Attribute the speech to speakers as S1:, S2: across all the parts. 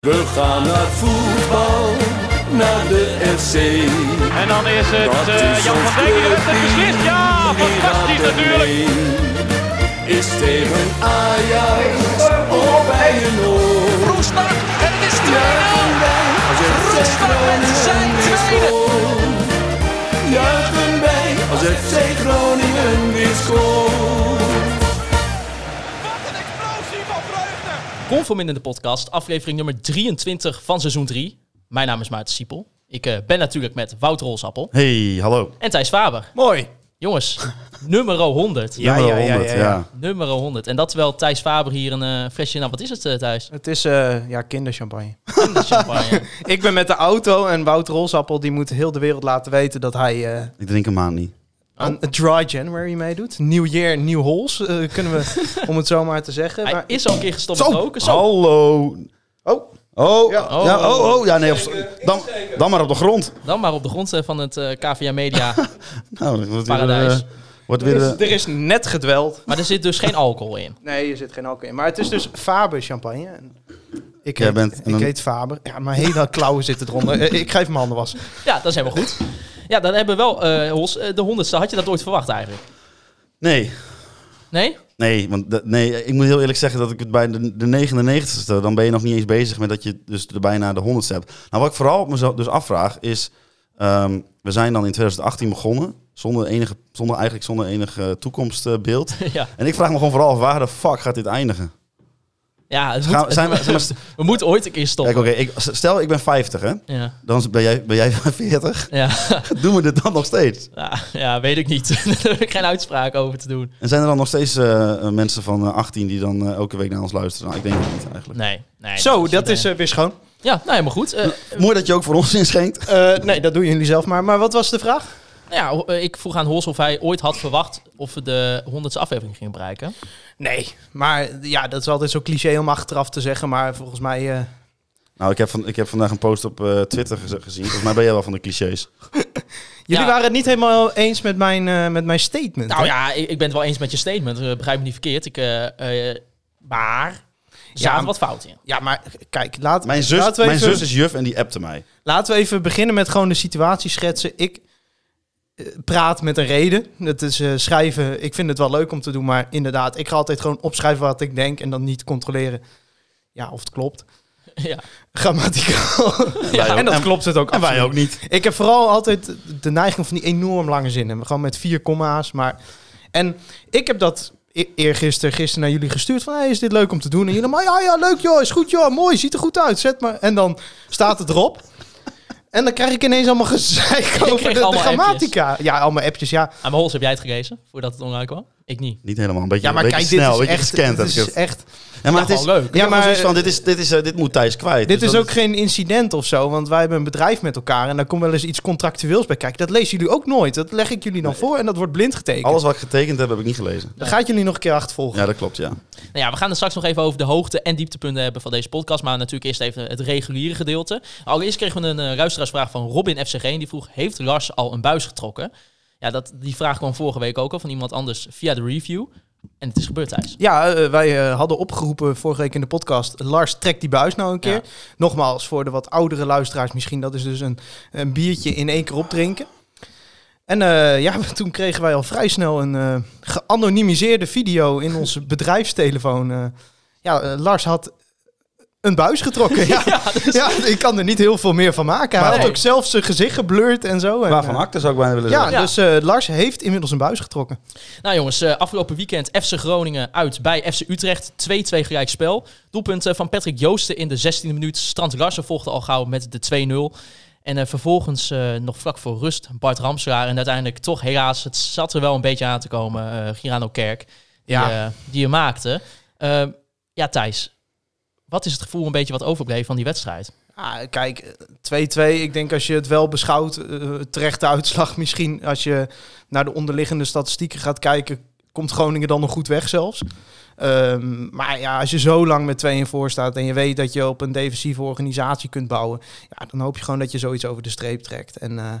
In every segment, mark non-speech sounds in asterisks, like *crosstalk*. S1: We gaan naar voetbal, naar de FC.
S2: En dan is het
S1: Dat
S2: eh,
S1: is
S2: Jan
S1: ons
S2: van Dijk die de wedstrijd
S1: clublied.
S2: beslist. Ja,
S1: Iedereen
S2: fantastisch
S1: raadt het
S2: natuurlijk.
S1: mee. Is tegen Ajax of bij een oor.
S3: Roestak en het is 2-0.
S1: Juichen wij als FC
S3: Roestak met zijn
S1: Groningen weer scoort. Juichen wij als FC Groningen
S3: tweede.
S1: weer scoort.
S4: Conform in de podcast, aflevering nummer 23 van seizoen 3. Mijn naam is Maarten Siepel. Ik eh, ben natuurlijk met Wout Rolsappel
S5: Hey, hallo.
S4: en Thijs Faber.
S3: Mooi.
S5: *laughs*
S4: Jongens, nummer 100.
S3: Ja, ja,
S5: Nummer
S3: ja,
S5: 100,
S3: ja, ja.
S4: Nummer 100. En dat terwijl Thijs Faber hier een eh, flesje... Nou, wat is het eh, Thijs?
S3: Het is eh, ja, kinderchampagne. *laughs*
S5: *laughs*
S4: Kinderchampagne.
S3: Ik ben met de auto en Wout Rolsappel die moet heel de wereld laten weten dat hij eh,
S5: Ik drink een maand niet.
S3: aan een Dry January meedoet. Nieuw jaar, nieuw hols, eh, kunnen we, *laughs* om het zo maar te zeggen.
S4: Hij
S3: Maar
S4: is al een keer gestopt met roken. Zo.
S5: Hallo. Oh. Oh. Ja.
S4: Oh.
S5: oh, oh. Ja, nee. Op, dan, dan maar op de grond.
S4: Dan maar op de grond eh, van het eh KVA
S5: *laughs*
S4: Media.
S5: Nou, dat wordt
S4: Paradijs.
S5: weer... eh, wordt weer eh,
S3: er is net gedweld.
S4: maar er zit dus geen alcohol in.
S3: Nee, er zit geen alcohol in. Maar het is dus Faber champagne. En Ik
S5: Jij
S3: heet,
S5: bent
S3: ik
S5: een-
S3: heet Faber. Ja, mijn hele klauwen zitten eronder. Eh, ik geef mijn handen was.
S4: Ja, dat is helemaal goed. Ja, dan hebben we wel, eh, Hols, eh, de 100ste. Had je dat ooit verwacht eigenlijk?
S5: nee.
S4: Nee? *laughs*
S5: Nee, want dat- nee, ik moet heel eerlijk zeggen dat ik het bij de, de 99ste, dan ben je nog niet eens bezig met dat je dus er bijna de 100ste hebt. Nou, wat ik vooral op mezelf dus afvraag is, ehm, we zijn dan in 2018 begonnen, zonder enige, zonder, eigenlijk zonder enig eh,
S3: *laughs*
S5: toekomstbeeld.
S4: ja.
S5: En ik vraag me gewoon vooral af, waar de fuck gaat dit eindigen?
S4: Ja, het moet-
S5: Gaan, we- zijn we, zeg maar, st-
S4: we moeten ooit een keer stoppen.
S5: Kijk, oké, ik- stel ik ben 50, hè?
S4: Ja.
S5: Dan ben jij, ben jij *laughs* 40.
S4: Ja.
S5: Doen we dit dan nog steeds?
S4: Ja, ja, weet ik niet. *laughs* Daar heb ik geen uitspraak over te doen.
S5: En zijn er dan nog steeds eh, mensen van eh, 18 die dan eh, elke week naar ons luisteren? Nou, ik denk het niet eigenlijk.
S4: Nee. nee
S3: Zo, dat
S4: eh,
S3: is eh, weer schoon.
S4: Ja, nou helemaal goed. Eh,
S5: Mooi dat je ook voor ons inschenkt.
S3: Eh, nee, dat doen jullie zelf maar. Maar wat was de vraag?
S4: nou ja, ho- eh, ik vroeg aan Hols of hij ooit had verwacht of we de honderdste aflevering gingen bereiken.
S3: Nee, maar ja, dat is altijd zo cliché om achteraf te zeggen. Maar volgens mij. eh,
S5: Nou, ik heb, van, ik heb vandaag een post op eh, Twitter gez- gezien. Volgens mij ben jij wel van de clichés.
S3: jullie
S4: Ja.
S3: waren het niet helemaal eens met mijn, eh, met mijn statement.
S4: Nou
S3: hè?
S4: ja, ik, ik ben het wel eens met je statement. eh, begrijp me niet verkeerd. Ik, eh, eh, maar er zaten
S3: maar-
S4: wat fouten in.
S3: Ja, maar kijk, laat,
S5: Mijn zus,
S3: laten, we
S5: mijn
S3: even,
S5: zus is juf en die appte mij.
S3: laten we even beginnen met gewoon de situatie schetsen. Ik eh, praat met een reden. Dat is eh, schrijven. Ik vind het wel leuk om te doen, maar inderdaad, ik ga altijd gewoon opschrijven wat ik denk en dan niet controleren. Ja, of het klopt.
S4: *laughs* Ja.
S3: Grammaticaal.
S5: wij
S3: *laughs* en
S5: ook.
S3: dat
S5: En-
S3: klopt het ook.
S5: En wij
S3: absoluut.
S5: ook niet.
S3: Ik heb vooral altijd de neiging van die enorm lange zinnen. Gewoon met vier komma's. Maar... En ik heb dat e- eergisteren gisteren naar jullie gestuurd. Van, hey, is dit leuk om te doen? En jullie, maar ja, ja, leuk joh. Is goed joh. Mooi, ziet er goed uit. Zet maar. En dan staat het erop. En dan krijg ik ineens allemaal gezeik over de,
S4: kreeg
S3: de
S4: allemaal
S3: grammatica. Ja, allemaal appjes, ja.
S4: Ah, maar Hols, heb jij het gelezen voordat het online kwam? Ik niet.
S5: Niet helemaal. Een beetje,
S3: Ja, maar
S5: een beetje
S3: kijk, dit
S5: snel.
S3: is
S5: een beetje
S3: echt...
S5: gescand. heb
S3: dit
S5: ik
S3: is
S5: het.
S3: echt
S5: Ja, maar
S4: Ja,
S5: het is
S4: gewoon leuk.
S5: Ja,
S3: Ja,
S5: maar,
S3: maar-
S5: van, dit, is, dit, is, eh, dit moet Thijs kwijt.
S3: Dit
S5: Dus
S3: is
S5: dat
S3: ook geen incident of zo, want wij hebben een bedrijf met elkaar en daar komt wel eens iets contractueels bij kijken. Dat lezen jullie ook nooit. Dat leg ik jullie dan voor en dat wordt blind getekend.
S5: Alles wat ik getekend heb, heb ik niet gelezen.
S3: Dat gaat jullie nog een keer achtervolgen.
S5: Ja, dat klopt, ja.
S4: Nou ja, we gaan het straks nog even over de hoogte- en dieptepunten hebben van deze podcast. Maar natuurlijk eerst even het reguliere gedeelte. Allereerst kregen we een eh, luisteraarsvraag van Robin FCG. En die vroeg, heeft Lars al een buis getrokken? Ja, dat, die vraag kwam vorige week ook al van iemand anders via de review. En het is gebeurd,
S3: *laughs*
S4: Thijs.
S3: Ja, eh, wij eh, hadden opgeroepen vorige week in de podcast. Lars, trek die buis nou een keer.
S4: Ja.
S3: Nogmaals, voor de wat oudere luisteraars misschien. Dat is dus een, een biertje in één keer opdrinken. En eh, ja, *laughs* toen kregen wij al vrij snel een eh, geanonimiseerde video in onze bedrijfstelefoon. eh. ja, eh, Lars had een buis getrokken. ja, ja, ik kan er niet heel veel meer van maken. Hij
S4: Maar-
S3: had ook zelf zijn gezicht geblurred en zo. En,
S5: Waarvan
S3: eh,
S5: acte zou ik bijna willen
S3: ja,
S5: zeggen.
S4: Ja.
S3: dus eh, Lars heeft inmiddels een buis getrokken.
S4: Nou jongens, eh, afgelopen weekend FC Groningen uit bij FC Utrecht. 2-2 gelijk spel. Doelpunten eh, van Patrick Joosten in de 16e minuut. Strand Larsen volgde al gauw met de 2-0. En eh, vervolgens eh, nog vlak voor rust Bart Ramselaar. En uiteindelijk toch helaas, het zat er wel een beetje aan te komen, eh Girano Kerk. Die,
S3: Ja.
S4: eh, die je maakte. Eh, ja Thijs, wat is het gevoel een beetje wat overbleef van die wedstrijd?
S3: Ah, kijk, eh, 2-2. Ik denk als je het wel beschouwt, eh, terechte uitslag misschien. Als je naar de onderliggende statistieken gaat kijken, komt Groningen dan nog goed weg zelfs. Ehm, maar ja, als je zo lang met 2 in voor staat en je weet dat je op een defensieve organisatie kunt bouwen, ja, dan hoop je gewoon dat je zoiets over de streep trekt. En eh,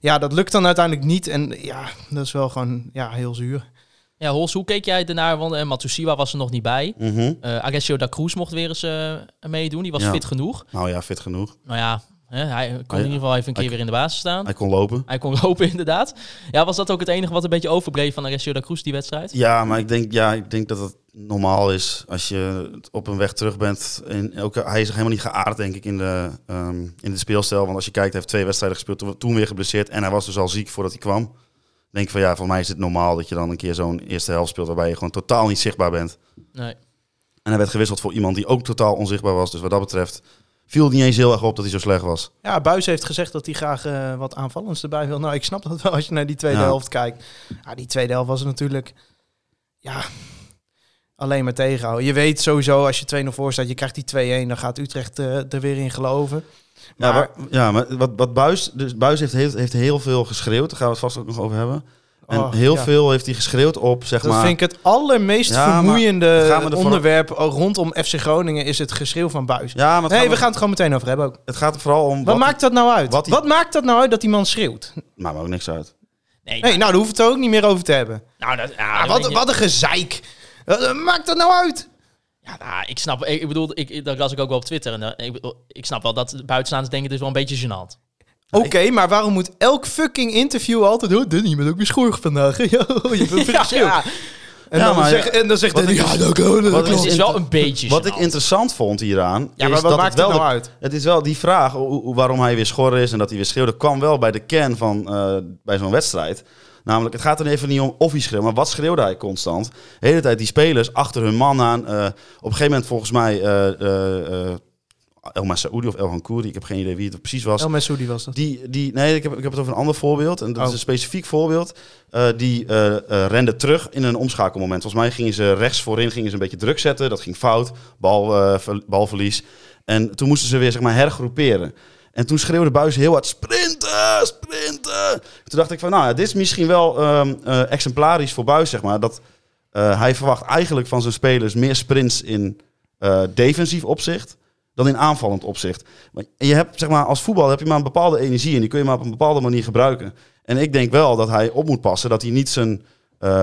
S3: ja, dat lukt dan uiteindelijk niet. En ja, dat is wel gewoon ja, heel zuur.
S4: Ja, Hols, hoe keek jij ernaar? Want eh, Matsushima was er nog niet bij.
S5: Mhm.
S4: Eh Alessio da Cruz mocht weer eens eh, meedoen. Die was
S5: Ja.
S4: fit genoeg.
S5: Nou ja, fit genoeg.
S4: Nou ja, hè, hij kon
S5: Hij-
S4: in ieder geval even een keer
S5: hij-
S4: weer in de basis staan.
S5: Hij kon lopen.
S4: Hij kon lopen, *laughs* inderdaad. Ja, was dat ook het enige wat een beetje overbleef van Alessio da Cruz, die wedstrijd?
S5: Ja, maar ik denk, ja, ik denk dat het normaal is als je op een weg terug bent. En ook, hij is helemaal niet geaard, denk ik, in de, ehm, in de speelstijl. Want als je kijkt, hij heeft twee wedstrijden gespeeld, toen- toen weer geblesseerd. En hij was dus al ziek voordat hij kwam. Ik denk van, ja, voor mij is het normaal dat je dan een keer zo'n eerste helft speelt... waarbij je gewoon totaal niet zichtbaar bent.
S4: Nee.
S5: En hij werd gewisseld voor iemand die ook totaal onzichtbaar was. Dus wat dat betreft viel het niet eens heel erg op dat hij zo slecht was.
S3: Ja, Buis heeft gezegd dat hij graag eh, wat aanvallends erbij wil. Nou, ik snap dat wel als je naar die tweede
S5: Ja.
S3: helft kijkt. Ja, die tweede helft was natuurlijk. Ja. Alleen maar tegenhouden. Je weet sowieso, als je 2-0 voor staat, je krijgt die 2-1, dan gaat Utrecht eh, er weer in geloven.
S5: Ja,
S3: Maar,
S5: maar, ja, maar wat, wat Buis, dus Buis heeft, heeft, heeft heel veel geschreeuwd. Daar gaan we het vast ook nog over hebben. En
S3: oh,
S5: heel
S3: ja.
S5: veel heeft hij geschreeuwd op, zeg
S3: Dat
S5: maar...
S3: vind ik het allermeest
S5: Ja, maar gaan we
S3: vermoeiende
S5: er voor-
S3: onderwerp rondom FC Groningen is het geschreeuw van Buis.
S5: Ja, maar het
S3: nee,
S5: gaat
S3: we
S5: er-
S3: gaan het gewoon meteen over hebben ook. Wat,
S5: Het gaat er vooral om.
S3: maakt dat nou uit?
S5: wat
S3: Wat,
S5: die-
S3: maakt dat nou uit dat die man schreeuwt?
S5: Maakt me ook niks uit.
S4: Nee,
S3: Nee, nou, daar hoeven we het ook niet meer over te hebben.
S4: nou, dat, ja,
S3: Ah,
S4: dat weet
S3: wat,
S4: je-
S3: wat een gezeik. Eh, eh, Maakt dat nou uit?
S4: Ja, nou, ik snap, ik, ik bedoel, ik, ik- dat las ik ook wel op Twitter. En, eh, ik, bedoel, ik snap wel dat buitenstaanders denken, het is wel een beetje gênant.
S3: Oké, maar waarom moet elk fucking interview altijd... Oh, Danny, je bent ook weer schorg vandaag. hè? *laughs* Ja, je bent weer geschreeuwd. En,
S5: Ja,
S3: dan
S5: maar-
S3: zegt- en dan zegt
S5: Wat
S3: Danny...
S5: ik-
S3: Ja, dat klopt, dat
S5: wat
S4: Het
S5: ik-
S3: klopt."
S4: is wel een beetje
S5: Wat ik
S4: gênant. Nou,
S5: interessant vond hieraan.
S3: Ja,
S5: is
S3: maar wat
S5: dat
S3: maakt
S5: wel
S3: het nou
S5: de-
S3: uit?
S5: Het is wel die vraag hoe- hoe- waarom hij weer schor is en dat hij weer schreeuwde. kwam wel bij de kern van eh, bij zo'n wedstrijd. Namelijk, het gaat er even niet om of hij schreeuwt, maar wat schreeuwde hij constant? De hele tijd die spelers achter hun man aan. eh, op een gegeven moment volgens mij eh eh eh Elma Saoudi of Elhan Kouri, ik heb geen idee wie het precies was.
S3: El Messoudi was dat.
S5: Die, die, nee, ik heb, ik heb het over een ander voorbeeld. En dat is
S3: Oh.
S5: een specifiek voorbeeld. Eh, die eh eh, rende terug in een omschakelmoment. Volgens mij gingen ze rechts voorin gingen ze een beetje druk zetten. Dat ging fout. Bal, eh, ver- balverlies. En toen moesten ze weer zeg maar, hergroeperen. En toen schreeuwde Buis heel hard: sprinten, sprinten. Toen dacht ik van, nou ja, dit is misschien wel ehm, eh, exemplarisch voor Buis, zeg maar. Dat eh, hij verwacht eigenlijk van zijn spelers meer sprints in eh, defensief opzicht dan in aanvallend opzicht. Maar je hebt, zeg maar, als voetbal heb je maar een bepaalde energie en die kun je maar op een bepaalde manier gebruiken. En ik denk wel dat hij op moet passen, dat hij niet zijn. eh,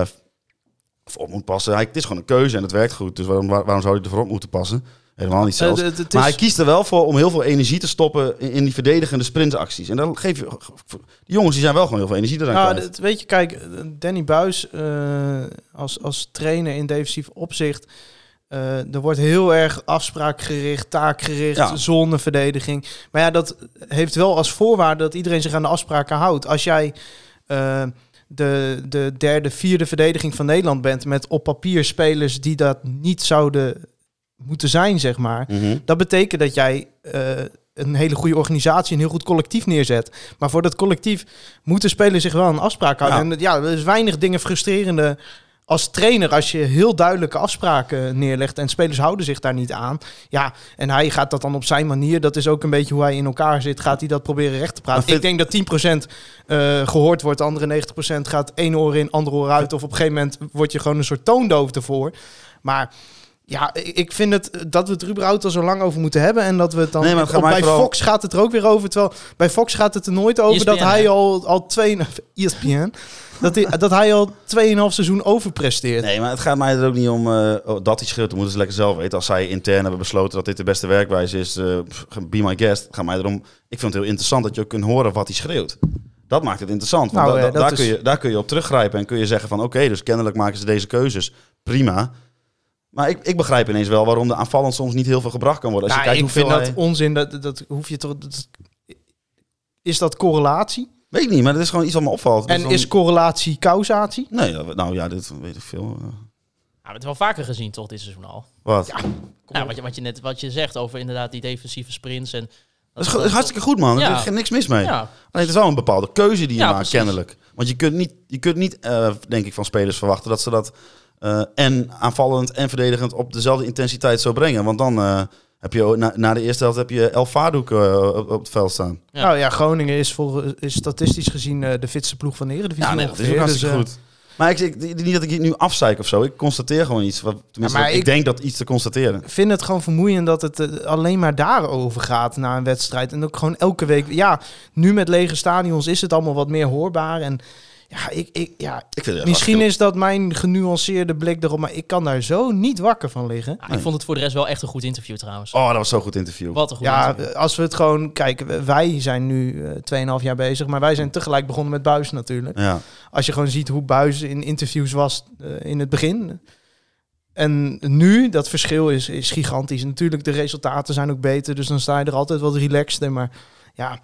S5: of op moet passen. Hij, het is gewoon een keuze en het werkt goed. Dus waarom, waar- waarom zou hij ervoor op moeten passen? Helemaal niet zelfs.
S3: Eh, het- het
S5: Maar
S3: is-
S5: hij kiest er wel voor om heel veel energie te stoppen in, in die verdedigende sprintacties. En dan geef je. Die jongens die zijn wel gewoon heel veel energie eraan
S3: Nou,
S5: kwijt.
S3: dat- weet je, kijk, Danny Buis eh, als, als trainer in defensief opzicht. eh, er wordt heel erg afspraakgericht, taakgericht,
S5: Ja.
S3: zonneverdediging. Maar ja, dat heeft wel als voorwaarde dat iedereen zich aan de afspraken houdt. Als jij eh, de, de derde, vierde verdediging van Nederland bent met op papier spelers die dat niet zouden moeten zijn, zeg maar.
S5: Mhm.
S3: Dat betekent dat jij eh, een hele goede organisatie, een heel goed collectief neerzet. Maar voor dat collectief moeten spelers zich wel aan afspraken houden.
S5: Ja.
S3: En dat- ja, er is weinig dingen frustrerende als trainer als je heel duidelijke afspraken neerlegt en spelers houden zich daar niet aan. Ja, en hij gaat dat dan op zijn manier. Dat is ook een beetje hoe hij in elkaar zit. Gaat hij dat proberen recht te praten?
S5: Maar vind-
S3: Ik denk dat 10% eh, gehoord wordt, de andere 90% gaat één oor in, andere oor uit. Of op een gegeven moment word je gewoon een soort toondoof ervoor. Maar ja, ik- ik vind het eh, dat we het er überhaupt al zo lang over moeten hebben. En dat we het dan.
S5: Nee, maar het gaat
S3: op-
S5: mij
S3: bij
S5: vooral-
S3: Fox gaat het er ook weer over. Terwijl bij Fox gaat het er nooit over dat
S4: ESPN,
S3: hij
S4: hè?
S3: al, al twee. *laughs* E ESPN. dat, hij, dat hij al 2,5 seizoen overpresteert.
S5: Nee, maar het gaat mij er ook niet om eh, oh, dat hij schreeuwt. Dat moeten ze lekker zelf weten. Als zij intern hebben besloten dat dit de beste werkwijze is, eh, pff, be my guest. Het gaat mij erom. Ik vind het heel interessant dat je ook kunt horen wat hij schreeuwt. Dat maakt het interessant. Want
S3: Nou,
S5: da-
S3: eh,
S5: da-
S3: dat
S5: daar,
S3: is-
S5: kun je, daar kun je op teruggrijpen en kun je zeggen van oké, dus kennelijk maken ze deze keuzes. Prima. Maar ik, ik begrijp ineens wel waarom de aanvallend soms niet heel veel gebracht kan worden. Als je
S3: Nou,
S5: kijkt
S3: ik vind
S5: hoeveel
S3: dat
S5: hij-
S3: onzin. Dat, dat hoef je toch. dat- is dat correlatie?
S5: Weet ik niet, maar dat is gewoon iets wat me opvalt. Dat
S3: en
S5: dan-
S3: is correlatie causatie?
S5: Nee, dat- nou ja, dit weet ik veel. Eh,
S4: Ja, we hebben het wel vaker gezien, toch, dit seizoen al.
S5: Wat?
S4: Ja, wat, je, wat, je net, wat je zegt over inderdaad die defensieve sprints. En
S5: dat is, ge- is hartstikke goed man.
S4: Ja.
S5: Er is geen- niks mis mee.
S4: Ja,
S5: Nee, het is wel een bepaalde keuze die je
S4: Ja,
S5: maakt,
S4: precies.
S5: kennelijk. Want je kunt niet, je kunt niet eh, denk ik, van spelers verwachten dat ze dat eh, en aanvallend en verdedigend op dezelfde intensiteit zo brengen. Want dan eh, heb je na, na de eerste helft heb je El Fadouk eh, op, op het veld staan.
S4: Ja.
S3: Nou ja, Groningen is, vol, is statistisch gezien eh, de fitste ploeg van de Eredivisie.
S5: Ja, nee, dat is ook
S3: ongeveer.
S5: hartstikke
S3: Dus, eh,
S5: goed. Maar ik, ik- niet dat ik hier nu afzeik of zo. Ik constateer gewoon iets. Wat, tenminste,
S3: Ja, maar
S5: ik,
S3: ik-
S5: denk dat iets te constateren.
S3: Ik vind het gewoon vermoeiend dat het eh, alleen maar daarover gaat na een wedstrijd. En ook gewoon elke week. Ja, nu met lege stadions is het allemaal wat meer hoorbaar. En Ja, ik, ik, ja,
S5: Ik vind het
S3: misschien is dat mijn genuanceerde blik erop, maar ik kan daar zo niet wakker van liggen.
S4: Ah, Ik vond het voor de rest wel echt een goed interview trouwens.
S5: Oh, dat was zo'n goed interview.
S4: Wat een goed
S3: ja, eh,
S4: interview.
S3: als we het gewoon... Kijk, wij zijn nu eh, 2,5 jaar bezig, maar wij zijn tegelijk begonnen met Buis natuurlijk.
S5: Ja.
S3: Als je gewoon ziet hoe Buis in interviews was eh, in het begin. En nu, dat verschil is, is gigantisch. Natuurlijk, de resultaten zijn ook beter, dus dan sta je er altijd wat relaxter. Maar ja,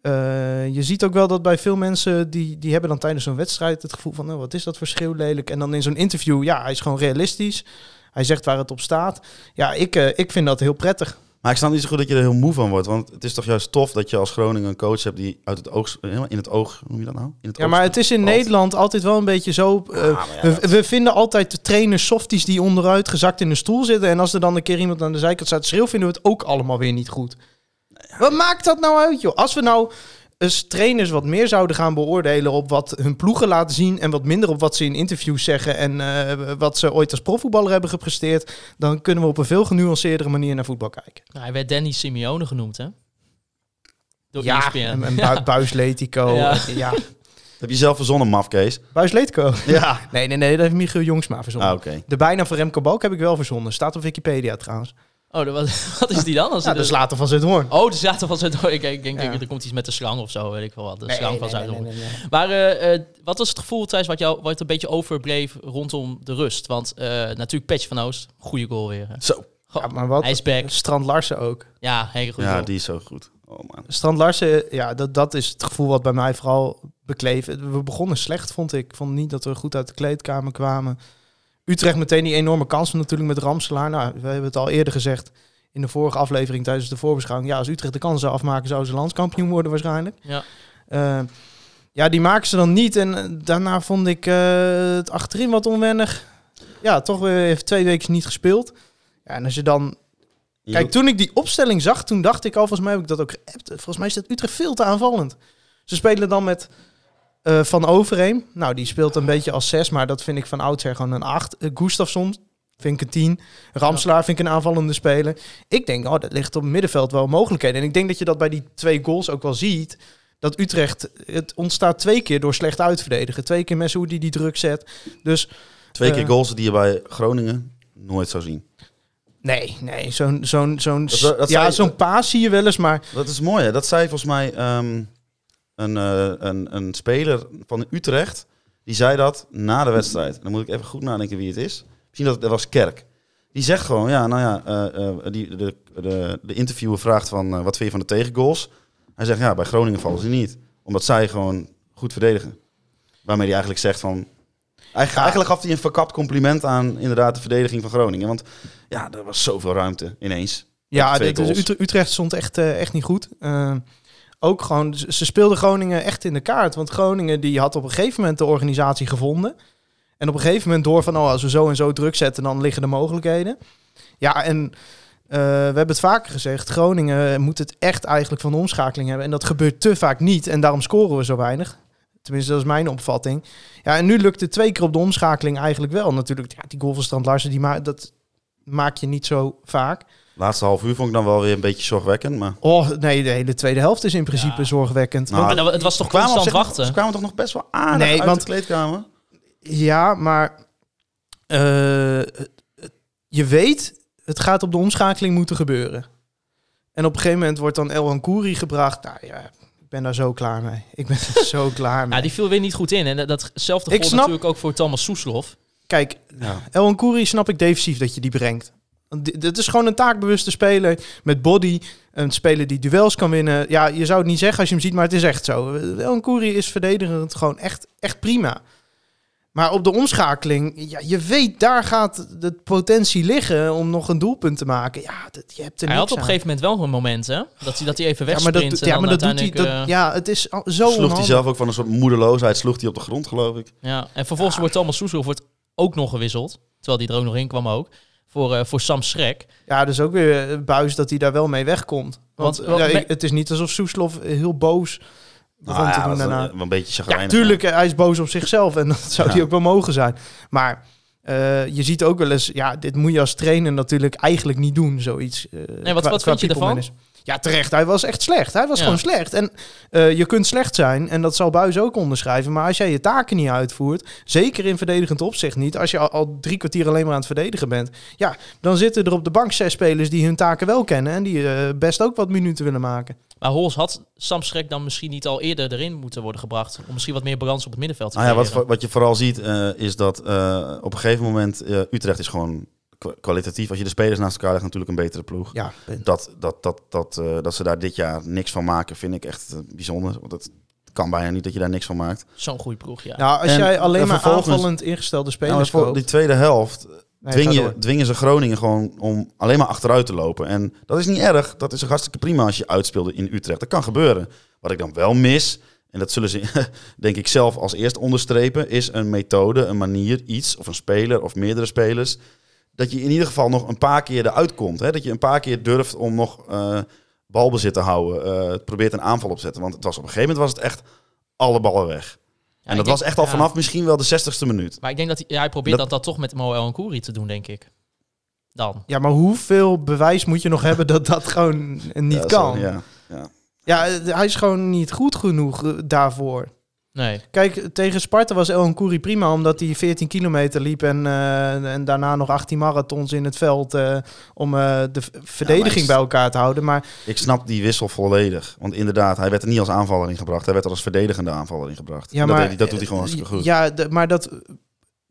S3: eh, je ziet ook wel dat bij veel mensen, die, die hebben dan tijdens zo'n wedstrijd het gevoel van, nou, wat is dat verschil lelijk? En dan in zo'n interview, ja, hij is gewoon realistisch. Hij zegt waar het op staat. Ja, ik, eh, ik vind dat heel prettig.
S5: Maar ik snap niet zo goed dat je er heel moe van wordt. Want het is toch juist tof dat je als Groningen een coach hebt die uit het oog... helemaal In het oog, hoe noem je dat nou? In het
S3: Ja,
S5: oog-
S3: maar het is in
S5: Valt.
S3: Nederland altijd wel een beetje zo. eh, we, we vinden altijd de trainers softies die onderuit gezakt in de stoel zitten. En als er dan een keer iemand aan de zijkant staat te schreeuwen, vinden we het ook allemaal weer niet goed. Wat maakt dat nou uit, joh? Als we nou eens trainers wat meer zouden gaan beoordelen op wat hun ploegen laten zien en wat minder op wat ze in interviews zeggen en eh, wat ze ooit als profvoetballer hebben gepresteerd, dan kunnen we op een veel genuanceerdere manier naar voetbal kijken.
S4: Nou, hij werd Danny Simeone genoemd, hè? Door E ESPN.
S3: en, en Bui- Buis Letico.
S4: Ja.
S3: Ja. ja,
S5: Dat heb je zelf verzonnen, mafkees.
S3: Buis Letico.
S5: Ja.
S3: Nee, nee, nee, dat heeft Michiel Jongsma verzonnen.
S5: Ah, oké.
S3: De bijnaam van Remco Balk heb ik wel verzonnen. Staat op Wikipedia trouwens.
S4: Oh, dat- *laughs* wat, wat is die dan? Als
S3: Ja,
S4: hij
S3: dat is
S4: de-
S3: later van Zuidhoorn.
S4: Oh, de zaten van Zuid. Ik denk, ik denk
S3: Ja.
S4: er komt iets met de slang of zo, weet ik wel wat. De
S3: Nee,
S4: slang van
S3: nee,
S4: zuid
S3: nee, nee, nee, nee.
S4: Maar eh, eh, wat was het gevoel, Thijs, wat jou wat een beetje overbleef rondom de rust? Want eh, natuurlijk Patch van Oost, goede goal weer. hè.
S5: Zo.
S4: Goh,
S3: Ja, maar wat?
S4: Hij is back.
S3: Strand Larsen ook.
S4: Ja, hele goede
S5: Ja,
S4: goal.
S5: die is zo goed. Oh man.
S3: Strand Larsen, eh, ja, dat, dat is het gevoel wat bij mij vooral bekleef. We begonnen slecht, vond ik. Ik vond niet dat we goed uit de kleedkamer kwamen. Utrecht meteen die enorme kans natuurlijk met Ramselaar. Nou, we hebben het al eerder gezegd in de vorige aflevering tijdens de voorbeschouwing. Ja, als Utrecht de kans zou afmaken, zouden ze landskampioen worden waarschijnlijk.
S4: Ja.
S3: Eh, ja, die maken ze dan niet. En eh, daarna vond ik eh, het achterin wat onwennig. Ja, toch weer heeft twee weken niet gespeeld. Ja, en als je dan Kijk, toen ik die opstelling zag, toen dacht ik al, volgens mij heb ik dat ook geappt. Volgens mij is dat Utrecht veel te aanvallend. Ze spelen dan met eh, Van Overeem. Nou, die speelt een beetje als 6, maar dat vind ik van oudsher gewoon een 8. Eh, Gustafsson vind ik een 10. Ramslaar vind ik een aanvallende speler. Ik denk, oh, dat ligt op het middenveld wel mogelijkheden. En ik denk dat je dat bij die twee goals ook wel ziet. Dat Utrecht, het ontstaat twee keer door slecht uitverdedigen. Twee keer mensen hoe die die druk zet. Dus
S5: Twee keer
S3: eh,
S5: goals die je bij Groningen nooit zou zien.
S3: nee, nee, zo'n zo'n zo'n
S5: Dat zou- dat
S3: ja,
S5: zou-
S3: zo'n paas zie je wel eens, maar
S5: Dat is mooi, hè? Dat zei volgens mij ehm, een, eh, een, een speler van Utrecht. Die zei dat na de wedstrijd. Dan moet ik even goed nadenken wie het is. Misschien dat het dat was Kerk. Die zegt gewoon, ja, nou ja, eh, eh, die, de, de, de interviewer vraagt van, eh, wat vind je van de tegengoals? Hij zegt, ja, bij Groningen vallen ze niet. Omdat zij gewoon goed verdedigen. Waarmee hij eigenlijk zegt van... Eigenlijk, eigenlijk gaf hij een verkapt compliment aan inderdaad de verdediging van Groningen. Want ja, er was zoveel ruimte ineens.
S3: Ja,
S5: Twee
S3: dit is-
S5: goals.
S3: Utre- Utrecht stond echt, eh, echt niet goed. Eh, ook gewoon, ze ze speelden Groningen echt in de kaart. Want Groningen die had op een gegeven moment de organisatie gevonden. En op een gegeven moment door van, oh, als we zo en zo druk zetten, dan liggen de mogelijkheden. Ja, en eh, we hebben het vaker gezegd, Groningen moet het echt eigenlijk van de omschakeling hebben. En dat gebeurt te vaak niet en daarom scoren we zo weinig. Tenminste, dat is mijn opvatting. Ja, en nu lukt het twee keer op de omschakeling eigenlijk wel. Natuurlijk, ja, die goal van Strand Larsen, die ma dat maak je niet zo vaak.
S5: Laatste half uur vond ik dan wel weer een beetje zorgwekkend, maar...
S3: Oh, nee, de hele tweede helft is in principe
S4: Ja.
S3: zorgwekkend.
S5: Nou,
S3: Want-
S4: Maar dat- het was toch
S5: kwamen op
S4: constant
S5: zich nog-
S4: wachten?
S5: ze kwamen toch nog best wel aardig
S3: Nee,
S5: uit
S3: want-
S5: de kleedkamer?
S3: ja, maar eh, je weet, het gaat op de omschakeling moeten gebeuren. En op een gegeven moment wordt dan El Hankouri gebracht. Nou ja, ik ben daar zo klaar mee. Ik ben *laughs* er zo klaar mee.
S4: Ja, die viel weer niet goed in. En dat- datzelfde
S3: Ik
S4: gold
S3: snap-
S4: natuurlijk ook voor Thomas Soeslof.
S3: Kijk,
S5: Ja.
S3: El Hankouri snap ik defensief dat je die brengt. Want di- Dit is gewoon een taakbewuste speler met body. Een speler die duels kan winnen. Ja, je zou het niet zeggen als je hem ziet, maar het is echt zo. El Nkouri is verdedigend gewoon echt, echt prima. Maar op de omschakeling, ja, je weet, daar gaat de potentie liggen om nog een doelpunt te maken. Ja, dat, je hebt er
S4: Hij had
S3: niks
S4: op een
S3: aan.
S4: gegeven moment wel een moment, hè? Dat hij, dat hij even
S3: ja, maar dat,
S4: wegsprint.
S3: doet- ja, maar dat doet hij.
S4: uiteindelijk,
S3: dat-
S4: eh,
S3: ja, het is al- zo
S5: sloeg hij
S3: onhandig.
S5: zelf ook van een soort moedeloosheid, sloeg hij op de grond, geloof ik.
S4: Ja, en vervolgens wordt Thomas Soeslof wordt ook nog gewisseld. Terwijl die er ook nog in kwam ook. Voor, eh, voor Sam Schrek.
S3: Ja, dus ook weer eh, buis dat hij daar wel mee wegkomt. Want, eh,
S4: Want- want
S3: ja,
S4: me-
S3: ik- het is niet alsof Soeslof eh, heel boos begon
S5: Nou
S3: te
S5: ja,
S3: doen
S5: dat is
S3: daarna.
S5: Een, een beetje
S3: Ja,
S5: chagrijnig.
S3: tuurlijk, eh, hij is boos op zichzelf en *laughs* dat zou
S5: Ja.
S3: hij ook wel mogen zijn. Maar eh, je ziet ook wel eens, ja, dit moet je als trainer natuurlijk eigenlijk niet doen, zoiets. eh,
S4: Nee, wat,
S3: qua-
S4: wat
S3: qua
S4: vind je
S3: people
S4: ervan?
S3: management. Ja, terecht. Hij was echt slecht. Hij was
S4: Ja.
S3: gewoon slecht. En eh, je kunt slecht zijn, en dat zal Buis ook onderschrijven. Maar als jij je taken niet uitvoert, zeker in verdedigend opzicht niet, als je al, al drie kwartier alleen maar aan het verdedigen bent, ja, dan zitten er op de bank zes spelers die hun taken wel kennen en die eh, best ook wat minuten willen maken.
S4: Maar Hols had Sam Schrek dan misschien niet al eerder erin moeten worden gebracht. Om misschien wat meer balans op het middenveld te
S5: Nou ja, wat,
S4: creëren.
S5: wat je vooral ziet eh, is dat eh, op een gegeven moment eh, Utrecht is gewoon kwa- kwalitatief. Als je de spelers naast elkaar legt, natuurlijk een betere ploeg.
S3: Ja, punt.
S5: Dat, dat, dat, dat, eh, dat ze daar dit jaar niks van maken, vind ik echt eh, bijzonder. Want het kan bijna niet dat je daar niks van maakt.
S4: Zo'n goede ploeg, ja.
S3: Nou, als
S5: En
S3: jij alleen
S5: dan
S3: maar
S5: vervolgens-
S3: aanvallend ingestelde
S5: Nou, maar
S3: spelers
S5: voor
S3: koopt-
S5: die tweede helft
S3: Nee,
S5: dwing
S3: ga
S5: je,
S3: door.
S5: dwingen ze Groningen gewoon om alleen maar achteruit te lopen. En dat is niet erg. Dat is hartstikke prima als je uitspeelde in Utrecht. Dat kan gebeuren. Wat ik dan wel mis, en dat zullen ze *laughs* denk ik zelf als eerst onderstrepen, is een methode, een manier, iets of een speler of meerdere spelers. Dat je in ieder geval nog een paar keer eruit komt. Hè? Dat je een paar keer durft om nog eh, balbezit te houden. eh, het probeert een aanval op te zetten. Want het was op een gegeven moment was het echt alle ballen weg.
S4: Ja,
S5: en
S4: ik
S5: dat
S4: denk-
S5: was echt al
S4: ja.
S5: vanaf misschien wel de 60ste minuut.
S4: Maar ik denk dat hij, ja, hij probeert dat, dat toch met Moel en Koeri te doen, denk ik. Dan.
S3: Ja, maar hoeveel bewijs moet je nog hebben dat dat gewoon niet
S5: Ja,
S3: kan?
S5: zo,
S3: ja.
S5: ja. Ja.
S3: eh, hij is gewoon niet goed genoeg eh, daarvoor.
S4: Nee.
S3: Kijk, tegen Sparta was El Kouri prima, omdat hij 14 kilometer liep en, eh, en daarna nog 18 marathons in het veld eh, om eh, de v- verdediging
S5: is-
S3: bij elkaar te houden. Maar
S5: Ik snap die wissel volledig. Want inderdaad, hij werd er niet als aanvaller in gebracht. Hij werd er als verdedigende aanvaller in gebracht.
S3: Ja,
S5: En dat,
S3: maar- eh,
S5: deed hij- dat doet hij gewoon hartstikke goed.
S3: ja, de- maar dat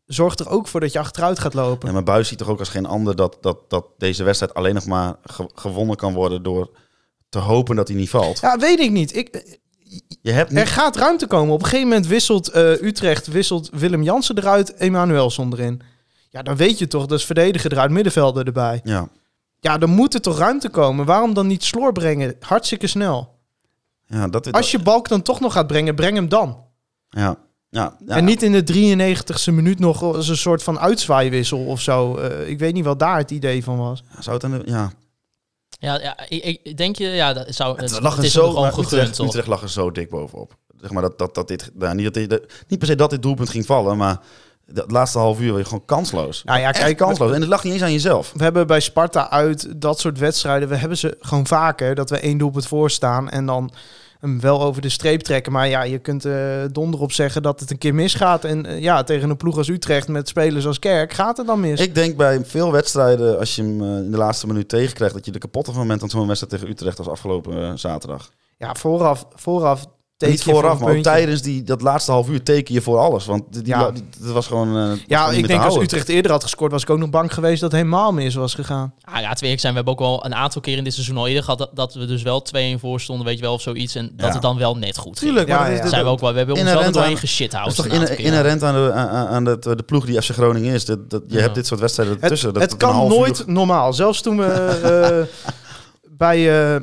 S3: zorgt er ook voor dat je achteruit gaat lopen.
S5: En mijn buis ziet toch ook als geen ander dat, dat, dat deze wedstrijd alleen nog maar ge- gewonnen kan worden door te hopen dat hij niet valt.
S3: Ja, weet ik niet. Ik,
S5: Je hebt
S3: er
S5: niet,
S3: gaat ruimte komen. Op een gegeven moment wisselt eh, Utrecht, wisselt Willem Jansen eruit, Emanuelson erin. Ja, dan weet je toch, dat is verdediger eruit, middenvelder erbij.
S5: ja,
S3: Ja, dan moet er toch ruimte komen. Waarom dan niet sloor brengen? Hartstikke snel.
S5: ja, dat,
S3: Als je Balk dan toch nog gaat brengen, breng hem dan.
S5: ja, ja, ja.
S3: En niet in de 93ste minuut nog als een soort van uitzwaaiwissel of zo. Eh, ik weet niet wat daar het idee van was.
S5: Zou het aan de- ja.
S4: Ja, ja ik, ik denk je, ja, dat zou, het,
S5: Het
S4: het,
S5: lag er
S4: is
S5: zo,
S4: hem gewoon
S5: maar
S4: gegund,
S5: Utrecht,
S4: toch?
S5: Utrecht lag er zo dik bovenop. Zeg maar dat, dat, dat dit, nou, niet, dat dit, dat- niet per se dat dit doelpunt ging vallen, maar dat laatste half uur was je gewoon kansloos.
S3: Nou ja,
S5: Echt
S3: kijk, we,
S5: kansloos. En het lag niet eens aan jezelf.
S3: we hebben bij Sparta uit dat soort wedstrijden. We hebben ze gewoon vaker dat we één doelpunt voor staan en dan hem wel over de streep trekken. Maar ja, je kunt eh donder op zeggen dat het een keer misgaat. En eh, ja, tegen een ploeg als Utrecht met spelers als Kerk gaat het dan mis.
S5: Ik denk bij veel wedstrijden, als je hem eh, in de laatste minuut tegenkrijgt, dat je de kapotte van bent aan zo'n wedstrijd tegen Utrecht als afgelopen eh, zaterdag.
S3: Ja, vooraf, vooraf teken
S5: Niet
S3: je voor
S5: vooraf,
S3: een
S5: maar ook
S3: puntje.
S5: tijdens die, dat laatste half uur teken je voor alles. Want die, die
S3: Ja.
S5: la- die- dat was gewoon. eh, dat was
S3: Ja,
S5: gewoon niet meer
S3: ik
S5: te
S3: denk als
S5: houden.
S3: Utrecht eerder had gescoord, was ik ook nog bang geweest dat het helemaal mis was gegaan.
S4: Ah, ja, twee zijn. We hebben ook wel een aantal keer in dit seizoen al eerder gehad dat, dat we dus wel 2-1 voor stonden, weet je wel, of zoiets. En dat
S5: Ja.
S4: het dan wel net goed ging.
S5: Tuurlijk, maar
S3: Ja,
S5: dat is
S3: ja.
S5: dit-
S4: zijn we ook wel. We hebben ons wel er
S5: Inherent
S4: doorheen
S5: aan-
S4: geschitterd.
S5: dat is toch inhe- inherent aan, de, aan, aan het, eh, de ploeg die FC Groningen is. Dat, dat, je
S4: Ja.
S5: hebt dit soort wedstrijden
S3: Het,
S5: ertussen. dat,
S3: het
S5: dat een
S3: kan
S5: half uur-
S3: nooit normaal. Zelfs toen we eh, *laughs* bij, eh,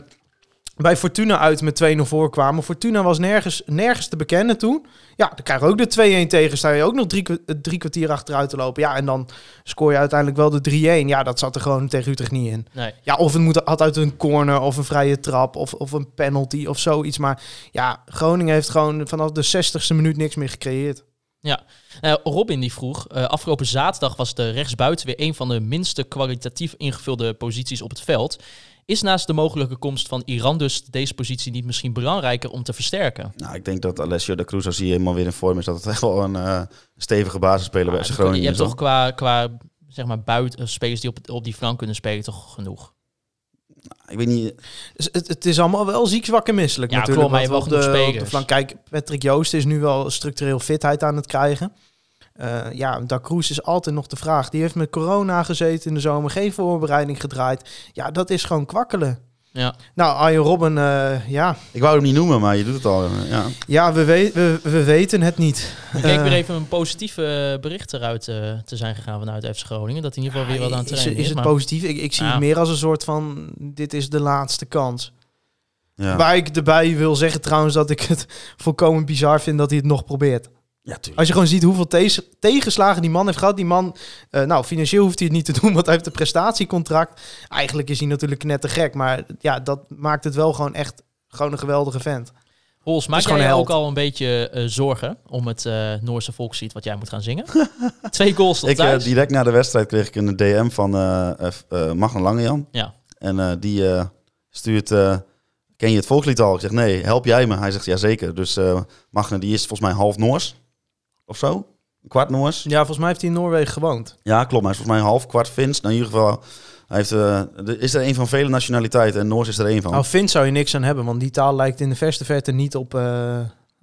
S3: bij Fortuna uit met 2-0 voorkwamen. Fortuna was nergens, nergens te bekennen toen. Ja, dan krijg je ook de 2-1 tegen. Sta je ook nog drie, kwa- eh, drie kwartier achteruit te lopen. Ja, en dan scoor je uiteindelijk wel de 3-1. Ja, dat zat er gewoon tegen Utrecht niet in.
S4: Nee.
S3: Ja, of het moet, had uit een corner of een vrije trap of, of een penalty of zoiets. Maar ja, Groningen heeft gewoon vanaf de 60ste minuut niks meer gecreëerd.
S4: Eh, Robin die vroeg, eh, afgelopen zaterdag was de rechtsbuiten weer een van de minste kwalitatief ingevulde posities op het veld. Is naast de mogelijke komst van Iran dus deze positie niet misschien belangrijker om te versterken?
S5: Nou, ik denk dat Alessio da Cruz, als hij helemaal weer in vorm is, dat het *laughs* echt wel een eh, stevige basisspeler bij FC Groningen
S4: je hebt
S5: is, hoor.
S4: toch qua, qua zeg maar, buiten, eh, spelers die op, het- op die flank kunnen spelen toch genoeg?
S5: Ik weet niet.
S3: Dus het, het is allemaal wel ziek, zwak en misselijk
S4: Ja,
S3: natuurlijk.
S4: klopt, maar
S3: wat
S4: je
S3: we
S4: hebt wel
S3: op de,
S4: genoeg
S3: op de
S4: spelers.
S3: flank. Kijk, Patrick Joost is nu wel structureel fitheid aan het krijgen. Eh, ja, Da Cruz is altijd nog de vraag. Die heeft met corona gezeten in de zomer, geen voorbereiding gedraaid. Ja, dat is gewoon kwakkelen.
S4: Ja.
S3: Nou, Arjen Robben, eh, ja.
S5: Ik wou hem niet noemen, maar je doet het al. eh, Ja.
S3: ja we, we- we, we weten het niet.
S4: Ik keek
S3: Eh,
S4: weer even een positieve eh, bericht eruit eh, te zijn gegaan vanuit FC Groningen. Dat in ieder geval weer wat aan het
S3: is,
S4: trainen is.
S3: is het
S4: maar-
S3: positief? Ik, ik zie
S4: Ja.
S3: het meer als een soort van, dit is de laatste kans.
S5: Ja.
S3: Waar ik erbij wil zeggen trouwens dat ik het *laughs* volkomen bizar vind dat hij het nog probeert.
S5: Ja, tuurlijk.
S3: Als je gewoon ziet hoeveel tees- tegenslagen die man heeft gehad. Die man, eh, nou, financieel hoeft hij het niet te *laughs* doen, want hij heeft een prestatiecontract. Eigenlijk is hij natuurlijk net te gek, maar ja, dat maakt het wel gewoon echt gewoon een geweldige vent.
S4: Hols, maak
S3: is gewoon
S4: jij je
S3: een
S4: ook
S3: held.
S4: al een beetje eh, zorgen om het eh, Noorse volkslied wat jij moet gaan
S3: *laughs*
S4: zingen? Twee goals tot
S5: Ik, eh,
S4: thuis.
S5: direct na de wedstrijd kreeg ik een DM van eh eh, eh, Magnan Langejan.
S4: Ja.
S5: En eh, die, eh, stuurt... eh, Ken je het volkslied al? Ik zeg, nee, help jij me? Hij zegt, jazeker. Dus eh Magne, die is volgens mij half Noors. Of zo? Een kwart Noors.
S3: Ja, volgens mij heeft hij in Noorwegen gewoond.
S5: Ja, klopt. Hij is volgens mij half, kwart Fins. Nou, in ieder geval, hij heeft, eh, er is er een van vele nationaliteiten en Noors is er één van.
S3: Nou, Finn zou je niks aan hebben, want die taal lijkt in de verste verte niet op... eh,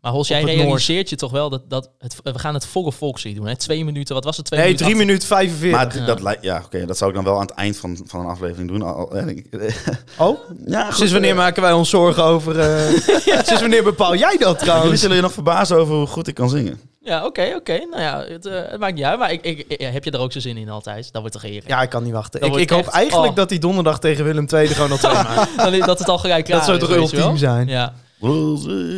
S4: Maar Hols, jij
S3: Op het Noord.
S4: realiseert je toch wel dat, dat het, eh, we gaan het volle volkslied doen. Hè? Twee minuten, wat was het? Twee
S3: Nee, 3
S4: acht-
S3: minuten 45.
S5: maar d- dat lijkt, ja, oké, dat zou ik dan wel aan het eind van, van een aflevering doen. Al- al- en ik- *laughs*
S3: Oh,
S5: ja, goed,
S3: sinds wanneer
S5: eh,
S3: maken wij ons zorgen over... eh, *laughs* Sinds wanneer bepaal jij dat
S5: Jullie
S3: trouwens?
S5: zullen je nog verbazen over hoe goed ik kan zingen.
S4: Ja, oké, oké. Nou ja, het, eh, het maakt niet uit. Maar ik, ik, ik- ja, heb je er ook zo zin in altijd? Dat wordt toch heerlijk.
S3: Ja, ik kan niet wachten.
S4: Dat
S3: Ik, ik
S4: wordt
S3: hoop
S4: echt-
S3: eigenlijk
S4: oh.
S3: dat die donderdag tegen Willem II er gewoon *laughs* al twee maakt.
S4: Dan is- Dat het al gelijk klaar
S3: *laughs* Dat zou
S4: is,
S3: toch
S4: weet je wel?
S3: ultiem zijn?
S4: Ja.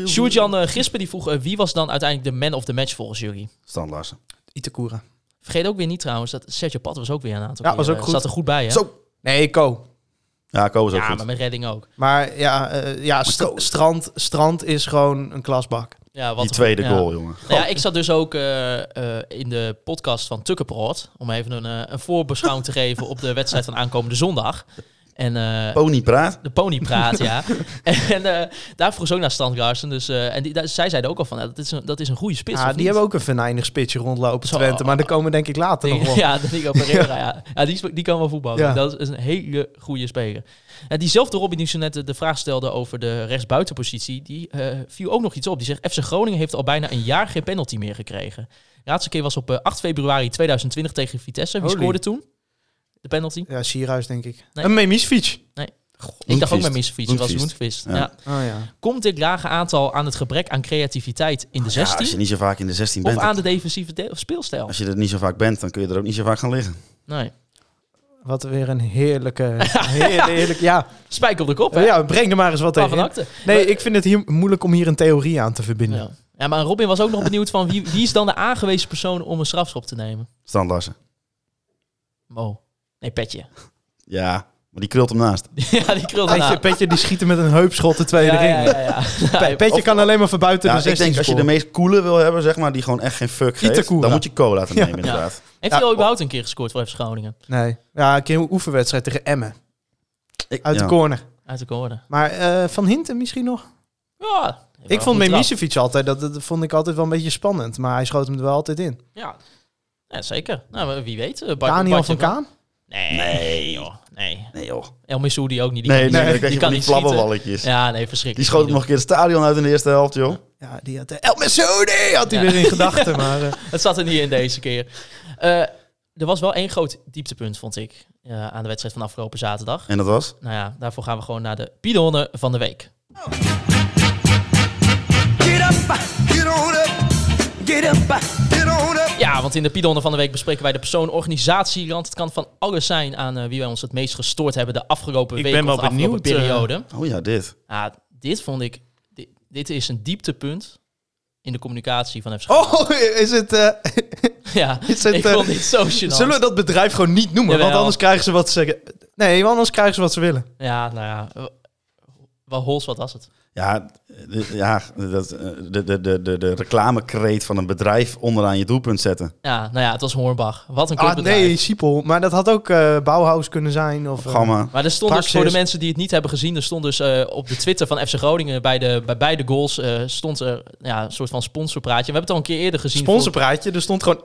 S4: Sjoerd-Jan eh, Gispen die vroeg, eh, wie was dan uiteindelijk de man of the match volgens jullie?
S5: Stan Larsen.
S3: Itakura.
S4: Vergeet ook weer niet trouwens, dat Sergio Pat was ook weer een aantal
S3: Ja,
S4: keer,
S3: was ook
S4: eh,
S3: goed.
S4: Zat er goed bij, hè?
S5: Zo.
S3: Nee, Ko.
S5: Ja, Koos ook
S4: ja,
S5: goed.
S4: maar met redding ook.
S3: Maar ja, eh, ja st- strand, strand is gewoon een klasbak.
S4: Ja, wat
S5: Die
S4: een-
S5: tweede
S4: ja.
S5: goal, jongen.
S4: Nou ja, ik zat dus ook eh, eh, in de podcast van Tukkenproot. Om even een, eh, een voorbeschouwing
S3: *laughs*
S4: te geven op de wedstrijd van aankomende zondag. En eh,
S5: Pony praat.
S4: de pony praat,
S3: *laughs*
S4: ja. En eh, daar vroeg ze ook naar Stan Garsen. Dus, eh, en die, daar, zij zeiden ook al van, ja, dat, is een, dat is een goede spits.
S3: Ja,
S4: of
S3: die
S4: niet?
S3: hebben ook een venijnig spitsje rondlopen,
S4: Zo.
S3: Twente. Maar daar komen we denk ik later nog
S4: Die-
S3: wel.
S4: *laughs* ja, de Nico Pereira. ja. Ja, die, sp- die kan wel voetballen.
S3: Ja.
S4: Dat is een hele goede speler. En diezelfde Robin die zo net eh, de- de vraag stelde over de rechtsbuitenpositie, die eh, viel ook nog iets op. Die zegt, FC Groningen heeft al bijna een jaar geen penalty meer gekregen. De laatste keer was op eh, 8 februari 2020 tegen Vitesse. Wie
S3: Holy.
S4: scoorde toen? De penalty?
S3: Ja, Sierhuis denk ik.
S4: Nee.
S3: Een Memisfiets.
S4: Ik dacht ook met
S5: Loentvist.
S4: Missefiets, het was
S5: Loentvist.
S4: Moentvist. Ja.
S5: Ja.
S3: Oh ja.
S4: Komt dit lage aantal aan het gebrek aan creativiteit in de
S5: Ja, als
S4: 16?
S5: je niet zo vaak in de 16
S4: of
S5: bent,
S4: aan de defensieve de- speelstijl?
S5: als je er niet zo vaak bent, dan kun je er ook niet zo vaak gaan liggen.
S4: Nee.
S3: Wat weer een
S4: *laughs*
S3: heerlijke... heerlijk, heerlijk, ja.
S4: Spijker op de kop, hè?
S3: ja, breng er maar eens wat
S4: Waarvan
S3: tegen.
S4: acte.
S3: Nee, ik vind het hier moeilijk om hier een theorie aan te verbinden.
S4: Ja. ja, maar Robin was ook nog benieuwd van wie, wie is dan de aangewezen persoon om een strafschop te nemen?
S5: Stan Larsen.
S4: Mo. Nee,
S3: *laughs*
S4: Petje.
S5: Ja, maar die krult hem naast.
S4: ja, die krulde
S3: Petje,
S4: na.
S3: Petje die schieten met een heupschot de tweede
S4: Ja,
S3: ring.
S4: ja, ja, ja.
S3: Pe- Petje kan alleen maar van buiten
S5: Ja,
S3: de
S5: ik
S3: 16
S5: denk als je de
S3: scoren.
S5: meest coole wil hebben, zeg maar, die gewoon echt geen fuck geeft,
S3: Itakura.
S5: dan moet je cola
S4: *laughs*
S5: laten nemen,
S3: Ja.
S5: inderdaad.
S4: Heeft
S3: Ja,
S4: hij al überhaupt een keer gescoord voor FC Groningen?
S3: Nee. Ja, een keer een oefenwedstrijd tegen Emmen.
S5: Ik,
S3: Uit
S5: ja.
S3: de corner.
S4: Uit de koorden.
S3: Maar eh, Van Hinten misschien nog?
S4: Ja.
S3: Ik vond Memisevic altijd, dat, dat vond ik altijd wel een beetje spannend. Maar hij schoot hem er wel altijd in.
S4: Ja. ja, zeker. Nou, maar wie weet. eh, Bart-
S3: Daniel
S4: Bartje
S3: van Kaan?
S4: Nee. Nee, joh. Nee.
S5: Nee joh.
S4: El Missoudi ook niet. Die
S5: Nee,
S4: kan-
S5: nee,
S3: die
S5: dan krijg je
S4: kan
S5: van die
S4: niet schieten.
S5: flabberwalletjes.
S4: Ja, nee,
S5: Die
S4: verschrikkelijk.
S5: schoot hem nog een keer het stadion uit in de eerste helft, joh.
S3: Ja, die had... eh, El Messoudi had hij
S4: Ja.
S3: weer in gedachten. Maar eh,
S4: Het zat er niet in deze keer. Eh, er was wel één groot dieptepunt, vond ik, eh, aan de wedstrijd van afgelopen zaterdag.
S5: En dat was?
S4: Nou ja, daarvoor gaan we gewoon naar de Pidonnen van de week.
S6: Get up, get on up, get up, get on up.
S4: Ja, want in de Pidonnen van de week bespreken wij de persoon, organisatie, land. Het kan van alles zijn aan eh, wie wij ons het meest gestoord hebben de afgelopen
S2: Ik
S4: week
S2: ben
S4: of
S2: wel
S4: de afgelopen
S2: benieuwd, eh.
S4: periode.
S5: Oh ja, dit.
S4: Ah, dit vond ik, dit, dit is een dieptepunt in de communicatie van FC.
S3: *laughs* Oh, is het... eh,
S4: *laughs* ja,
S3: is het,
S4: ik
S3: eh,
S4: vond dit zo gênant.
S3: zullen we dat bedrijf gewoon niet noemen? Want
S4: Jawel.
S3: anders krijgen ze wat ze zeggen. Nee, want anders krijgen ze wat ze willen.
S4: Ja, nou ja. eh, Wel hols, wat was het?
S5: Ja, de, ja dat, eh, de, de, de, de, de reclamekreet van een bedrijf onderaan je doelpunt zetten.
S4: Ja, nou ja, het was Hornbach. Wat een
S3: Ah,
S4: kutbedrijf.
S3: nee, Siepel. Maar dat had ook eh Bauhaus kunnen zijn. Of, eh,
S5: Gamma.
S4: Maar er stond dus,
S3: Praxis.
S4: voor de mensen die het niet hebben gezien, er stond dus eh, op de Twitter van FC Groningen bij, de, bij beide goals eh, stond er ja, een soort van sponsorpraatje. We hebben het al een keer eerder gezien.
S3: Sponsorpraatje. Er stond gewoon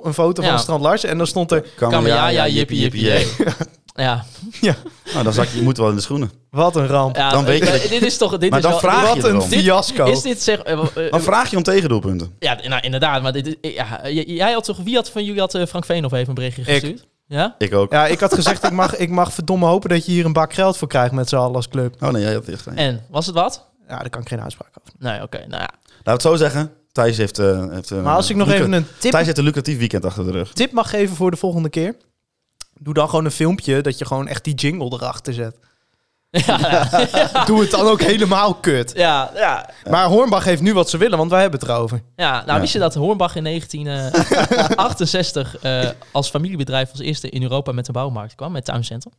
S3: 1-0. Een foto
S4: Ja.
S3: van Strand Larsen. En dan stond er...
S4: Kamen, ja, ja, jippie, jippie, jee. Ja,
S5: Nou, dan zak je, je moet wel in de schoenen.
S3: Wat een ramp.
S4: ja eh,
S5: Dan weet je dat-
S4: dit is toch... Dit
S5: Maar
S4: is
S5: dan
S4: wel-
S5: vraag je
S3: Eh, Wat een
S5: erom.
S4: Dit-
S3: fiasco.
S4: Is dit zeg... eh, eh,
S5: Dan vraag je om tegendoelpunten.
S4: ja, nou inderdaad, maar dit, is- ja, j- jij had toch... Wie had van jullie had eh, Frank Veenhoff even een berichtje gestuurd? Ja?
S5: Ik ook.
S3: Ja, ik had gezegd, ik mag, ik mag verdomme hopen dat je hier een bak geld voor krijgt met z'n allen als club.
S5: Oh nee, jij had echt.
S4: En, was het wat?
S3: Ja, daar kan ik geen uitspraak over.
S4: Nee, oké, nou ja.
S5: Laat het zo zeggen. Thijs heeft, eh, heeft eh,
S3: Maar als ik nog
S5: lucra-
S3: even een
S5: Thijs
S3: tip,
S5: heeft een lucratief weekend achter de rug.
S3: tip mag geven voor de volgende keer. Doe dan gewoon een filmpje dat je gewoon echt die jingle erachter zet. *laughs* Doe het dan ook helemaal kut.
S4: Ja, ja,
S3: Maar Hornbach heeft nu wat ze willen, want wij hebben het erover.
S4: Ja, nou wist je dat Hornbach in *laughs* 1968 eh, als familiebedrijf als eerste in Europa met een bouwmarkt kwam, met tuincentrum?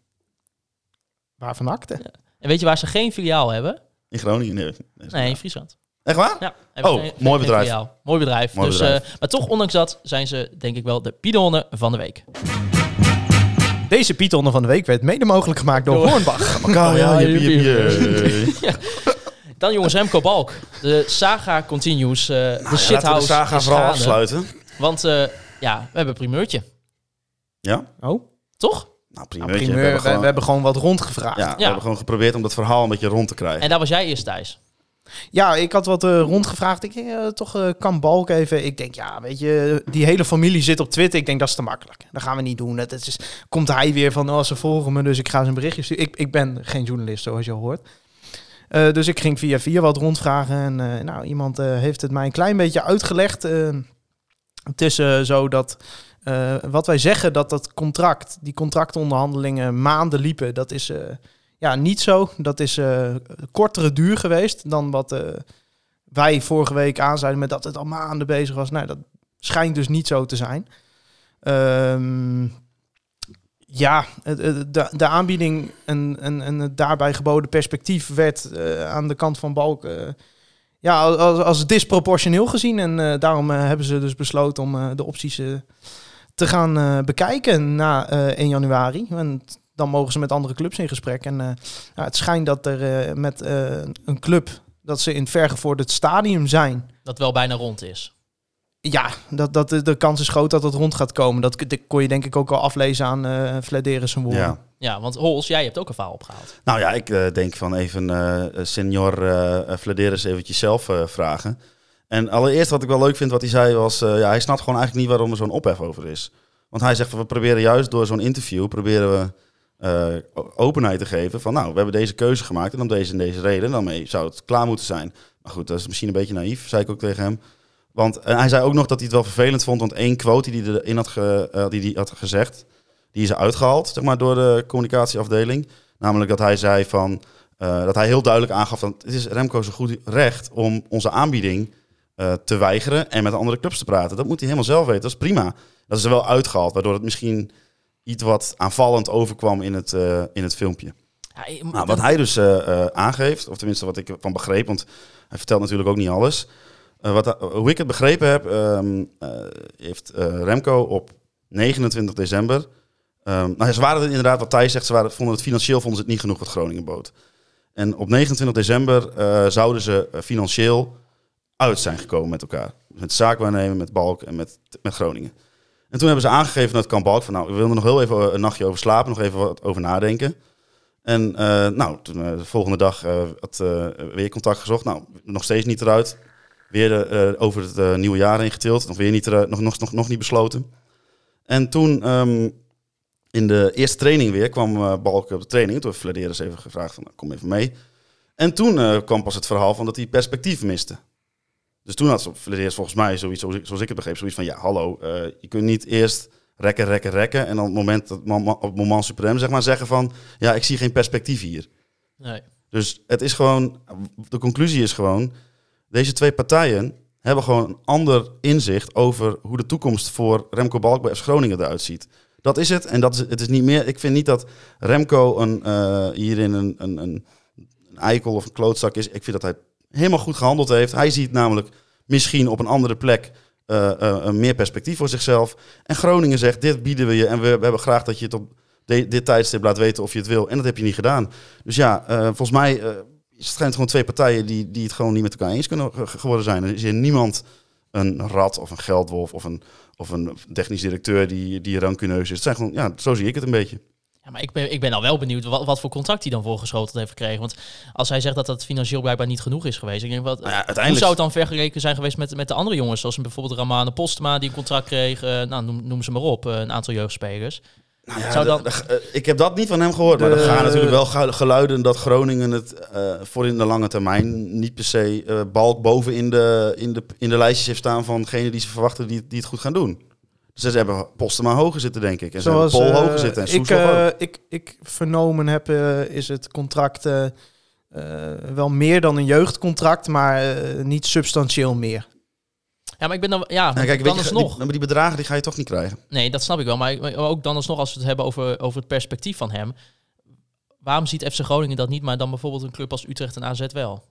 S3: Waarvan akte?
S4: En weet je waar ze geen filiaal hebben?
S5: In Groningen. Nee, nee.
S4: Nee, in Friesland.
S5: Echt waar?
S4: Ja, hebben
S5: Oh,
S4: geen-
S5: mooi
S4: geen
S5: bedrijf.
S4: filiaal. Mooi bedrijf.
S5: Mooi
S4: dus,
S5: bedrijf.
S4: eh, maar toch, ondanks dat, zijn ze denk ik wel de pidonnen van de week.
S3: Deze Python van de week werd mede mogelijk gemaakt door
S4: Door-
S3: Hornbach.
S5: Oh, ja,
S4: juppie,
S5: juppie,
S4: juppie.
S5: juppie.
S4: Dan jongens, Remco Balk. De saga continues. eh, de
S5: Ja, Laten we de
S4: shithouse
S5: saga
S4: is
S5: vooral
S4: gaande.
S5: afsluiten.
S4: Want eh, ja, we hebben een primeurtje.
S5: Ja?
S3: Oh,
S4: Toch?
S5: Nou,
S3: nou,
S5: primeur.
S3: primeur.
S5: we hebben gewoon,
S3: we hebben gewoon wat rondgevraagd.
S5: ja,
S3: Ja,
S5: we hebben gewoon geprobeerd om dat verhaal een beetje rond te krijgen.
S4: En daar was jij eerst, Thijs.
S3: ik had wat eh, rondgevraagd. Ik denk, eh, toch eh, kan Balk even. Ik denk, ja, weet je, die hele familie zit op Twitter. Ik denk, dat is te makkelijk. Dat gaan we niet doen. Dat is, komt hij weer van, oh, ze volgen me, dus ik ga ze een berichtje sturen. Ik, ik ben geen journalist, zoals je al hoort. Eh, dus ik ging via via wat rondvragen. En eh, nou, iemand eh, heeft het mij een klein beetje uitgelegd. Eh, het is eh, zo dat eh, wat wij zeggen, dat dat contract, die contractonderhandelingen maanden liepen, dat is eh, ja, niet zo. Dat is eh, kortere duur geweest dan wat eh, wij vorige week aanzeiden met dat het al maanden bezig was. Nou, dat schijnt dus niet zo te zijn. Ehm, ja, het- het- de, de aanbieding en, en, en het daarbij geboden perspectief werd eh, aan de kant van Balk eh, ja, als, als disproportioneel gezien. En eh, daarom eh, hebben ze dus besloten om eh, de opties eh, te gaan eh, bekijken na eh 1 januari. En t- dan mogen ze met andere clubs in gesprek. En eh, ja, het schijnt dat er eh, met eh, een club dat ze in het vergevorderd stadium zijn.
S4: Dat wel bijna rond is.
S3: Ja, dat, dat, de, de kans is groot dat het rond gaat komen. Dat, k- dat kon je denk ik ook al aflezen aan eh Flederen zijn woorden.
S5: Ja.
S4: Ja, want Hols, jij hebt ook een verhaal opgehaald.
S5: Nou ja, ik eh, denk van even eh senior eh eh, Vladeris eventjes zelf eh, vragen. En allereerst wat ik wel leuk vind wat hij zei was... eh, ja, hij snapt gewoon eigenlijk niet waarom er zo'n ophef over is. Want hij zegt van we proberen juist door zo'n interview... proberen we eh, o- openheid te geven van... nou, we hebben deze keuze gemaakt en om deze en deze reden... dan mee zou het klaar moeten zijn. Maar goed, dat is misschien een beetje naïef, zei ik ook tegen hem. Want en hij zei ook nog dat hij het wel vervelend vond... want één quote die hij erin had, ge- eh, die hij had gezegd... die is uitgehaald, zeg maar, door de communicatieafdeling... Namelijk dat hij zei van eh, dat hij heel duidelijk aangaf dat het is Remco's goed recht om onze aanbieding eh, te weigeren en met andere clubs te praten. Dat moet hij helemaal zelf weten. Dat is prima. Dat is er wel uitgehaald, waardoor het misschien iets wat aanvallend overkwam in het, eh, in het filmpje.
S4: Ja, ik-
S5: Nou, wat hij dus eh, eh, aangeeft, of tenminste wat ik van begreep, want hij vertelt natuurlijk ook niet alles. Eh, wat, hij- hoe ik het begrepen heb, ehm, eh, heeft eh, Remco op 29 december. ehm, nou, ja, ze waren het inderdaad, wat Thijs zegt, ze waren, vonden het financieel vonden ze het niet genoeg wat Groningen bood. En op 29 december eh, zouden ze eh, financieel uit zijn gekomen met elkaar. Met zaakwaarnemen, met Balk en met, met Groningen. En toen hebben ze aangegeven dat kan Balk van nou, we willen er nog heel even een nachtje over slapen, nog even wat over nadenken. En eh, nou, toen, eh, de volgende dag eh, had eh, weer contact gezocht. Nou, nog steeds niet eruit. Weer eh, over het eh, nieuwe jaar heen getild. Nog weer niet, eruit, nog, nog, nog, nog niet besloten. En toen ehm, in de eerste training weer kwam eh, Balk op de training. Toen heeft Vladeris even gevraagd van, nou, kom even mee. En toen eh, kwam pas het verhaal van dat hij perspectief miste. Dus toen had Vladeris volgens mij zoiets, zoals ik- zoals ik het begreep, zoiets van... Ja, hallo, eh, je kunt niet eerst rekken, rekken, rekken. En dan op het moment, dat mama- op het moment suprem, zeg maar, zeggen van... Ja, ik zie geen perspectief hier.
S4: Nee.
S5: Dus het is gewoon, de conclusie is gewoon, deze twee partijen hebben gewoon een ander inzicht over hoe de toekomst voor Remco Balk bij FC Groningen eruit ziet. Dat is het en dat is, het is niet meer. Ik vind niet dat Remco een, eh, hierin een, een, een, een eikel of een klootzak is. Ik vind dat hij helemaal goed gehandeld heeft. Hij ziet namelijk misschien op een andere plek eh, eh, een meer perspectief voor zichzelf. En Groningen zegt, dit bieden we je en we, we hebben graag dat je het op de- dit tijdstip laat weten of je het wil. En dat heb je niet gedaan. Dus ja, eh, volgens mij eh zijn het gewoon twee partijen die, die het gewoon niet met elkaar eens kunnen ge- geworden zijn. Er is hier niemand een rat of een geldwolf of een, of een technisch directeur die, die rancuneus is. Het zijn gewoon, ja, zo zie ik het een beetje.
S4: Ja, maar ik ben, ik ben al wel benieuwd wat, wat voor contract hij dan voorgeschoteld heeft gekregen. Want als hij zegt dat dat financieel blijkbaar niet genoeg is geweest. Ik denk, wat,
S5: Nou ja,
S4: Hoe
S5: uiteindelijk...
S4: zou het dan vergeleken zijn geweest met, met de andere jongens? Zoals bijvoorbeeld Ramane Postma die een contract kreeg. eh, nou, noem, noem ze maar op. eh, een aantal jeugdspelers.
S5: Nou ja,
S4: zou
S5: de-
S4: dan-
S5: de- eh, ik heb dat niet van hem gehoord, maar
S3: De-
S5: er gaan natuurlijk wel gelu- geluiden dat Groningen het eh, voor in de lange termijn niet per se eh, balk boven in de, in, de, in de lijstjes heeft staan van degenen die ze verwachten die, die het goed gaan doen. Dus ze hebben Postema hoger zitten, denk ik. En
S3: Zoals
S5: ze hebben Pol
S3: eh,
S5: hoger zitten en
S3: ik,
S5: Soeslof
S3: eh,
S5: ook.
S3: ik, ik vernomen heb, eh, is het contract eh, eh, wel meer dan een jeugdcontract, maar eh, niet substantieel meer.
S4: Ja, maar ik ben dan... Ja,
S5: Nou, kijk, weet
S4: dan
S5: je,
S4: alsnog.
S5: Die, maar die bedragen die ga je toch niet krijgen.
S4: Nee, dat snap ik wel. Maar ik- maar ook dan alsnog als we het hebben over, over het perspectief van hem. Waarom ziet FC Groningen dat niet, maar dan bijvoorbeeld een club als Utrecht en AZ wel?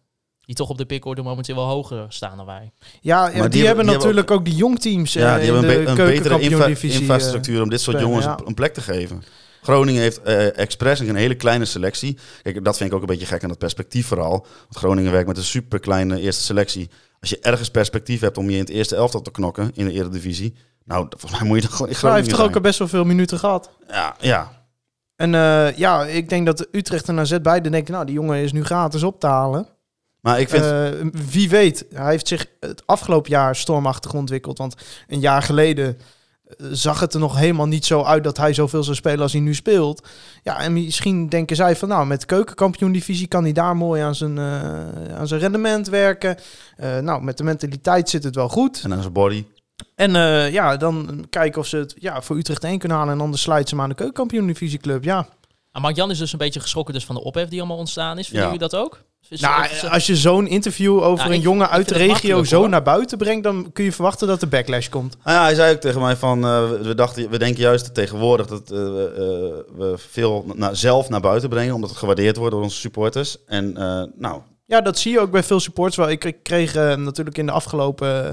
S4: Die toch op de pickorde momenteel wel hoger staan dan wij.
S3: Ja, ja die,
S5: die
S3: hebben
S5: hebben
S3: natuurlijk ook, die jongteams eh,
S5: Ja, die hebben een,
S3: in
S5: be-
S3: de eh.
S5: een betere infa-
S3: keukenkampioen-divisie.
S5: infrastructuur om dit soort
S3: spelen,
S5: jongens
S3: ja.
S5: een- een plek te geven. Groningen heeft eh expres een hele kleine selectie. Kijk, dat vind ik ook een beetje gek aan het perspectief vooral. Want Groningen werkt met een superkleine eerste selectie. Als je ergens perspectief hebt om je in het eerste elftal te knokken in de Eredivisie... Nou, volgens mij moet je dan gewoon in
S3: hij
S5: Groningen
S3: heeft toch ook al best wel veel minuten gehad.
S5: zijn. Ja, ja.
S3: En eh, ja, ik denk dat Utrecht en AZ beide denken... nou, die jongen is nu gratis op te halen.
S5: Maar ik vind...
S3: Eh, wie weet, hij heeft zich het afgelopen jaar stormachtig ontwikkeld. Want een jaar geleden eh, zag het er nog helemaal niet zo uit... dat hij zoveel zou spelen als hij nu speelt. Ja, en misschien denken zij van... nou, met keukenkampioen-divisie kan hij daar mooi aan zijn, eh, aan zijn rendement werken. Eh, nou, met de mentaliteit zit het wel goed.
S5: en aan zijn body.
S3: En eh, ja, dan kijken of ze het ja, voor Utrecht 1 kunnen halen. En anders sluiten ze hem aan de keukenkampioen-divisieclub. Ja.
S4: Maar Mark Jan is dus een beetje geschrokken dus van de ophef die allemaal ontstaan is. Vinden
S5: Ja. eh,
S4: jullie dat ook? Is-
S3: Nou,
S4: is-
S3: als je zo'n interview over
S4: Nou,
S3: een
S4: ik-
S3: jongen
S4: ik
S3: uit de
S4: vind het
S3: regio
S4: makkelijk,
S3: zo
S4: hoor.
S3: naar buiten brengt... dan kun je verwachten dat er backlash komt.
S5: Nou ja, hij zei ook tegen mij van, eh, we, dachten, we denken juist tegenwoordig dat eh, we, eh, we veel na- zelf naar buiten brengen, omdat het gewaardeerd wordt door onze supporters. En eh, nou,
S3: Ja, dat zie je ook bij veel supports wel. Ik, ik kreeg eh, natuurlijk in de afgelopen eh,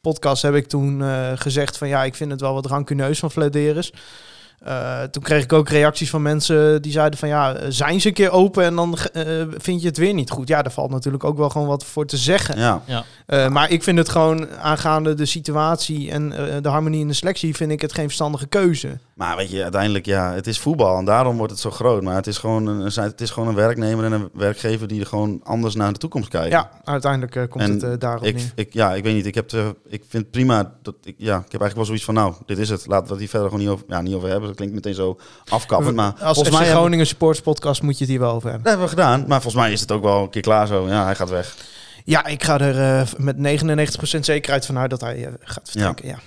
S3: podcast heb ik toen eh, gezegd van... ja, ik vind het wel wat rancuneus van Flederis. Eh, toen kreeg ik ook reacties van mensen die zeiden van... ja, eh, zijn ze een keer open en dan eh, vind je het weer niet goed. Ja, daar valt natuurlijk ook wel gewoon wat voor te zeggen.
S5: ja.
S3: Uh, maar ik vind het gewoon aangaande de situatie en eh, de harmonie in de selectie, vind ik het geen verstandige keuze.
S5: Maar weet je, uiteindelijk, ja, het is voetbal en daarom wordt het zo groot. Maar het is gewoon een, een- het is gewoon een werknemer en een werkgever die er gewoon anders naar de toekomst kijken.
S3: Ja, uiteindelijk eh, komt
S5: En
S3: het eh, daarop
S5: Ik,
S3: neer.
S5: ik, ja, ik weet niet. Ik, heb te- ik vind het prima. Dat ik, ja, ik heb eigenlijk wel zoiets van, nou, dit is het. Laten we het hier verder gewoon niet over, ja, niet over hebben. Dat klinkt meteen zo afkappend. Maar
S3: Als
S5: volgens
S3: FC
S5: mij hebben-
S3: Groningen Sports Podcast moet je het hier wel over hebben.
S5: dat hebben we gedaan. Maar volgens mij is het ook wel een keer klaar zo. Ja, hij gaat weg.
S3: Ja, ik ga er eh, met 99% zekerheid van uit dat hij eh, gaat vertrekken. Ja.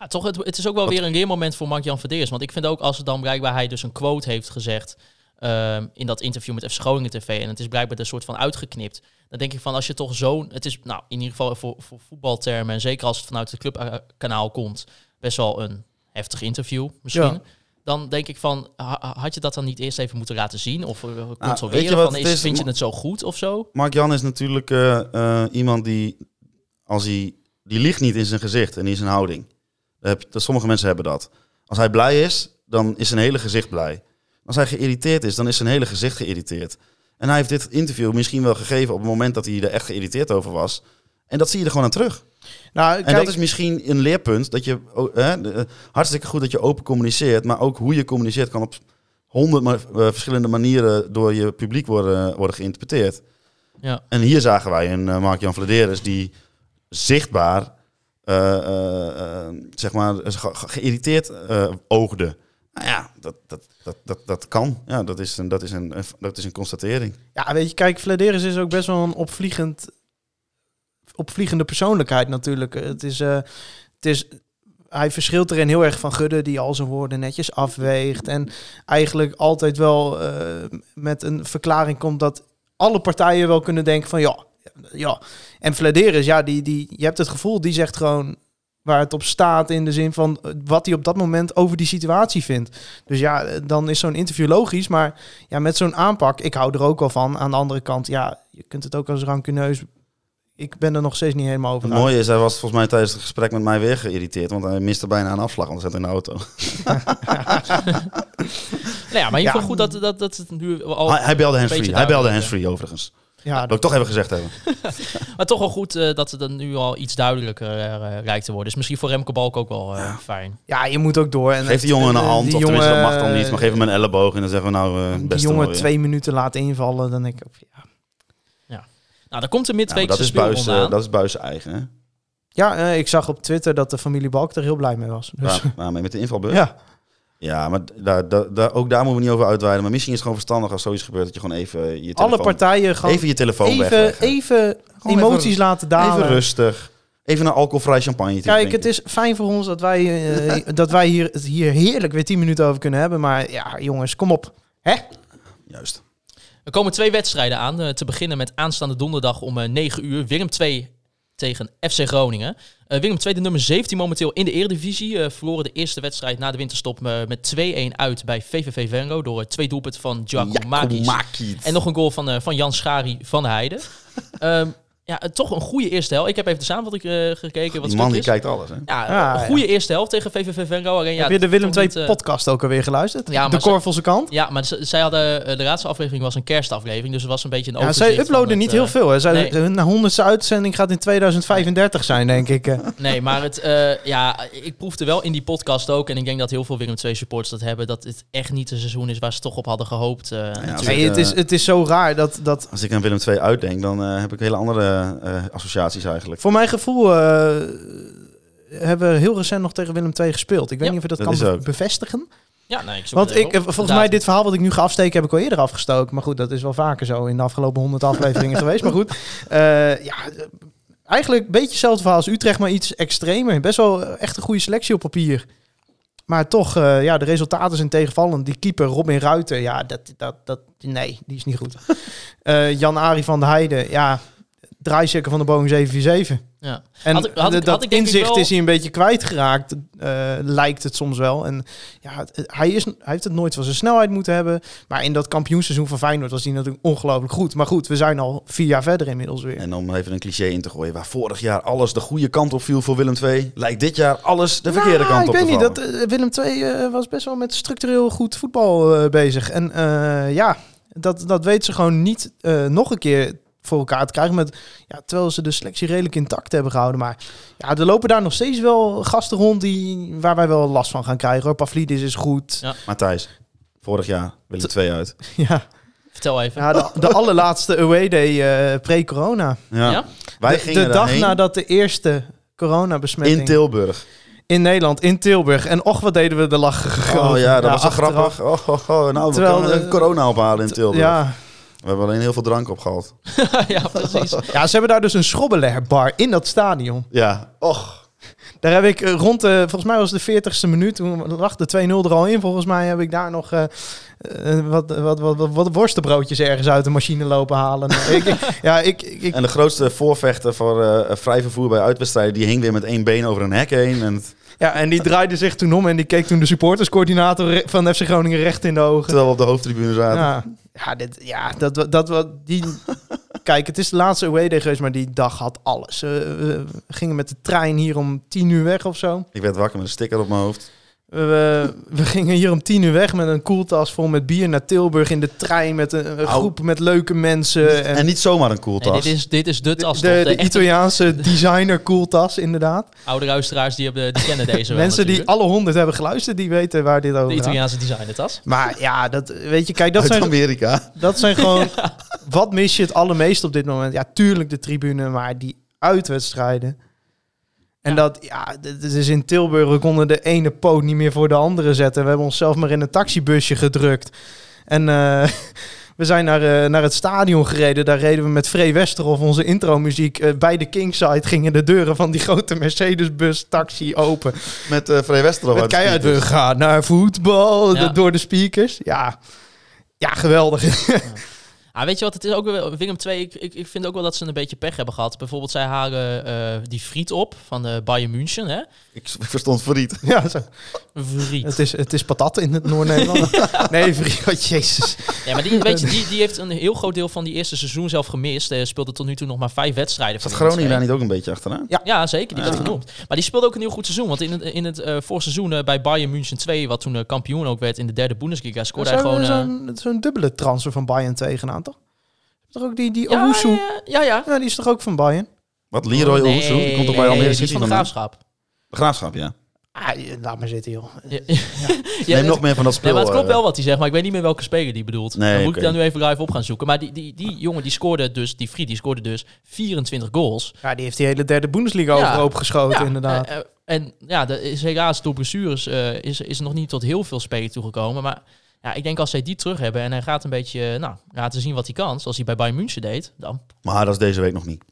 S4: Ja, toch, het, het is ook wel weer een leermoment voor Mark-Jan Verdeers. Want ik vind ook als het dan blijkbaar hij dus een quote heeft gezegd ehm, in dat interview met FC Groningen TV. En het is blijkbaar er soort van uitgeknipt. Dan denk ik van als je toch zo'n... Het is nou in ieder geval voor, voor voetbaltermen en zeker als het vanuit het clubkanaal komt best wel een heftig interview misschien.
S3: Ja.
S4: Dan denk ik van, ha- ha- had je dat dan niet eerst even moeten laten zien? Of eh,
S5: Nou, weet je
S4: controleren?
S5: wat
S4: van,
S5: het
S4: is,
S5: is?
S4: vind je het zo goed of zo?
S5: Mark Jan is natuurlijk eh, eh, iemand die, als hij, die ligt niet in zijn gezicht en in zijn houding. Dat heb- dat, sommige mensen hebben dat. Als hij blij is, dan is zijn hele gezicht blij. Als hij geïrriteerd is, dan is zijn hele gezicht geïrriteerd. En hij heeft dit interview misschien wel gegeven op het moment dat hij er echt geïrriteerd over was. En dat zie je er gewoon aan terug.
S3: Nou,
S5: En
S3: kijk,
S5: dat is misschien een leerpunt. Dat je, oh, hè, de- eh, hartstikke goed dat je open communiceert. Maar ook hoe je communiceert kan op honderd ma- eh, verschillende manieren door je publiek worden, worden geïnterpreteerd.
S4: Ja.
S5: En hier zagen wij een eh, Mark-Jan Vladeres die zichtbaar, eh, eh, eh, zeg maar, ge- ge- geïrriteerd eh, oogde. Nou ja, dat, dat, dat, dat, dat kan. Ja, dat is een, dat is een, dat is een constatering.
S3: ja, weet je, kijk, Flederis is ook best wel een opvliegend, opvliegende persoonlijkheid natuurlijk. Het is, eh, het is, hij verschilt erin heel erg van Gudde, die al zijn woorden netjes afweegt. En eigenlijk altijd wel eh, met een verklaring komt dat alle partijen wel kunnen denken van ja, ja. En Vladeris, ja, die, die, je hebt het gevoel, die zegt gewoon waar het op staat in de zin van eh, wat hij op dat moment over die situatie vindt. Dus ja, eh, dan is zo'n interview logisch, maar ja, met zo'n aanpak, ik hou er ook wel van. Aan de andere kant, ja, je kunt het ook als rancuneus. Ik ben er nog steeds niet helemaal over.
S5: Het
S3: uit.
S5: mooie is, hij was volgens mij tijdens het gesprek met mij weer geïrriteerd. Want hij miste bijna een afslag, want hij zat in de auto.
S4: Nou ja, maar in ieder geval
S3: Ja.
S4: goed dat, dat, dat het nu
S3: Oh,
S4: al...
S5: hij, hij belde handsfree.
S4: beetje
S5: Hij belde
S4: duidelijk,
S5: handsfree overigens.
S3: Ja, Ah,
S5: Dat wil ik toch even gezegd hebben.
S4: Maar toch wel goed eh, dat het dan nu al iets duidelijker eh, lijkt te worden. Dus misschien voor Remco Balk ook wel eh, fijn.
S3: ja, je moet ook door. En
S5: Geef die jongen een
S3: eh,
S5: hand,
S3: die
S5: of tenminste dat
S3: jongen- eh,
S5: mag dan niet. Maar geef hem een elleboog en dan zeggen we nou eh
S3: die
S5: best
S3: jongen twee minuten laat invallen, dan denk ik, ja.
S4: Nou, dan komt de
S5: nou,
S4: midweekse
S5: dat, is
S4: speelronde
S5: buis,
S4: aan.
S5: eh, dat is buis eigen. Hè?
S3: Ja, eh, ik zag op Twitter dat de familie Balk er heel blij mee was. *laughs* Dus,
S5: Waar- waarmee met de invalbeurt. Ja,
S3: *laughs* ja.
S5: maar daar, daar, daar- ook daar moeten we niet over uitweiden. Maar misschien is het gewoon verstandig als zoiets gebeurt dat je gewoon even je telefoon,
S3: Alle partijen gaan
S5: even je telefoon
S3: even,
S5: wegleggen.
S3: even
S5: Gewoon
S3: emoties
S5: even-
S3: laten
S5: Even,
S3: dalen.
S5: rustig. Even een alcoholvrij champagne.
S3: Kijk, het is fijn voor ons dat wij,
S5: *laughs*
S3: eh, dat wij hier, het hier heerlijk weer 10 minuten over kunnen hebben. Maar ja, jongens, kom op. Hè?
S5: Juist.
S4: Er komen twee wedstrijden aan. eh, te beginnen met aanstaande donderdag om eh 9 uur. Willem 2 tegen FC Groningen. Eh, Willem 2, de nummer 17 momenteel in de Eredivisie. eh, verloren de eerste wedstrijd na de winterstop eh, met 2-1 uit bij VVV Venlo. Door eh, twee doelpunten van Giacomakis.
S5: Maak iets.
S3: *laughs*
S4: En nog een goal van, eh, van Jan Schari van Heijden. Ehm, ja, eh, toch een goede eerste helft. Ik heb even de samenvatting eh gekeken. Wat
S5: Die man die
S4: stuk is.
S5: kijkt alles, hè?
S4: Ja,
S3: Ja,
S4: een
S3: Ah, ja.
S4: goede eerste helft tegen VVV Venlo. Alleen, ja,
S3: Heb je de
S4: toch
S3: Willem II
S4: niet, eh,
S3: podcast ook alweer geluisterd?
S4: Ja, maar
S3: de
S4: ze-
S3: Korvelse kant?
S4: Ja, maar z- zij hadden, eh, de laatste aflevering was een kerstaflevering, dus het was een beetje een
S3: Ja,
S4: overzicht
S3: zij uploaden
S4: van het,
S3: niet
S4: eh,
S3: heel veel. Hè. Zij,
S4: nee.
S3: Hun honderdste uitzending gaat in 2035 zijn, denk ik. eh.
S4: Nee, maar het, eh, ja, ik proefde wel in die podcast ook, en ik denk dat heel veel Willem II supporters dat hebben, dat het echt niet een seizoen is waar ze toch op hadden gehoopt. eh,
S5: als
S3: Hey,
S5: ik,
S3: het, is,
S5: eh,
S3: het is zo raar dat, dat
S5: Als ik aan Willem II uitdenk, dan eh, heb ik hele andere eh, associaties eigenlijk.
S3: voor mijn gevoel eh, hebben we heel recent nog tegen Willem II gespeeld. Ik weet
S4: Ja,
S3: niet of je dat,
S5: dat is
S3: kan be-
S5: ook.
S3: bevestigen.
S4: ja, nee, ik zoek
S3: Want
S4: het even
S3: ik, eh,
S4: op.
S3: volgens mij,
S4: Inderdaad.
S3: dit verhaal wat ik nu ga afsteken, heb ik al eerder afgestoken. Maar goed, dat is wel vaker zo in de afgelopen honderd *laughs* afleveringen geweest. Maar goed, eh, ja, eh, eigenlijk een beetje hetzelfde verhaal als Utrecht, maar iets extremer. Best wel eh, echt een goede selectie op papier. Maar toch, eh, ja, de resultaten zijn tegenvallend. Die keeper, Robin Ruiten, ja, dat, dat, dat, nee, die is niet goed. *laughs* Eh Jan-Ari van der Heijden, ja, draaizekker van de Boeing 747.
S4: Ja.
S3: En
S4: Had ik- had ik-
S3: dat
S4: had ik denk ik
S3: inzicht
S4: wel-
S3: is hij een beetje kwijtgeraakt, eh, lijkt het soms wel. En ja, het- het- hij, is, hij heeft het nooit van zijn snelheid moeten hebben. Maar in dat kampioenseizoen van Feyenoord was hij natuurlijk ongelooflijk goed. Maar goed, we zijn al vier jaar verder inmiddels weer.
S5: En om even een cliché in te gooien, waar vorig jaar alles de goede kant op viel voor Willem II, lijkt dit jaar alles de verkeerde
S3: Nou,
S5: kant op
S3: ik
S5: te
S3: weet niet,
S5: vallen.
S3: dat, eh, Willem II eh, was best wel met structureel goed voetbal eh, bezig. En eh, ja, dat, dat weten ze gewoon niet eh, nog een keer voor elkaar te krijgen. Met, ja, terwijl ze de selectie redelijk intact hebben gehouden. Maar ja, er lopen daar nog steeds wel gasten rond die, waar wij wel last van gaan krijgen. Hoor. Pavlidis is
S5: *laughs*
S3: goed.
S4: Ja.
S5: Maar Thijs, vorig jaar Willem II uit.
S3: Ja,
S4: Vertel even.
S3: ja de, de allerlaatste away day eh, pre-corona.
S5: Ja.
S4: Ja?
S5: Wij
S3: De,
S5: gingen
S3: de dag
S5: daarheen
S3: nadat de eerste
S5: in
S3: coronabesmetting in,
S5: Tilburg.
S3: Nederland, in Tilburg. En och, wat deden we de lachen
S5: Oh
S3: over.
S5: ja, dat was zo
S3: achteraf.
S5: grappig. Oh, oh, oh, nou,
S3: Terwijl
S5: we kunnen
S3: de-
S5: corona ophalen in Tilburg.
S3: Ja,
S5: We hebben alleen heel veel drank
S4: *laughs*
S5: opgehaald.
S4: ja,
S5: *laughs*
S4: precies.
S3: Ja, ze hebben daar dus een schrobbelerbar in dat stadion.
S5: Ja, och.
S3: Daar heb ik eh, rond de, volgens mij was het de 40ste minuut, toen lag de 2-0 er al in. Volgens mij heb ik daar nog eh, eh, wat, wat, wat, wat, wat worstenbroodjes ergens uit de machine lopen halen. ik, ik- ja, ik, ik, ik-
S5: En de grootste voorvechter voor eh, vrij vervoer bij uitwedstrijden, die hing weer met één been over een hek heen. En het-
S3: ja, en die draaide zich toen om en die keek toen de supporterscoördinator re- van FC Groningen recht in de ogen.
S5: terwijl we op de hoofdtribune zaten.
S3: Ja, ja, dit, ja dat, wa- dat, wat die... Kijk, het is de laatste away day geweest, maar die dag had alles. Eh, we gingen met de trein hier om 10 uur weg of zo.
S5: Ik werd wakker met een sticker op mijn hoofd.
S3: We, we gingen hier om tien uur weg met een koeltas vol met bier naar Tilburg in de trein met een, een
S5: Au.
S3: groep met leuke mensen. Eh, En,
S5: En niet zomaar een
S4: Nee,
S5: koeltas.
S4: dit, is, dit is de
S3: de,
S4: tas.
S3: de,
S4: toch?
S3: de
S4: de echte
S3: Italiaanse designer koeltas, inderdaad.
S4: oude luisteraars die, hebben, die kennen deze wel
S3: Mensen die
S4: natuurlijk.
S3: alle honderd hebben geluisterd, die weten waar dit
S4: De
S3: over gaat.
S4: Italiaanse designertas.
S3: Maar ja, dat, weet je, kijk, dat
S5: Uit
S3: zijn,
S5: Amerika.
S3: dat zijn gewoon... Wat mis je het allermeest op dit moment? Ja, tuurlijk de tribune, maar die uitwedstrijden. En dat, ja, dit dit is in Tilburg. We konden de ene poot niet meer voor de andere zetten. We hebben onszelf maar in een taxibusje gedrukt. En eh, *laughs* we zijn naar, eh, naar het stadion gereden. Daar reden we met Free Westerhof onze intro-muziek. Eh, bij de Kingside gingen de deuren van die grote Mercedes-bus-taxi open.
S5: Met eh Frey Westerhof.
S3: Met
S5: uit de
S3: keihard, we
S5: speakers.
S3: gaan naar voetbal.
S4: Ja.
S3: de- door de speakers. Ja, ja geweldig. *laughs*
S4: Ah, weet je wat, het is ook weer Willem 2. Ik, ik, ik vind ook wel dat ze een beetje pech hebben gehad. Bijvoorbeeld, zij halen eh, die friet op van de Bayern München. Hè?
S5: Ik, ik verstond verdriet.
S3: ja, zo. *laughs*
S4: Friet.
S3: Het is, het is patat in het *laughs* Noord-Nederland. nee, vriend, oh, jezus.
S4: Ja, maar die, weet je, die, die heeft een heel groot deel van die eerste seizoen zelf gemist. Hij speelde tot nu toe nog maar vijf wedstrijden.
S5: *laughs* Zat
S4: voor Willem
S5: Groningen daar
S4: II.
S5: niet Ah. ook een beetje achteraan?
S4: Ja, zeker. Die werd
S5: Ja.
S4: genoemd. Maar die speelde ook een heel goed seizoen. Want in het, in het eh, voorseizoen eh, bij Bayern München 2, wat toen eh, kampioen ook werd in de derde Bundesliga, scoorde hij
S3: Zo'n
S4: gewoon... eh,
S3: zo'n- zo'n dubbele transfer van Bayern tegenaan, toch? Toch ook die, die
S4: ja,
S3: Owusu?
S4: ja, ja, ja.
S3: Ja, die is toch ook van Bayern?
S5: Wat, Leroy
S4: Nee,
S5: Owusu? Die komt toch bij
S4: nee,
S5: Almere
S4: die is
S5: City
S4: van de
S5: vandaan?
S4: graafschap.
S5: De Graafschap, ja.
S3: Ah, je- laat maar zitten, joh.
S4: Ja,
S5: Neem
S4: het-
S5: nog meer van dat spul.
S4: Nee, maar het klopt
S5: eh,
S4: wel wat hij zegt, maar ik weet niet meer welke speler die bedoelt.
S5: Nee,
S4: dan moet
S5: oké.
S4: ik dan nu even live op gaan zoeken. Maar die, die, die jongen die scoorde dus, die Fried, die scoorde dus 24 goals.
S3: Ja, die heeft die hele derde Bundesliga
S4: Ja.
S3: overhoop geschoten,
S4: Ja,
S3: inderdaad.
S4: eh, eh, en ja, dat is helaas door blessures eh, is, is er nog niet tot heel veel spelen toegekomen. Maar ja, ik denk als zij die terug hebben en hij gaat een beetje eh, nou, laten zien wat hij kan, zoals hij bij Bayern München deed, dan... eh,
S5: Maar dat is deze week nog niet.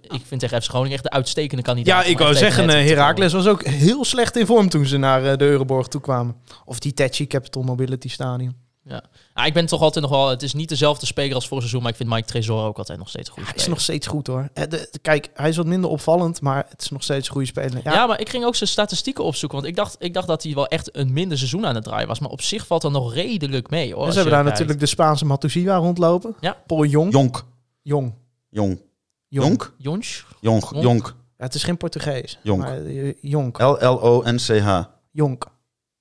S4: Ik vind tegen FC Groningen echt de uitstekende kandidaat.
S3: Ja,
S4: om
S3: ik
S4: echt
S3: wou
S4: tegen
S3: zeggen,
S4: het
S3: eh,
S4: te
S3: Heracles was ook heel slecht in vorm toen ze naar eh, de Euroborg toe kwamen. Of die Tetchy Capital Mobility Stadion.
S4: komen. Ah, ik ben toch altijd nog wel... Het is niet dezelfde speler als vorig seizoen, maar ik vind Mike Tresor ook altijd nog steeds goed.
S3: Hij Ah, is nog steeds goed, hoor. Eh, de- de- kijk, hij is wat minder opvallend, maar het is nog steeds een goede speler.
S4: Ja. maar ik ging ook zijn statistieken opzoeken. Want ik dacht, ik dacht dat hij wel echt een minder seizoen aan het draaien was. Maar op zich valt dat nog redelijk mee hoor.
S3: En
S4: als
S3: ze hebben
S4: je
S3: daar
S4: kijkt.
S3: natuurlijk de Spaanse Matusiwa rondlopen.
S4: Ja.
S3: Paul Jong.
S5: Jonk.
S3: Jong.
S5: Jong.
S3: Jong.
S5: Jonk?
S4: Jonsch?
S5: Jonk.
S4: Jonk.
S5: Jonk.
S3: Ja, het is geen Portugees.
S5: Jonk.
S3: Maar, eh, jonk.
S5: L-L-O-N-C-H.
S3: Jonk.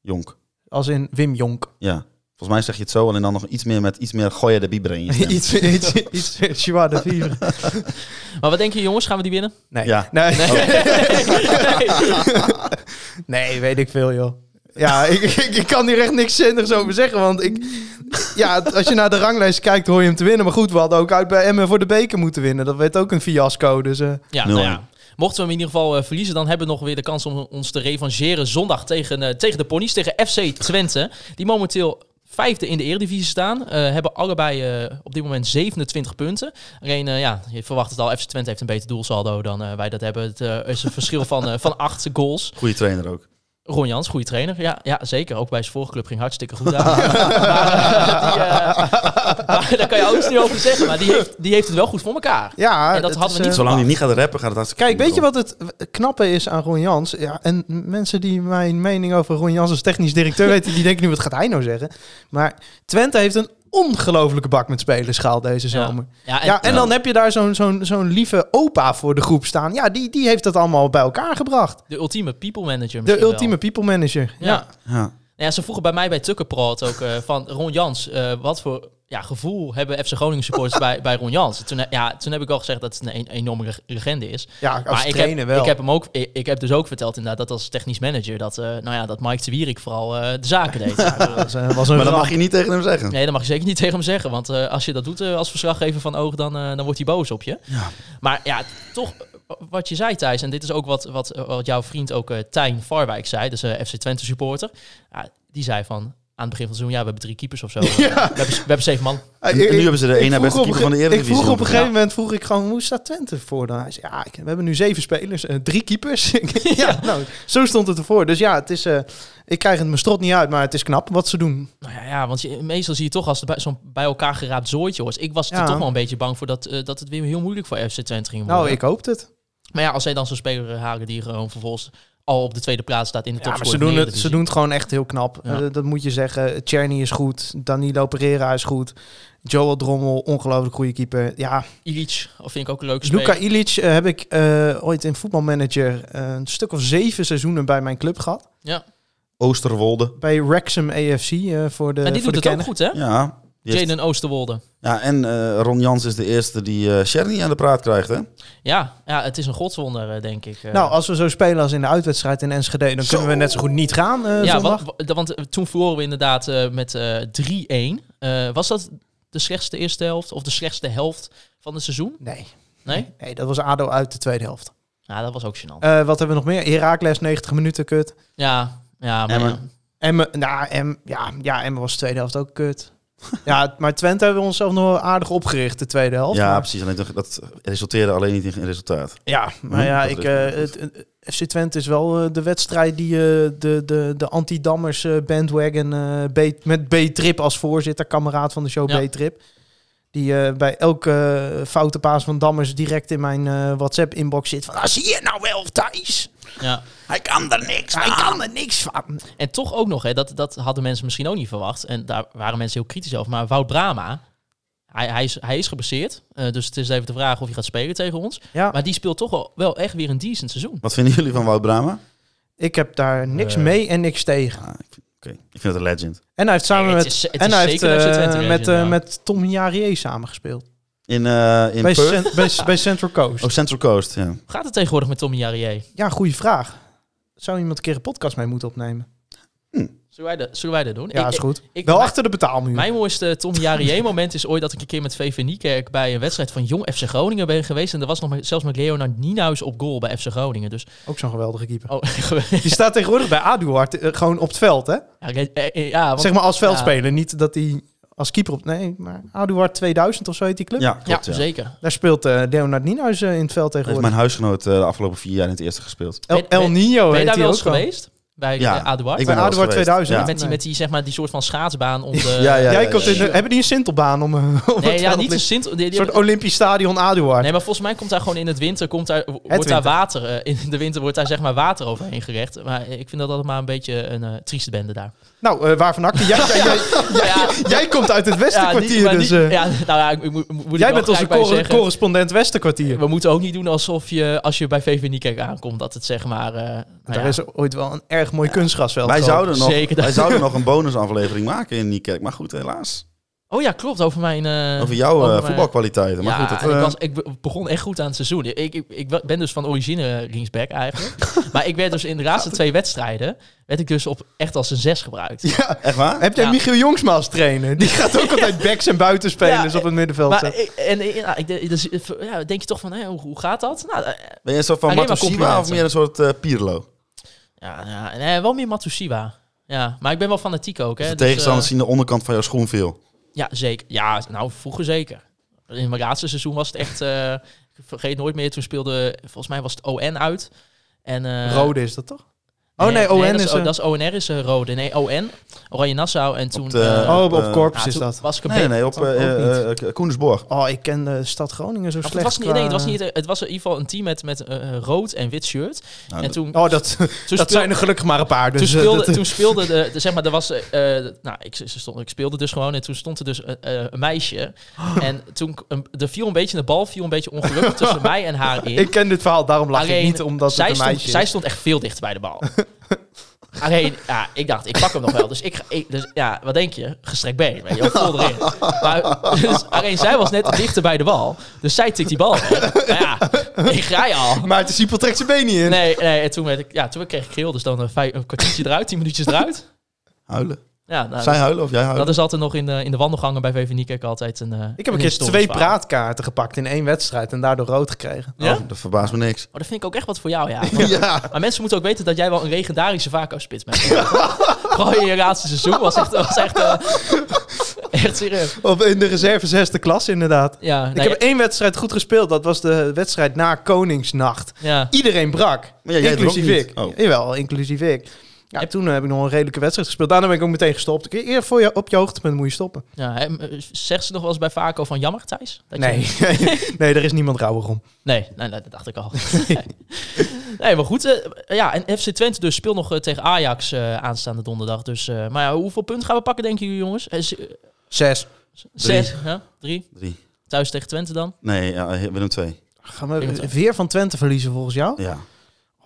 S5: Jonk.
S3: Als in Wim Jonk.
S5: Ja. Volgens mij zeg je het zo, alleen dan nog iets meer met iets meer gooien de bieber in je stem.
S3: *laughs* iets, iets, iets, Chihuahua de Vivre.
S4: Maar wat denk je, jongens? Gaan we die winnen?
S3: Nee.
S5: Ja. Oh.
S3: Nee.
S4: Nee.
S3: *laughs* Nee, weet ik veel, joh. Ja, ik, ik, ik kan hier echt niks zinnigs over zeggen. Want ik, ja, t- als je naar de ranglijst kijkt, hoor je hem te winnen. Maar goed, we hadden ook uit bij Emmen voor de beker moeten winnen. Dat werd ook een fiasco. Dus eh,
S4: Ja, nou ja.
S5: 0-1.
S4: Mochten we hem in ieder geval eh, verliezen, dan hebben we nog weer de kans om ons te revancheren zondag tegen, eh, tegen de ponies, tegen FC Twente. Die momenteel vijfde in de Eredivisie staan. eh, hebben allebei eh, op dit moment 27 punten. Alleen, eh, ja, je verwacht het al, FC Twente heeft een beter doelsaldo dan eh, wij dat hebben. Het eh, is een verschil van, eh, van acht goals.
S5: Goeie trainer ook.
S4: Ron Jans, goede trainer. Ja, ja, zeker. Ook bij zijn vorige club ging hartstikke goed aan. maar, eh, die, eh, *laughs* maar daar kan je alles niet over zeggen. Maar die heeft, die heeft het wel goed voor elkaar.
S3: ja,
S4: En dat
S3: het
S4: hadden
S3: is,
S4: we niet
S3: eh,
S5: Zolang hij niet gaat rappen, gaat het hartstikke
S3: Kijk,
S5: goed
S3: weet je
S5: komen.
S3: wat het knappe is aan Ron Jans? Ja, en mensen die mijn mening over Ron Jans als technisch directeur *laughs* weten, die denken nu, wat gaat hij nou zeggen? Maar Twente heeft een ongelofelijke bak met spelers gehaald deze
S4: Ja.
S3: zomer.
S4: Ja, en,
S3: Ja, en dan heb je daar zo'n zo'n zo'n lieve opa voor de groep staan. Ja, die, die heeft dat allemaal bij elkaar gebracht.
S4: De ultieme people manager
S3: De
S4: misschien wel.
S3: ultieme people manager.
S4: Ja.
S3: Ja.
S5: Ja.
S4: Nou ja, ze vroegen bij mij bij Tukkenpraat ook eh, van Ron Jans, eh, wat voor ja, gevoel hebben FC Groningen supporters bij, bij Ron Jans? Toen, eh, ja, toen heb ik al gezegd dat het een, een enorme reg- legende is.
S3: Ja, als
S4: maar ik
S3: trainer
S4: heb,
S3: wel.
S4: Ik heb, hem ook, ik, ik heb dus ook verteld inderdaad dat als technisch manager, dat, eh, nou ja, dat Mike de Wierik vooral eh, de zaken
S3: *laughs*
S4: deed. Ja, dus,
S3: Dat was, eh, was een
S5: Maar dat
S3: ramp.
S5: mag je niet tegen hem zeggen.
S4: Nee, dat mag je zeker niet *laughs* tegen hem zeggen. Want eh, als je dat doet eh, als verslaggever van Oog, dan, eh, dan wordt hij boos op je. Maar ja, toch eh, wat je zei Thijs, en dit is ook wat, wat, eh, wat jouw vriend ook eh, Tijn Farwijk zei, dus eh, FC Twente supporter. Ja, die zei van, aan het begin van het seizoen, ja, we hebben drie keepers
S3: *laughs*
S4: of zo. Eh, we, hebben, we hebben zeven man.
S3: Ah,
S5: En- en
S3: ik-
S5: nu hebben ze de
S3: ik
S5: één na
S3: vroeg
S5: beste
S3: op
S5: keeper
S3: een
S5: van de
S3: ge-
S5: Eredivisie
S3: Ik vroeg op een
S5: nog.
S3: gegeven moment vroeg ik gewoon, hoe staat Twente voor dan? Hij zei, ja, ik- we hebben nu zeven spelers, eh, drie keepers. *laughs* Ik- ja, nou, zo stond het ervoor. Dus ja, het is, eh, ik krijg het mijn strot niet uit, maar het is knap wat ze doen.
S4: Nou ja, ja want je, meestal zie je toch als het bij, zo'n bij elkaar geraapt zooitje hoort. Ik was
S3: Ja.
S4: er toch wel een beetje bang voor dat, eh, dat het weer heel moeilijk voor FC Twente ging worden.
S3: Nou, ik hoop het.
S4: Maar ja, als zij dan zo'n speler eh, halen die gewoon vervolgens al op de tweede plaats staat in de
S3: Ja, maar
S4: topscore.
S3: ze
S4: van de
S3: doen, het, ze
S4: Eredivisie.
S3: doen het gewoon echt heel knap.
S4: Ja.
S3: Eh, dat moet je zeggen. Czerny is goed, Danilo Pereira is goed, Joel Drommel, ongelooflijk goede keeper. Ja,
S4: Illich, of vind ik ook een leuke speler.
S3: Luka Ilic eh, heb ik eh, ooit in voetbalmanager eh, een stuk of zeven seizoenen bij mijn club gehad.
S4: Ja.
S5: Oosterwolde.
S3: Bij Wrexham AFC eh, voor de
S4: En die
S3: voor
S4: doet
S3: de
S4: het ook
S3: kenner.
S4: goed, hè?
S5: Ja. Die heeft-
S4: Jaden Oosterwolde.
S5: ja en eh, Ron Jans is de eerste die eh Sherry aan de praat krijgt, hè?
S4: Ja, ja, het is een godswonder, eh, denk ik. eh.
S3: Nou, als we zo spelen als in de uitwedstrijd in Enschede, dan kunnen we net zo goed niet gaan eh,
S4: ja,
S3: zondag.
S4: want, want- want eh, toen verloren we inderdaad eh, met eh, 3-1. Eh, was dat de slechtste eerste helft of de slechtste helft van het seizoen?
S3: Nee.
S4: Nee?
S3: nee, dat was ADO uit de tweede helft.
S4: Ja, dat was ook gênant.
S3: Eh, wat hebben we nog meer? Heracles, 90 minuten, kut.
S4: ja, ja, maar
S5: Emmen.
S4: ja.
S3: Emme, nou, em, ja, ja, Emme was de tweede helft
S4: *laughs*
S3: ook kut. ja, maar Twente hebben we onszelf nog wel aardig opgericht, de tweede helft.
S5: Ja,
S3: maar,
S5: precies. Alleen dat- dat resulteerde alleen niet in resultaat.
S3: ja, maar ja,
S5: Mhm, dat
S3: ik,
S5: is
S3: eh,
S5: wel
S3: het, eh, FC Twente is wel eh, de wedstrijd die eh, de, de, de anti-dammers eh, bandwagon eh, B, met B-Trip als voorzitter, kameraad van de show
S4: Ja.
S3: B-Trip. Die eh, bij elke eh, foute paas van Dammers direct in mijn eh, WhatsApp-inbox zit. Van, ah, zie je nou wel, Thijs?
S4: ja.
S5: Hij kan er niks
S3: Hij
S4: Ah.
S3: kan er niks van.
S4: En toch ook nog, hè, dat, dat hadden mensen misschien ook niet verwacht. En daar waren mensen heel kritisch over. Maar Wout Brama, hij, hij, is, hij is geblesseerd. eh, dus het is even de vraag of hij gaat spelen tegen ons.
S3: Ja.
S4: Maar die speelt toch wel, wel echt weer een decent seizoen.
S5: Wat vinden jullie van Wout Brama?
S3: Ik heb daar niks
S4: Eh.
S3: mee en niks tegen.
S5: Ah, ik, vind- oké. ik vind het een legend.
S3: En hij heeft samen
S4: Nee,
S3: met
S4: het is- het is
S3: en hij heeft
S4: zeker een FC
S3: eh,
S4: Twente
S3: met,
S4: legend,
S3: eh,
S4: ja.
S3: met Tom Jarier samengespeeld.
S5: In, eh, in
S3: Bij,
S5: Perth?
S3: Cent- bij, bij Central Coast.
S5: Oh, Central Coast, ja.
S4: Hoe gaat het tegenwoordig met Tommy Jarrier?
S3: Ja, goede vraag. Zou iemand een keer een podcast mee moeten opnemen?
S4: Zullen wij dat, zullen wij dat doen?
S3: Ja,
S4: Ik-
S3: is goed.
S4: ik-
S3: Wel
S4: mijn-
S3: achter de betaalmuur.
S4: Mijn mooiste Tommy Jarrier moment is ooit dat ik een keer met VV Niekerk bij een wedstrijd van Jong FC Groningen ben geweest. En er was nog met, zelfs met Leonard Nienhuis op goal bij FC Groningen. Dus,
S3: Ook zo'n geweldige keeper.
S4: oh, *laughs* geweldig.
S3: Die staat tegenwoordig bij Aduard eh, gewoon op het veld, hè?
S4: ja, ik- eh, eh, ja, want-
S3: zeg maar als veldspeler. Niet dat hij als keeper op... Nee, maar Aduard 2000 of zo heet die club.
S5: Ja, klopt,
S4: ja,
S5: ja.
S4: zeker.
S3: Daar speelt eh Leonard Nienhuis eh, in het veld
S5: Heeft
S3: tegenwoordig.
S5: mijn huisgenoot eh, de afgelopen vier jaar in het eerste gespeeld.
S3: El,
S4: Ben-
S3: El
S4: ben-
S3: Nino
S4: ben je
S3: heet
S4: daar
S3: hij
S4: wel
S3: ook
S4: eens
S3: gewoon.
S4: geweest? Bij
S5: Ja,
S4: eh, Aduard?
S5: ik
S3: Bij
S5: ben wel eens
S3: Aduard
S5: geweest.
S3: 2000.
S5: Ja.
S4: met, die, met die, zeg maar, die soort van schaatsbaan om de...
S5: Ja, ja,
S3: Jij
S5: ja,
S3: komt
S5: ja,
S3: in de-
S5: ja.
S3: hebben die een Sintelbaan om... eh, *laughs* om
S4: Nee,
S3: het
S4: ja,
S3: veld
S4: niet een
S3: liggen?
S4: Sint... die- die-
S3: Een soort Olympisch Stadion Aduard.
S4: Nee, maar volgens mij komt daar gewoon in het winter, komt daar, wordt daar
S3: winter.
S4: water, eh, in de winter wordt daar zeg maar water overheen gerecht. Maar eh, ik vind dat altijd maar een beetje een eh, trieste bende daar.
S3: Nou, eh, waar van Akker? *laughs* Jij, jij, jij,
S4: Ja,
S3: jij komt uit het Westenkwartier,
S4: maar
S3: dus...
S4: die-
S3: eh,
S4: ja, *laughs* nou ja, ik, ik moet, moet ik wel
S3: jij bent
S4: gelijk
S3: onze
S4: bij
S3: corre-
S4: zeggen.
S3: correspondent Westenkwartier.
S4: We moeten ook niet doen alsof je, als je bij VV Niekerk aankomt, dat het zeg maar... eh, nou
S3: Daar
S4: ja,
S3: is ooit wel een erg mooi kunstgrasveld.
S5: Wij
S3: gewoon.
S5: zouden, nog,
S4: Zeker.
S5: wij zouden nog een bonusaflevering maken in Niekerk. Maar goed, helaas.
S4: Oh ja, klopt, over mijn... eh,
S5: Over jouw eh,
S4: mijn-
S5: voetbalkwaliteiten. Maar
S4: ja,
S5: goed, dat,
S4: en ik,
S5: eh,
S4: was, ik be- begon echt goed aan het seizoen. Ik, ik, ik wa- ben dus van origine ringsback *laughs* eigenlijk. maar ik werd dus in de laatste twee wedstrijden... werd ik dus op, echt als een zes gebruikt.
S5: echt waar?
S3: Heb jij
S4: Ja.
S3: Michiel Jongsma als
S4: *laughs*
S3: trainer? Die gaat ook altijd backs en buitenspelers
S4: Ja,
S3: op het middenveld.
S4: maar
S3: zetten.
S4: ik, en, eh, ja, ik, de- dus, eh, ja, denk je toch van, hè, hoe, hoe gaat dat? Nou, eh,
S5: Ben je een soort van
S4: Alleen maar
S5: Matosiba of
S4: complimenten.
S5: meer een soort eh, Pirlo?
S4: ja, ja, en, eh, wel meer Matsushima. Ja, maar ik ben wel fanatiek ook. Hè,
S5: Dus de
S4: dus, eh,
S5: tegenstanders zien de onderkant van jouw schoen veel.
S4: Ja, zeker. Ja, nou, vroeger zeker. In mijn laatste seizoen was het echt... eh, ik vergeet nooit meer, toen speelde... Volgens mij was het ON uit. En, eh,
S3: Rode is dat toch? Oh nee,
S4: dat
S3: ON
S4: dat
S3: is... eh,
S4: Dat is ONR is eh, rode. Nee, ON. Oranje Nassau. En toen...
S5: de-
S4: eh,
S5: Oh,
S3: oh, op
S5: eh,
S4: ja,
S3: Corps is
S4: toen
S3: dat.
S4: Was ik een
S5: Nee,
S4: beetje-
S5: nee, op
S4: Of
S5: eh,
S3: ook
S5: eh, eh, Koendersborg.
S3: Oh, ik ken de stad Groningen zo
S4: het
S3: slecht.
S4: was niet, nee, het was
S3: qua-
S4: niet. eh, Het was in ieder geval een team met, met eh, rood en wit shirt.
S5: Nou,
S4: en toen,
S3: Oh, dat,
S4: *laughs* toen
S3: dat
S4: speelde-
S3: zijn er gelukkig maar een paar. Dus,
S4: toen
S3: eh,
S4: speelde,
S3: dat- *laughs*
S4: toen speelde de, de- zeg maar, er was, eh, eh, nou, ik, ze stond, ik speelde dus gewoon en toen stond er dus eh, eh, een
S3: *gasps*
S4: meisje. En toen, k- een- er viel een beetje, de bal viel een beetje
S3: *laughs*
S4: ongelukkig tussen mij en haar in.
S3: ik ken dit verhaal, daarom lach ik
S4: Alleen,
S3: niet, omdat
S4: zij,
S3: het een meisje
S4: stond, zij
S3: is.
S4: stond echt veel dichter bij de
S3: *laughs*
S4: bal. Alleen, ja, ik dacht, ik pak hem nog wel. Dus, ik, ga- ik, dus ja, wat denk je? Gestrekt been, weet je wel, vol
S3: *laughs*
S4: erin. Maar, dus, alleen, zij was net dichter bij de bal. Dus zij tikt die bal weg. Nou ja, ik rij
S3: *laughs*
S4: al.
S3: Maarten Siepel trekt zijn been niet in.
S4: Nee, nee, en toen, werd ik, ja, toen kreeg ik geel. Dus dan een, vijf, een kwartiertje eruit, tien minuutjes eruit.
S5: Huilen.
S4: Ja, nou,
S5: Zij huilen of jij
S4: dat, dat
S5: huilen?
S4: is altijd nog in de, in de wandelgangen bij VV Niekerk altijd een eh,
S3: Ik heb een keer
S4: historisch
S3: twee
S4: verhaal.
S3: praatkaarten gepakt in één wedstrijd en daardoor rood gekregen.
S4: Ja?
S5: Oh, dat verbaast me niks.
S4: Oh, dat vind ik ook echt wat voor jou, *laughs*
S3: *laughs*
S4: ja. Want- Maar mensen moeten ook weten dat jij wel een legendarische Vaco-spits bent. *laughs* Vooral in je laatste seizoen was echt... Was echt, eh, *laughs* echt serieus.
S3: Of in de reserve zesde klas, inderdaad.
S4: Nou Ja,
S3: Ik
S4: nee,
S3: heb één wedstrijd goed gespeeld. Dat was de wedstrijd na Koningsnacht.
S4: ja.
S3: Iedereen brak.
S5: Maar ja, jij
S3: inclusief
S5: dronk
S3: ik.
S5: niet. Oh.
S3: Jawel, inclusief ik. Ja, toen eh, heb ik nog een redelijke wedstrijd gespeeld. Daarna ben ik ook meteen gestopt. Ik- Eer voor je, op je hoogtepunt moet je stoppen.
S4: ja hè, zegt ze nog wel eens bij Vaco van jammer, Thijs? Dat je-
S3: Nee, nee, *laughs* daar is niemand rouwig om.
S4: Nee, nee, nee, dat dacht ik al. *laughs* nee, maar goed. eh, ja, en FC Twente dus speelt nog eh, tegen Ajax eh, aanstaande donderdag. Dus, eh, maar ja, hoeveel punten gaan we pakken, denken jullie jongens? Eh, z- eh,
S3: Zes.
S4: zes, hè? drie?
S5: Drie.
S4: Thuis tegen Twente dan?
S5: Nee, ja, Willem twee.
S3: Gaan we weer van Twente verliezen volgens jou?
S5: Ja.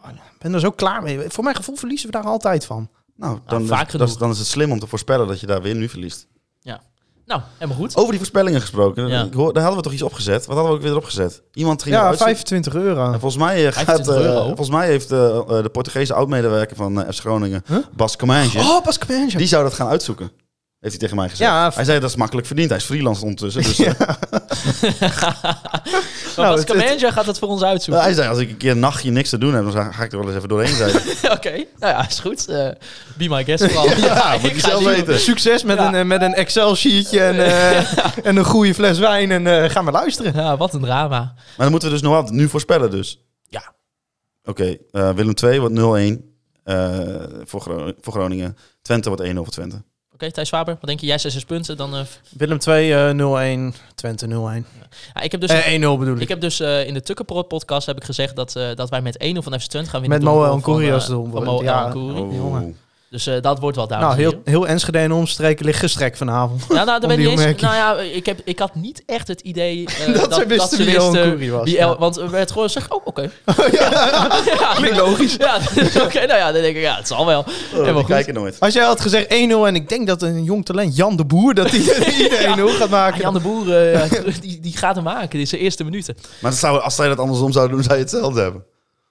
S3: Ik ben er zo klaar mee. Voor mijn gevoel verliezen we daar altijd van.
S5: Nou, dan,
S4: vaak
S5: is, dat is-
S4: genoeg.
S5: dan is het slim om te voorspellen dat je daar weer nu verliest.
S4: Nou, helemaal goed.
S3: Oh,
S5: Over die voorspellingen gesproken.
S4: Ja.
S5: Ik hoor, daar hadden we toch iets opgezet? Wat hadden we ook weer opgezet? Iemand ging
S3: Ja,
S5: eruit-
S3: 25 euro.
S5: En volgens mij, eh, gaat,
S4: 25
S5: eh,
S4: euro.
S5: volgens mij heeft eh, eh, de Portugese oud-medewerker van eh, FC Groningen, Bas Comijntje,
S3: Oh, Bas Kemensje.
S5: die zou dat gaan uitzoeken. Heeft hij tegen mij gezegd.
S3: Ja,
S5: hij zei dat is makkelijk verdiend. Hij is freelance ondertussen.
S4: *laughs*
S5: Dus, eh,
S4: Maar
S3: nou,
S4: Bas
S3: het- Nou, het-
S4: Kamenja gaat het voor ons uitzoeken.
S5: *laughs* hij zei als ik een keer een nachtje niks te doen heb, dan ga- ga ik er wel eens even doorheen zijn.
S4: *laughs* Oké, nou ja, is goed. Eh, be my guest vooral.
S3: *laughs*
S5: ja, moet
S4: ik
S5: je
S4: ga
S5: zelf
S4: zien.
S5: weten.
S3: Succes met,
S4: Ja.
S3: een, eh, met een Excel-sheetje en, eh, en een goede fles wijn. En eh, gaan we luisteren.
S4: Ja, wat een drama.
S5: Maar dan moeten we dus nog wat nu voorspellen dus.
S4: Ja.
S5: Oké, eh, Willem 2 wordt 0-1 eh, voor, Gro- voor Groningen. Twente wordt 1 over Twente.
S4: Oké, Thijs Faber, wat denk je? Jij 6 punten. Dan, eh, f-
S3: Willem 2, eh, 0-1. Twente 0-1.
S4: ja, ik heb dus,
S3: Eh, 1-0 bedoel ik.
S4: ik heb dus eh, in de Tukkenprot podcast heb ik gezegd dat, eh, dat wij met 1-0 van FC Twente gaan winnen.
S3: Met
S4: door
S3: Moel
S4: een goal
S3: en Koeri
S4: van,
S3: als
S4: eh,
S3: de
S4: Van
S3: doelman.
S4: Moel
S3: Ja.
S4: en Koeri.
S5: Oh,
S3: jongen.
S4: Dus eh, dat wordt wel
S3: nou,
S4: duidelijk.
S3: heel, heel Enschede en omstreken ligt gestrekt vanavond.
S4: Ja, nou, dat
S3: om
S4: weet ik
S3: die
S4: niet eens. Nou
S3: opmerking.
S4: ja, ik, heb, ik had niet echt het
S3: *laughs*
S4: idee eh,
S3: Dat ze wisten wie El Nkouri was,
S4: wie
S3: ja.
S4: El- Want er werd gewoon gezegd, oh, oké.
S3: *laughs*
S4: ja, klinkt logisch. Ja, *laughs* dus oké, nou ja, dan denk ik, ja, het zal wel.
S5: Oh,
S4: Helemaal
S5: we
S4: goed.
S5: kijken nooit.
S3: *laughs* Als jij had gezegd 1-0 en ik denk dat een jong talent, Jan de Boer, *laughs* dat hij iedereen 1-0 gaat
S4: Ah,
S3: maken.
S4: Jan de Boer, eh, ja, *laughs* die, die gaat hem maken in zijn eerste minuten.
S5: Maar zou, als zij dat andersom zouden doen, zou je hetzelfde hebben.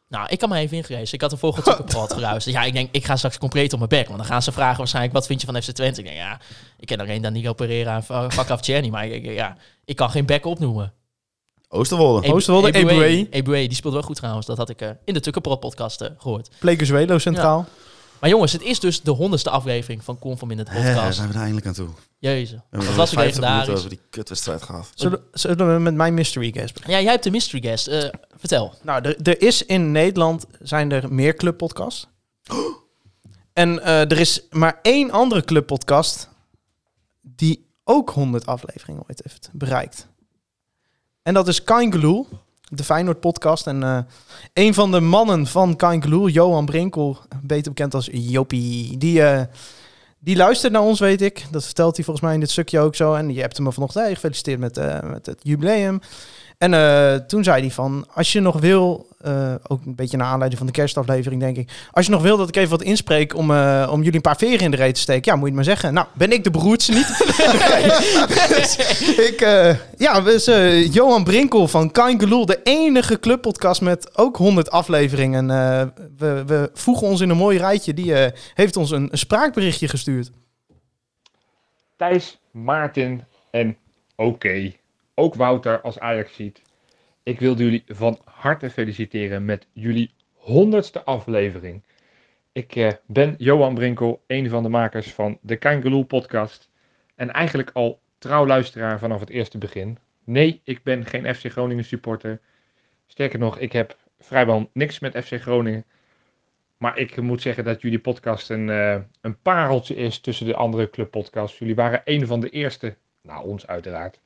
S4: Nou, ik kan me even ingerezen. Ik had een volgende
S3: *laughs*
S4: Tukkenprot geluisterd. Ja, ik denk, ik ga straks compleet op mijn bek. Want dan gaan ze vragen waarschijnlijk, wat vind je van FC Twente? Ik denk, ja, ik ken alleen Danilo Pereira en
S3: *laughs*
S4: Va- Vakaf Tjerni. Maar ik, denk, ja, ik kan geen bek opnoemen.
S5: Oosterwolde.
S4: Ebu-
S3: Oosterwolde, Eboué.
S4: Eboué, die speelt wel goed trouwens. Dat had ik eh, in de Tukkenprot podcast eh, gehoord.
S3: Plekezuelo centraal.
S4: Maar jongens, het is dus de honderdste aflevering van Conform in het
S5: Hè, Eh, daar
S4: podcast.
S5: zijn we er eindelijk aan toe. We
S4: Jezus,
S5: hebben
S4: dat
S5: nog
S4: was ook
S5: 50 minuten
S4: legendarisch.
S5: over die kutwedstrijd gehad.
S3: Zullen, zullen we met mijn mystery guest beginnen?
S4: Ja, jij hebt de mystery guest. Eh, vertel.
S3: Nou, er, er is in Nederland zijn er meer clubpodcasts. En eh, er is maar één andere clubpodcast die ook 100 afleveringen ooit heeft bereikt. En dat is Kangeloel, de Feyenoord podcast. En eh, een van de mannen van Kangeloel, Johan Brinkel, beter bekend als Jopie, die, eh, Die luistert naar ons, weet ik. Dat vertelt hij volgens mij in dit stukje ook zo. En je hebt hem er vanochtend hey, gefeliciteerd met, eh, met het jubileum. En eh, toen zei hij van, als je nog wil, eh, ook een beetje naar aanleiding van de kerstaflevering denk ik. Als je nog wil dat ik even wat inspreek om, eh, om jullie een paar veren in de reet te steken. Ja, moet je het maar zeggen. Nou, ben ik de beroerdste niet. *laughs* Dus ik, eh, ja, dus eh, Johan Brinkel van Kangeloel, de enige clubpodcast met ook 100 afleveringen. Eh, we, we voegen ons in een mooi rijtje. Die eh, heeft ons een, een spraakberichtje gestuurd.
S7: Thijs, Maarten en oké, ook Wouter als Ajax ziet. Ik wil jullie van harte feliciteren met jullie honderdste aflevering. Ik eh, ben Johan Brinkel, een van de makers van de Kangaroo podcast. En eigenlijk al trouw luisteraar vanaf het eerste begin. Nee, ik ben geen FC Groningen supporter. Sterker nog, ik heb vrijwel niks met FC Groningen. Maar ik moet zeggen dat jullie podcast een, eh, een pareltje is tussen de andere clubpodcasts. Jullie waren een van de eerste, nou ons uiteraard,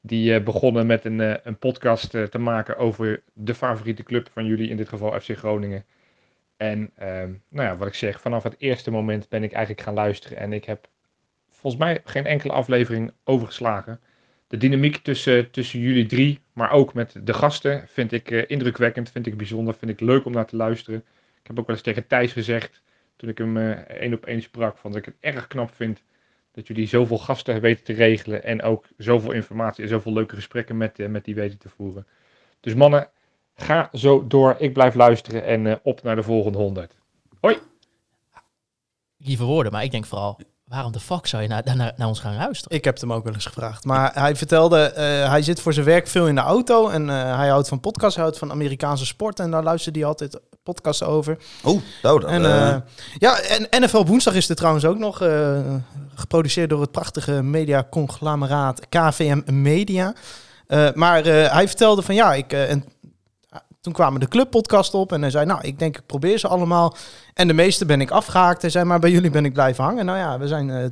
S7: die eh, begonnen met een, eh, een podcast eh, te maken over de favoriete club van jullie, in dit geval FC Groningen. En ehm, nou ja, wat ik zeg, vanaf het eerste moment ben ik eigenlijk gaan luisteren en ik heb volgens mij geen enkele aflevering overgeslagen. De dynamiek tussen, tussen jullie drie, maar ook met de gasten, vind ik eh, indrukwekkend, vind ik bijzonder, vind ik leuk om naar te luisteren. Ik heb ook wel eens tegen Thijs gezegd, toen ik hem eh, één op één sprak, van dat ik het erg knap vind dat jullie zoveel gasten weten te regelen en ook zoveel informatie en zoveel leuke gesprekken met, eh, met die weten te voeren. Dus mannen, ga zo door. Ik blijf luisteren en eh, op naar de volgende 100.
S4: Lieve woorden, maar ik denk vooral, waarom de fuck zou je naar, naar, naar ons gaan luisteren?
S3: Ik heb het hem ook wel eens gevraagd. Maar hij vertelde, eh, hij zit voor zijn werk veel in de auto. En eh, hij houdt van podcasts, hij houdt van Amerikaanse sport. En daar luisterde hij altijd podcasts over.
S5: Oh, nou dan.
S3: En,
S5: eh,
S3: eh, ja, en NFL Woensdag is er trouwens ook nog. eh, geproduceerd door het prachtige mediaconglomeraat KVM Media. Eh, maar eh, hij vertelde van ja, ik. eh, en, toen kwamen de clubpodcast op en hij zei, nou, ik denk ik probeer ze allemaal. En de meeste ben ik afgehaakt. Hij zei, maar bij jullie ben ik blijven hangen. Nou ja, we zijn eh,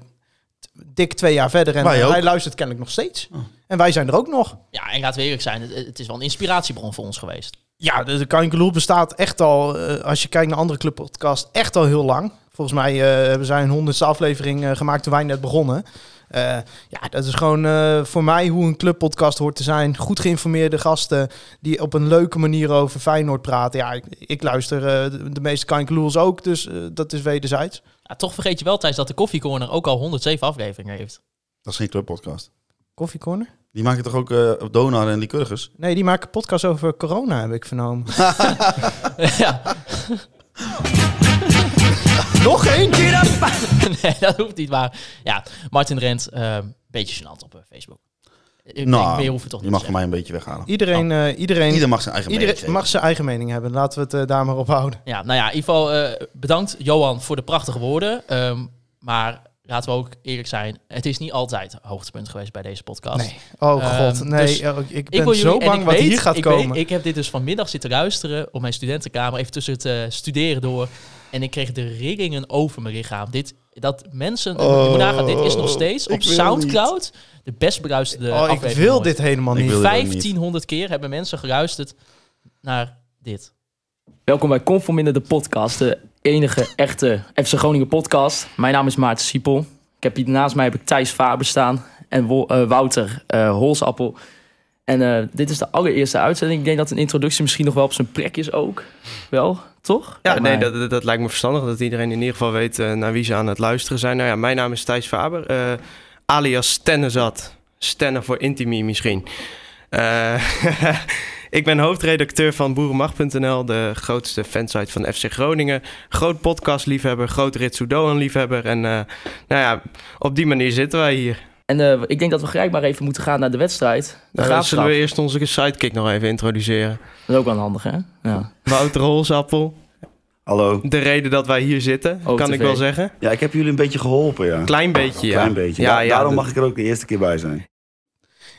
S3: t- dik twee jaar verder en
S5: Wij ook. Oh.
S3: hij luistert kennelijk nog steeds. En wij zijn er ook nog.
S4: Ja, en laten we eerlijk zijn, het, het is wel een inspiratiebron voor ons geweest.
S3: Ja, de, de Kankerloel bestaat echt al, eh, als je kijkt naar andere clubpodcasts, echt al heel lang. Volgens mij eh, hebben zij een honderdste aflevering eh, gemaakt toen wij net begonnen. Eh, ja, dat is gewoon eh, voor mij hoe een clubpodcast hoort te zijn. Goed geïnformeerde gasten die op een leuke manier over Feyenoord praten. Ja, ik, ik luister eh, de, de meeste Kankerloels ook, dus eh, dat is wederzijds.
S4: Ja, toch vergeet je wel, Thijs, dat de Coffee Corner ook al 107 afleveringen heeft. *laughs*
S5: dat is geen clubpodcast.
S3: Coffee Corner?
S5: Die maken toch ook eh, op Donar en Lycurgus?
S3: Nee, die maken podcast over corona, heb ik vernomen.
S4: ja,
S3: Nog één!
S4: nee, dat hoeft niet, maar ja, Martin Rent, eh, beetje gênant op eh, Facebook. Ik denk, meer hoef je toch niet
S5: je Nou, mag
S4: te
S5: van mij een beetje weghalen.
S3: Iedereen, eh, iedereen,
S5: Ieder mag zijn eigen
S3: iedereen
S5: mening
S3: mag zijn eigen mening hebben. Laten we het eh, daar maar op houden.
S4: Ja, nou ja, in ieder geval eh, bedankt Johan voor de prachtige woorden. Ehm, maar laten we ook eerlijk zijn, het is niet altijd hoogtepunt geweest bij deze podcast.
S3: Nee. Oh
S4: Ehm,
S3: god, nee.
S4: dus
S3: oh, ik
S4: Ik
S3: ben
S4: wil jullie-
S3: zo
S4: en
S3: bang
S4: ik
S3: wat
S4: weet-
S3: hier gaat
S4: ik
S3: komen.
S4: weet- ik heb dit dus vanmiddag zitten luisteren op mijn studentenkamer, even tussen het eh, studeren door. En ik kreeg de rillingen over mijn lichaam. Dit, dat mensen, je moet nagaan, dit is nog steeds op
S5: wil
S4: Soundcloud de best beluisterde
S3: oh, ik
S4: aflevering
S3: wil
S4: ooit.
S3: dit helemaal
S5: Ik
S3: niet.
S5: wil- dit ook niet.
S4: 1500 keer hebben mensen geluisterd naar dit.
S8: Welkom bij Conforminder de podcast, de enige echte FC Groningen podcast. Mijn naam is Maarten Siepel. Ik heb hier naast mij heb ik Thijs Faber staan en Wo- eh, Wouter eh, Holsappel. En eh, dit is de allereerste uitzending. Ik denk dat een introductie misschien nog wel op zijn plek is ook. Wel, toch?
S9: Ja,
S8: Lijkt
S9: nee,
S8: mij.
S9: dat, dat- dat lijkt me verstandig. Dat iedereen in ieder geval weet eh, naar wie ze aan het luisteren zijn. Nou ja, mijn naam is Thijs Faber, eh, alias Stennezat. Stennen voor Intimi misschien. Eh, *laughs* ik ben hoofdredacteur van Boerenmacht.nl, de grootste fansite van FC Groningen. Groot podcastliefhebber, groot Ritsudoan-liefhebber. En eh, nou ja, op die manier zitten wij hier.
S8: En eh, ik denk dat we gelijk maar even moeten gaan naar de wedstrijd. De
S9: Dan zullen
S8: graafschap.
S9: we eerst onze sidekick nog even introduceren.
S8: Dat is ook wel een handige, hè? Ja.
S9: Wouter Holsappel,
S5: Hallo.
S9: de reden dat wij hier zitten,
S8: OTV.
S9: kan ik wel zeggen.
S5: Ja, ik heb jullie een beetje geholpen, ja.
S9: Klein beetje, ja.
S5: Klein beetje.
S9: Ja,
S5: Da-
S9: ja,
S5: daarom
S9: dat-
S5: mag ik er ook de eerste keer bij zijn.
S3: *laughs*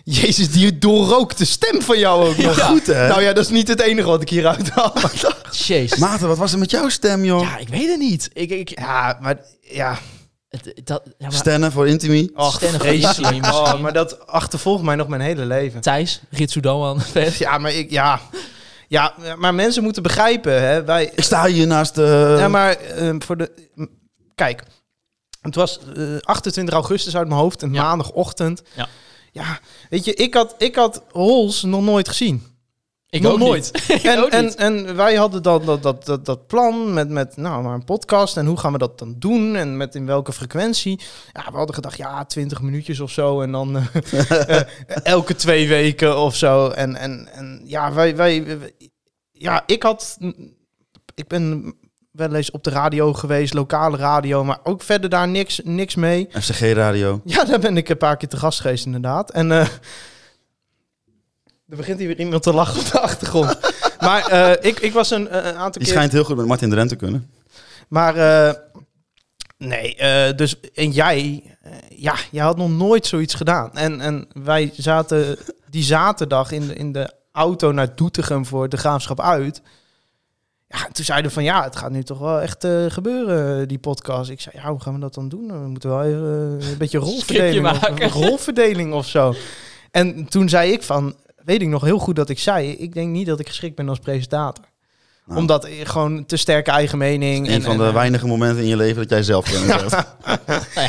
S3: Jezus, die doorrookte stem van jou ook nog.
S5: Goed, hè?
S3: Nou ja, dat is niet het enige wat ik hieruit haal.
S4: *laughs* Jezus.
S5: Maarten, wat was er met jouw stem, joh?
S4: ja, ik weet het niet. Ik, ik,
S3: Ja, maar ja.
S4: het- dat, ja, maar-
S5: Stennen voor Intimi.
S3: Och,
S4: Stennig
S3: vreselijk.
S4: voor Intimi misschien.
S3: Oh, maar dat achtervolgt mij nog mijn hele
S4: *laughs*
S3: leven.
S4: Thijs, *laughs* Ritsudoan.
S3: Ja, maar ik, ja. Ja, maar mensen moeten begrijpen, hè. Wij,
S5: eh,
S3: ehm,
S5: Ik sta hier naast de...
S3: Ja, maar ehm, voor de. m, Kijk, Het was eh, 28 augustus uit mijn hoofd, een
S4: Ja.
S3: maandagochtend.
S4: Ja.
S3: Ja, weet je, ik had, ik had Hols nog nooit gezien.
S4: Ik
S3: Nog
S4: ook
S3: nooit.
S4: niet. *laughs* Ik
S3: En,
S4: ook
S3: en,
S4: niet.
S3: en wij hadden dat, dat, dat, dat, dat plan met, met nou, maar een podcast. En hoe gaan we dat dan doen? En met in welke frequentie? Ja, we hadden gedacht, ja, 20 minuutjes of zo. En dan eh, eh, elke twee weken of zo. En, en, en ja, wij, wij, wij- ja, ik had. Ik ben wel eens op de radio geweest, lokale radio, maar ook verder daar niks, niks mee.
S5: FCG Radio.
S3: *laughs* Ja, daar ben ik een paar keer te gast geweest, inderdaad. En eh, *laughs* er begint hier weer iemand te lachen op de achtergrond. *laughs* maar eh, ik, ik was een, eh, een aantal
S5: Die
S3: keer...
S5: schijnt heel goed met Martin Drent te kunnen.
S3: Maar eh, nee, eh, dus en jij, eh, ja, jij had nog nooit zoiets gedaan. En, en wij zaten die zaterdag in de, in de auto naar Doetinchem voor de graafschap uit. Ja, en toen zeiden we van ja, het gaat nu toch wel echt eh, gebeuren, eh, die podcast. Ik zei, ja, hoe gaan we dat dan doen? We moeten wel even eh, een beetje rolverdeling, of,
S4: maken.
S3: een rolverdeling of zo. En toen zei ik van, weet ik nog heel goed dat ik zei, ik denk niet dat ik geschikt ben als presentator.
S5: Nou.
S3: Omdat eh, gewoon te sterke eigen mening.
S5: Een van de weinige momenten in je leven dat jij zelf
S3: *laughs*
S5: kent.
S4: Nou ja,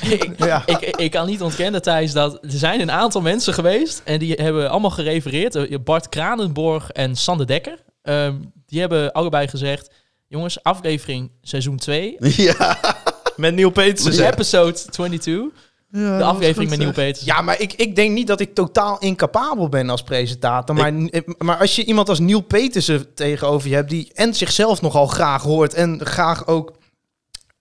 S4: *laughs* ik,
S3: Ja.
S4: ik, ik kan niet ontkennen, Thijs, dat er zijn een aantal mensen geweest... en die hebben allemaal gerefereerd. Eh, Bart Kranenborg en Sander Dekker. Ehm, die hebben allebei gezegd... jongens, aflevering seizoen 2,
S5: ja.
S3: Met Neil Peeters.
S4: episode 22. de aflevering met Nieuw Peters.
S3: Ja, maar ik, ik denk niet dat ik totaal incapabel ben als presentator. Maar, eh, maar als je iemand als Neil Petersen tegenover je hebt... die en zichzelf nogal graag hoort... en graag ook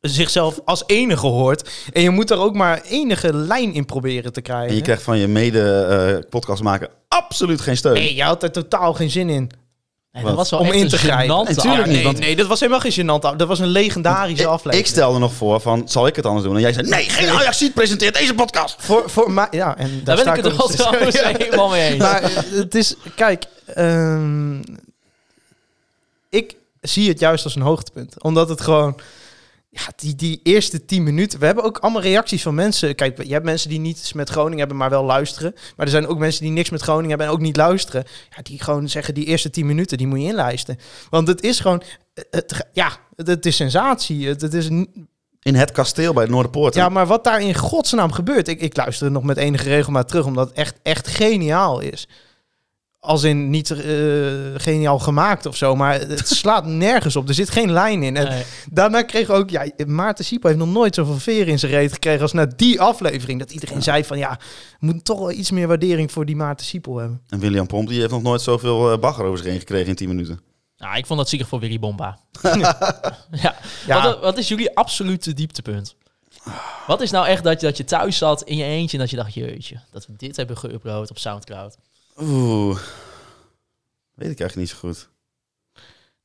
S3: zichzelf als enige hoort... en je moet daar ook maar enige lijn in proberen te
S5: En
S3: krijgen.
S5: je krijgt van je mede-podcastmaker absoluut geen steun.
S3: Nee, je had er totaal geen zin in
S4: Nee,
S5: Wat?
S4: dat was wel
S3: om
S4: echt
S3: in
S4: een Ah,
S3: te grijpen.
S4: gênante
S3: Natuurlijk
S4: aflevering.
S3: niet. want- Nee, dat was helemaal geen gênant. af- Dat was een legendarische
S5: Ik-
S3: aflevering.
S5: Ik stelde nog voor van, zal ik het anders doen? En jij zei, nee, geen Ajaxiet presenteert deze podcast.
S3: Voor, voor mij... Ja, en daar,
S4: Daar ben
S3: sta
S4: ik het er
S3: ook steeds-
S4: altijd
S3: Ja.
S4: *laughs* helemaal mee eens.
S3: *laughs* Maar eh, het is, kijk, ehm, ik zie het juist als een hoogtepunt. Omdat het gewoon, ja, die, die eerste tien minuten. We hebben ook allemaal reacties van mensen. Kijk, je hebt mensen die niets met Groningen hebben, maar wel luisteren. Maar er zijn ook mensen die niks met Groningen hebben en ook niet luisteren. Ja, die gewoon zeggen, die eerste tien minuten, die moet je inlijsten. Want het is gewoon, eh, het, ja, het, het is sensatie. Het, het is n-
S5: In het kasteel bij het Noorderpoort.
S3: ja, maar wat daar in godsnaam gebeurt. Ik, ik luister het nog met enige regelmaat terug, omdat het echt, echt geniaal is. Als in niet eh, geniaal gemaakt of zo, maar het slaat nergens op. Er zit geen lijn in. En
S4: Nee.
S3: daarna kreeg ook, ja, Maarten Siepo heeft nog nooit zoveel veren in zijn reet gekregen als na die aflevering. Dat iedereen zei van, ja, we moeten toch wel iets meer waardering voor die Maarten Siepo hebben.
S5: En William Pomp die heeft nog nooit zoveel eh, bagger over zich heen gekregen in 10 minuten.
S4: Nou, ik vond dat zielig voor Willy Bomba. ja.
S3: Ja.
S4: Wat, wat is jullie absolute dieptepunt? Wat is nou echt dat je, dat je thuis zat in je eentje en dat je dacht, jeetje, dat we dit hebben geüpload op Soundcloud?
S5: Oeh. Weet ik eigenlijk niet zo goed.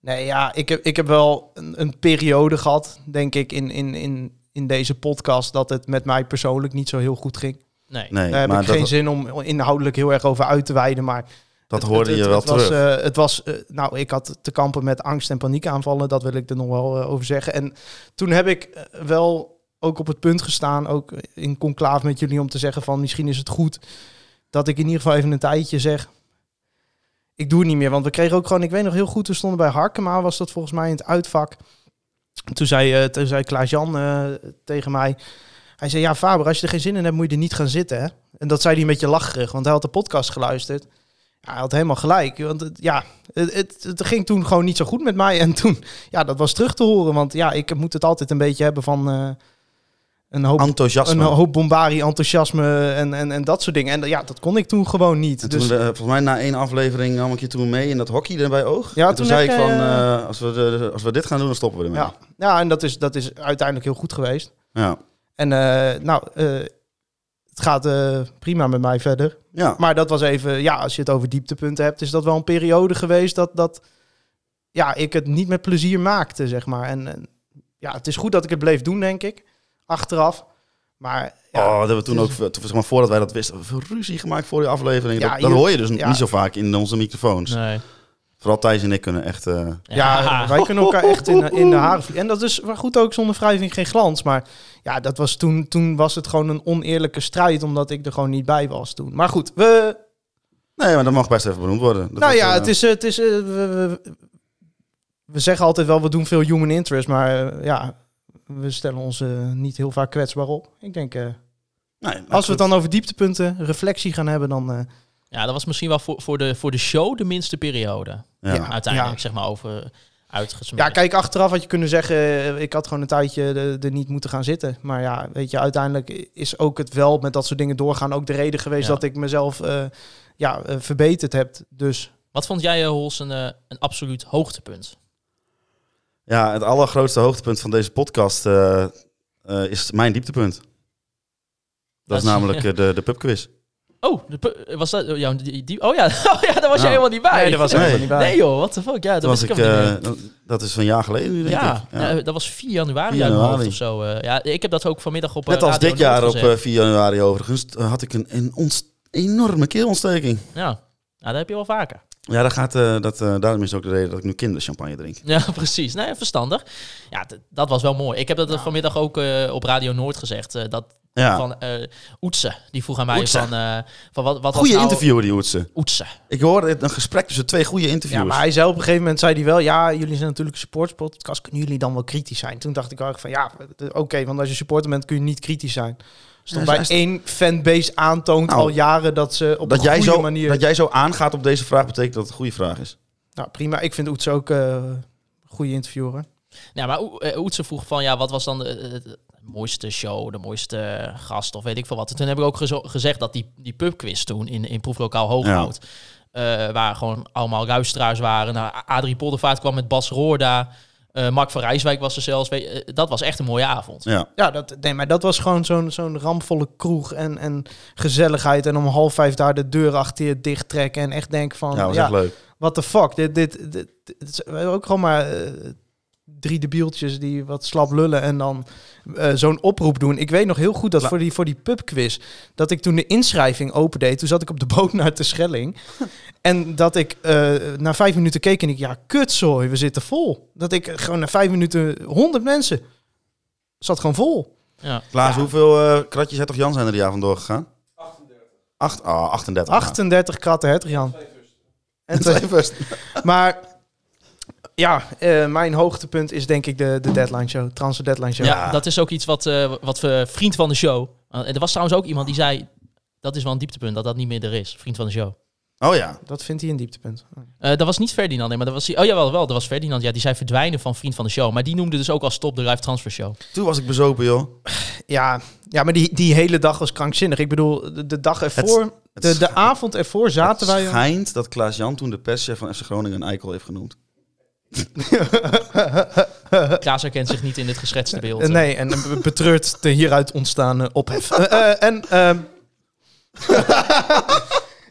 S3: Nee, ja, ik heb, ik heb wel een, een periode gehad, denk ik, in, in, in, in deze podcast, dat het met mij persoonlijk niet zo heel goed ging.
S4: Nee.
S5: Nee,
S3: Daar heb
S5: maar
S3: ik geen
S5: dat,
S3: zin om inhoudelijk heel erg over uit te wijden. Maar
S5: dat hoorde je wel
S3: het
S5: terug.
S3: Was, eh, het was, eh, nou, ik had te kampen met angst en paniekaanvallen. Dat wil ik er nog wel eh, over zeggen. En toen heb ik eh, wel ook op het punt gestaan, ook in conclave met jullie, om te zeggen van misschien is het goed dat ik in ieder geval even een tijdje zeg. Ik doe het niet meer, want we kregen ook gewoon, ik weet nog heel goed, we stonden bij Harkema, was dat volgens mij in het uitvak. Toen zei, eh, toen zei Klaas-Jan eh, tegen mij, hij zei, ja Faber, als je er geen zin in hebt, moet je er niet gaan zitten. Hè? En dat zei hij een beetje lacherig, want hij had de podcast geluisterd. Ja, hij had helemaal gelijk. Want het, ja, het, het, het ging toen gewoon niet zo goed met mij. En toen, ja, dat was terug te horen. Want ja, ik moet het altijd een beetje hebben van eh, een hoop...
S5: Enthousiasme.
S3: Een hoop bombari, enthousiasme en, en, en dat soort dingen. En ja, dat kon ik toen gewoon niet.
S5: En
S3: dus,
S5: toen, eh, volgens mij na één aflevering nam ik je toen mee in dat hockey er bij oog.
S3: Ja,
S5: en toen,
S3: toen
S5: zei ik
S3: heb
S5: van,
S3: jij,
S5: eh, als, we, de- als we dit gaan doen, dan stoppen we ermee.
S3: ja. ja, en dat is, dat is uiteindelijk heel goed geweest.
S5: ja.
S3: En eh, nou, eh, het gaat eh, prima met mij verder.
S5: Ja.
S3: Maar dat was even, ja, als je het over dieptepunten hebt, is dat wel een periode geweest dat, dat ja, ik het niet met plezier maakte, zeg maar. En, en ja, het is goed dat ik het bleef doen, denk ik, achteraf. Maar ja, dus-
S5: oh, dat hebben we toen
S3: het
S5: ook,
S3: is-
S5: eh, toen- zeg maar, voordat wij dat wisten, hebben we veel ruzie gemaakt voor die aflevering.
S3: Ja,
S5: dat, dat
S3: hier-
S5: hoor je dus
S3: ja.
S5: niet zo vaak in onze microfoons.
S4: Nee.
S5: Vooral Thijs en ik kunnen echt... eh,
S3: Ja, wij kunnen elkaar echt in, in de haren vliegen. En dat is maar goed ook zonder wrijving geen glans. Maar ja, dat was toen, toen was het gewoon een oneerlijke strijd, omdat ik er gewoon niet bij was toen. Maar goed, we,
S5: Nee, maar dat mag best even benoemd worden. Dat
S3: nou
S5: was,
S3: ja,
S5: eh,
S3: het is, eh, het is eh, we, we, we zeggen altijd wel, we doen veel human interest, maar eh, ja, we stellen ons eh, niet heel vaak kwetsbaar op. Ik denk, eh,
S5: Nee, nou,
S3: als we
S5: goed.
S3: het dan over dieptepunten, reflectie gaan hebben, dan... eh,
S4: Ja, dat was misschien wel voor, voor, de, voor de show de minste periode.
S5: Ja.
S3: Ja.
S4: Uiteindelijk,
S3: Ja.
S4: zeg maar, over eh, uitgesmeerd.
S3: Ja, kijk, achteraf had je kunnen zeggen, eh, ik had gewoon een tijdje er- er niet moeten gaan zitten. Maar ja, weet je, uiteindelijk is ook het wel met dat soort dingen doorgaan ook de reden geweest
S4: Ja.
S3: dat ik mezelf eh, ja, eh, verbeterd heb. Dus
S4: Wat vond jij, eh, Hols, een, eh, een absoluut hoogtepunt?
S5: Ja, het allergrootste hoogtepunt van deze podcast eh, eh, is mijn dieptepunt. Dat,
S4: Dat
S5: is
S4: is-
S5: namelijk eh, de, de pubquiz.
S4: Oh, de pu- was dat jouw... Die, die- oh ja, *laughs* oh ja, daar was
S5: Ja.
S4: je helemaal niet bij.
S3: nee, daar was ik
S5: Nee.
S3: helemaal niet bij.
S4: *laughs* Nee, joh, what the fuck. Ja, dat
S5: Toen was ik,
S4: ook niet
S5: eh,
S4: meer.
S5: dat- dat is een jaar geleden nu, denk
S4: ja,
S5: ik.
S3: eh,
S4: nou, dat was 4 januari,
S5: 4
S4: uit mijn hoofd
S5: januari.
S4: of zo. eh. ja, ik heb dat ook vanmiddag op eh,
S5: Net als
S4: Radio
S5: dit jaar
S4: Noord
S5: op
S4: gezegd.
S5: eh, 4 januari overigens eh, had ik een, een ons- enorme keelontsteking.
S4: Ja, nou, dat heb je wel vaker. *laughs*
S5: Ja, daar gaat, eh, dat, eh, daarom is ook de reden dat ik nu kinderchampagne drink.
S4: Ja, precies. Nee, verstandig. Ja, d- dat was wel mooi. Ik heb dat eh, vanmiddag ook eh, op Radio Noord gezegd. eh, dat
S5: Ja.
S4: van eh Oetse, die vroeg aan mij
S5: Oetse.
S4: van... eh, van wat, wat was
S5: Goede
S4: nou...
S5: interviewer die Hoedse.
S4: Oetse.
S5: Ik hoorde het- een gesprek tussen twee goede
S3: Ja,
S5: interviewers.
S3: maar hij zei op een gegeven moment, zei hij wel, ja, jullie zijn natuurlijk een supportspodcast, kunnen jullie dan wel kritisch zijn? Toen dacht ik wel echt van, ja, d- oké, want als je supporter bent kun je niet kritisch zijn. Dus
S5: Ja,
S3: dan bij
S5: zij-
S3: één fanbase aantoont
S5: Nou,
S3: al jaren dat ze op
S5: dat,
S3: een
S5: jij
S3: goede
S5: zo,
S3: manier...
S5: dat jij zo aangaat op deze vraag betekent dat het een goede vraag is.
S3: Nou, prima. Ik vind Oets ook eh, een goede interviewer. hoor.
S4: Ja, maar Oe- eh, Oetse vroeg van, ja, wat was dan de, de- de mooiste show, de mooiste eh, gast of weet ik veel wat. En toen heb ik ook gezo- gezegd dat die, die pubquiz toen in, in Proeflokaal Hooghout, eh, waar gewoon allemaal luisteraars waren. Nou, A- Adrie Poldervaart kwam met Bas Roorda, eh, Mark van Rijswijk was er zelfs. Weet, eh, dat was echt een mooie avond.
S5: Ja.
S3: Ja, dat, nee, maar dat was gewoon zo'n zo'n ramvolle kroeg en, en gezelligheid. En om half vijf daar de deur achter je dicht trekken. En echt denken van,
S5: Ja, was echt
S3: ja,
S5: leuk.
S3: what the fuck. Dit, dit, dit, dit is- we hebben ook gewoon maar eh, drie debieltjes die wat slap lullen en dan eh, zo'n oproep doen. Ik weet nog heel goed dat
S5: La-
S3: voor die, voor die pubquiz, dat ik toen de inschrijving opendeed, toen zat ik op de boot naar de Schelling. en dat ik eh, na vijf minuten keek en ik, ja, kutzooi, we zitten vol. Dat ik gewoon na vijf minuten, honderd mensen, zat gewoon vol.
S4: Ja.
S5: Klaas, hoeveel eh, kratjes Hertog Jan zijn er die avond doorgegaan? 38. Acht, ah, 38.
S3: 38 kratten, hè, Jan? En
S5: Nou,
S3: twee-
S5: twee first.
S3: maar ja, eh, mijn hoogtepunt is denk ik de, de deadline show, transfer deadline show.
S4: Ja, dat is ook iets wat, eh, wat we, vriend van de show. eh, en er was trouwens ook iemand die zei, dat is wel een dieptepunt, dat dat niet meer er is, vriend van de show.
S5: Oh ja.
S3: Dat vindt hij een dieptepunt.
S4: Eh, dat was niet Ferdinand, nee, maar dat was... Oh jawel, wel, dat was Ferdinand. Ja, die zei verdwijnen van Vriend van de Show. Maar die noemde dus ook als top de live transfer show.
S5: Toen was ik bezopen, joh.
S3: Ja, ja maar die, die hele dag was krankzinnig. Ik bedoel, de, de dag ervoor,
S5: Het
S3: de,
S5: sch-
S3: de avond ervoor zaten
S5: het
S3: wij... eh,
S5: schijnt dat Klaas Jan toen de perschef van FC Groningen een eikel heeft genoemd. Eh.
S4: Klaas herkent zich niet in dit geschetste beeld.
S3: Eh, nee, en be- betreurt de hieruit ontstaan eh, ophef. Eh, eh, en... ehm,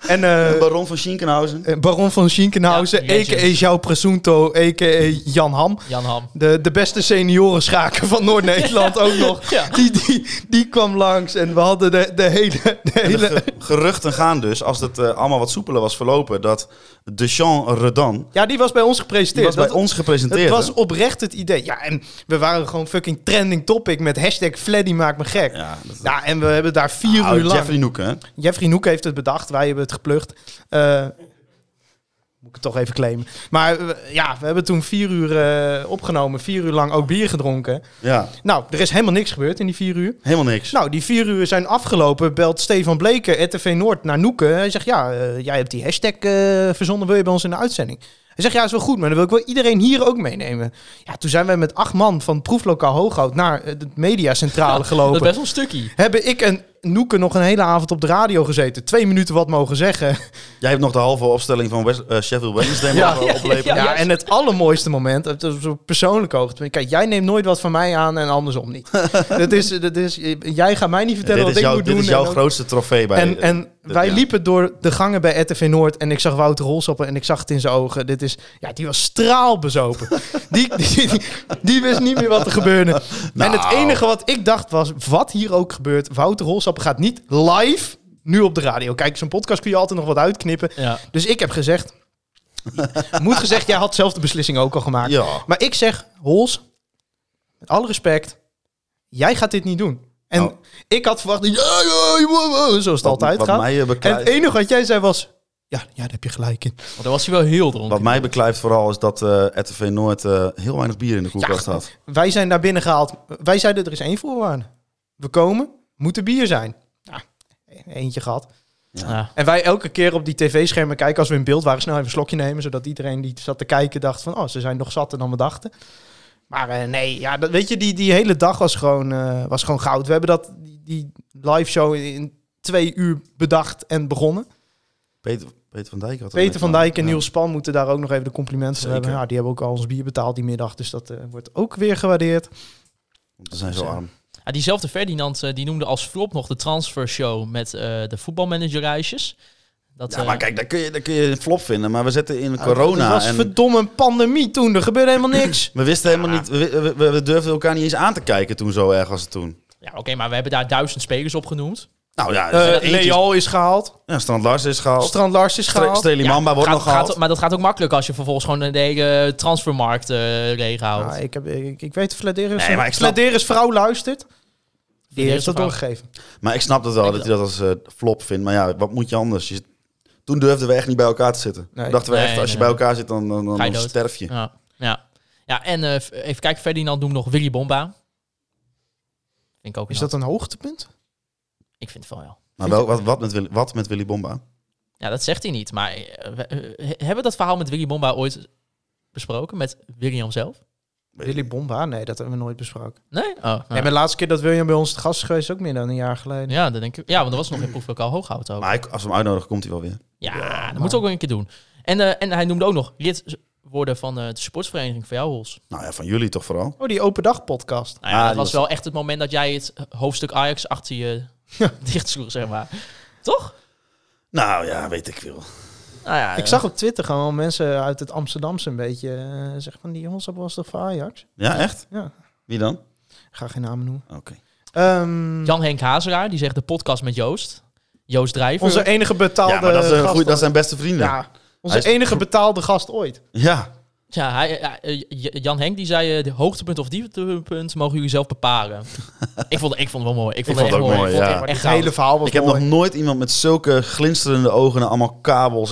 S3: en... eh,
S5: De Baron van Schinkenhausen.
S3: eh, Baron van Schinkenhausen,
S4: Ja, legend.
S3: a.k.a. Jouw Presunto, a.k.a. Jan Ham.
S4: Jan Ham.
S3: De, de beste seniorenschaker van
S5: *laughs*
S3: Noord-Nederland ook nog.
S4: Ja.
S3: Die, die, die kwam langs en we hadden de, de hele... De
S5: En de
S3: hele
S5: ge- geruchten gaan dus, als het eh, allemaal wat soepeler was verlopen, dat Dejean Redan,
S3: ja, die was bij ons
S5: die
S3: gepresenteerd.
S5: was bij
S3: Dat-
S5: ons gepresenteerd.
S3: Het was
S5: hè?
S3: oprecht het idee. Ja, en we waren gewoon fucking trending topic met hashtag Fleddy maakt me gek. Ja.
S5: Ja, dat,
S3: en we hebben daar vier
S5: Ah,
S3: uur lang...
S5: Jeffrey Noeken, hè?
S3: Jeffrey, Noek heeft het bedacht, wij hebben het geplukt. Eh, moet ik het toch even claimen. Maar eh, ja, we hebben toen vier uur eh, opgenomen, vier uur lang ook bier gedronken.
S5: Ja,
S3: Nou, er is helemaal niks gebeurd in die vier uur.
S5: helemaal niks.
S3: Nou, die vier uur zijn afgelopen. Belt Stefan Bleken, RTV Noord, naar Noeken. Hij zegt, ja, eh, jij hebt die hashtag eh, verzonnen. Wil je bij ons in de uitzending? Hij zegt, ja, is wel goed, maar dan wil ik wel iedereen hier ook meenemen. Ja, toen zijn wij met acht man van proeflokaal Hooghout naar eh, de
S5: *laughs*
S3: mediacentrale
S4: Dat is
S3: gelopen.
S4: best wel een stukje.
S3: Hebben ik en Noeken nog een hele avond op de radio gezeten. Twee minuten wat mogen zeggen.
S5: Jij hebt nog de halve opstelling van West, eh, Sheffield Wednesday
S3: *laughs* Ja.
S5: mogen oplepen.
S3: Ja,
S4: Ja, juist.
S3: en het allermooiste moment, het is op persoonlijk hoogtepunt. Kijk, jij neemt nooit wat van mij aan en
S5: *laughs*
S3: andersom niet. dat is, dat is, jij gaat mij niet
S5: dit
S3: vertellen wat
S5: is,
S3: ik
S5: jouw,
S3: moet
S5: dit
S3: doen.
S5: is jouw
S3: en ook-
S5: grootste trofee bij
S3: En, en
S5: dat-
S3: wij
S5: ja.
S3: liepen door de gangen bij RTV Noord en ik zag Wouter Holsappen en ik zag het in zijn ogen. Dit is, ja, die
S5: *laughs*
S3: was straalbezopen. die, die, die, die wist niet meer wat er gebeurde. En
S5: Nou.
S3: het enige wat ik dacht was, wat hier ook gebeurt, Wouter Holsappen gaat niet live nu op de radio. Kijk, zo'n podcast kun je altijd nog wat uitknippen.
S4: Ja.
S3: Dus ik heb
S5: *laughs*
S3: gezegd, moet gezegd, jij had zelf de beslissing ook al gemaakt.
S5: Ja.
S3: Maar ik zeg, Hols, met alle respect, jij gaat dit niet doen. En
S5: Nou.
S3: ik had verwacht, ja, ja, ja, ja, zoals het altijd
S5: wat
S3: gaat.
S5: mij, eh,
S3: En
S5: beklijft-
S3: het enige wat jij zei was, Ja, ja, daar heb je gelijk in.
S4: Want daar was hij wel heel dronken.
S5: Wat mij beklijft vooral is dat eh RTV Noord eh, heel weinig bier in de koelkast had.
S3: Wij zijn naar binnen gehaald. Wij zeiden, er is één voorwaarde. We komen, moet er bier zijn. Ja, eentje gehad.
S4: Ja.
S3: En wij elke keer op die tv-schermen kijken als we in beeld waren, snel even een slokje nemen, zodat iedereen die zat te kijken dacht van, oh, ze zijn nog zatter dan we dachten. Maar eh, nee, ja, dat, weet je, die, die hele dag was gewoon, eh, was gewoon goud. We hebben dat, die, die live show in twee uur bedacht en begonnen.
S5: Peter, Peter van Dijk had dat
S3: Peter van
S5: meegemaakt.
S3: Dijk en
S5: Ja.
S3: Niels Span moeten daar ook nog even de complimenten voor
S5: Zeker.
S3: hebben. Ja, die hebben ook al ons bier betaald die middag, dus dat eh, wordt ook weer gewaardeerd.
S5: Ze zijn zo arm.
S4: Ja, diezelfde Ferdinand eh, die noemde als flop nog de transfershow met eh, de voetbalmanagerreisjes. Dat,
S5: Ja,
S4: eh,
S5: maar kijk, daar kun, je, daar kun je een flop vinden. Maar we zitten in
S3: Het
S5: corona
S3: Ah, was
S5: en
S3: verdomme een pandemie toen, er gebeurde helemaal niks.
S5: we wisten helemaal niet... We, we- we- we durfden elkaar niet eens aan te kijken toen zo erg als het toen.
S4: ja, oké, maar we hebben daar duizend spelers op genoemd.
S5: Nou *laughs* ja,
S3: Eh,
S5: eentje-
S3: Leal is gehaald,
S5: Ja, Strand Lars is gehaald.
S3: Strand Lars is
S5: Oh. Stre-
S3: gehaald.
S5: Streli Mamba wordt
S4: gaat-
S5: nog
S4: gaat-
S5: gehaald.
S4: maar dat gaat ook makkelijk als je vervolgens gewoon de hele transfermarkt eh leeg houdt.
S5: Nou,
S3: Ah, ik, heb, ik, ik weet, Vladeris,
S5: Nee, maar ik snap-
S3: Vladeris vrouw luistert. Die
S4: Vladeris
S3: heeft dat
S4: vrouw.
S3: doorgegeven.
S5: Maar ik snap dat wel, dat hij dat als eh, flop vindt. Maar ja, wat moet je anders? Je zit- toen durfden we echt niet bij elkaar te zitten.
S3: Nee.
S5: Toen dachten we
S4: Nee,
S5: echt, als je
S4: nee.
S5: bij elkaar zit, dan, dan, dan,
S4: Ga je
S5: dan
S4: dood.
S5: sterf je.
S4: Ja, ja. ja en eh, f- even kijken, Ferdinand noemt nog Willy Bomba. Vind ik ook
S3: Is
S4: een-
S3: dat een hoogtepunt?
S4: Ik vind het wel, ja.
S5: Maar wel, wat, wat, met Willy, wat met Willy Bomba?
S4: Ja, dat zegt hij niet. Maar eh, we- eh, he- hebben we dat verhaal met Willy Bomba ooit besproken? Met William zelf?
S3: Willy Bomba? Nee, dat hebben we nooit besproken.
S4: Nee? Oh, nou.
S3: Nee, maar de laatste keer dat William bij ons te gast is geweest, is ook meer dan een jaar geleden.
S4: Ja, dat denk ik. Ja, want er was nog een proeflokaal hooghout ook.
S5: Maar hij- als we hem uitnodigen, komt hij wel weer.
S4: ja, dat moeten we ook een keer doen. En, eh, en hij noemde ook nog lid worden van eh, de sportsvereniging van jou, Hols.
S5: Nou ja, van jullie toch vooral.
S3: Oh, die open dag podcast.
S4: Nou ja,
S5: Ah,
S4: dat
S5: die
S4: was
S5: was-
S4: wel echt het moment dat jij het eh, hoofdstuk Ajax achter je dicht sloeg, zeg maar. Toch?
S5: Nou ja, weet ik veel.
S4: Nou ja,
S3: Ik zag op Twitter gewoon mensen uit het Amsterdamse een beetje eh, zeggen van die jongens, dat was toch voor Ajax?
S5: Ja, echt?
S3: Ja.
S5: Wie dan?
S3: Ik ga geen namen noemen.
S5: Oké.
S3: Ehm,
S4: Jan-Henk Hazelaar, die zegt de podcast met Joost. Joost Drijver.
S3: onze enige betaalde
S5: Ja, maar dat, is een
S3: gast
S5: goeie, dat
S3: ooit.
S5: zijn beste vrienden. Ja.
S3: ja, onze
S5: Hij is-
S3: enige betaalde gast ooit.
S4: Ja, hij- eh, eh, J- Jan-Henk die zei, eh, de hoogtepunt of dieptepunt mogen jullie zelf
S5: *laughs*
S4: bepalen. ik, vond, ik vond het wel mooi. Ik vond, het,
S5: vond het
S4: echt
S5: ook
S4: mooi.
S5: mooi,
S4: Ik vond
S5: ja.
S4: het
S3: Maar
S4: echt
S3: het
S4: goud.
S3: hele verhaal was
S5: Ik heb
S3: mooi.
S5: nog nooit iemand met zulke glinsterende ogen naar allemaal kabels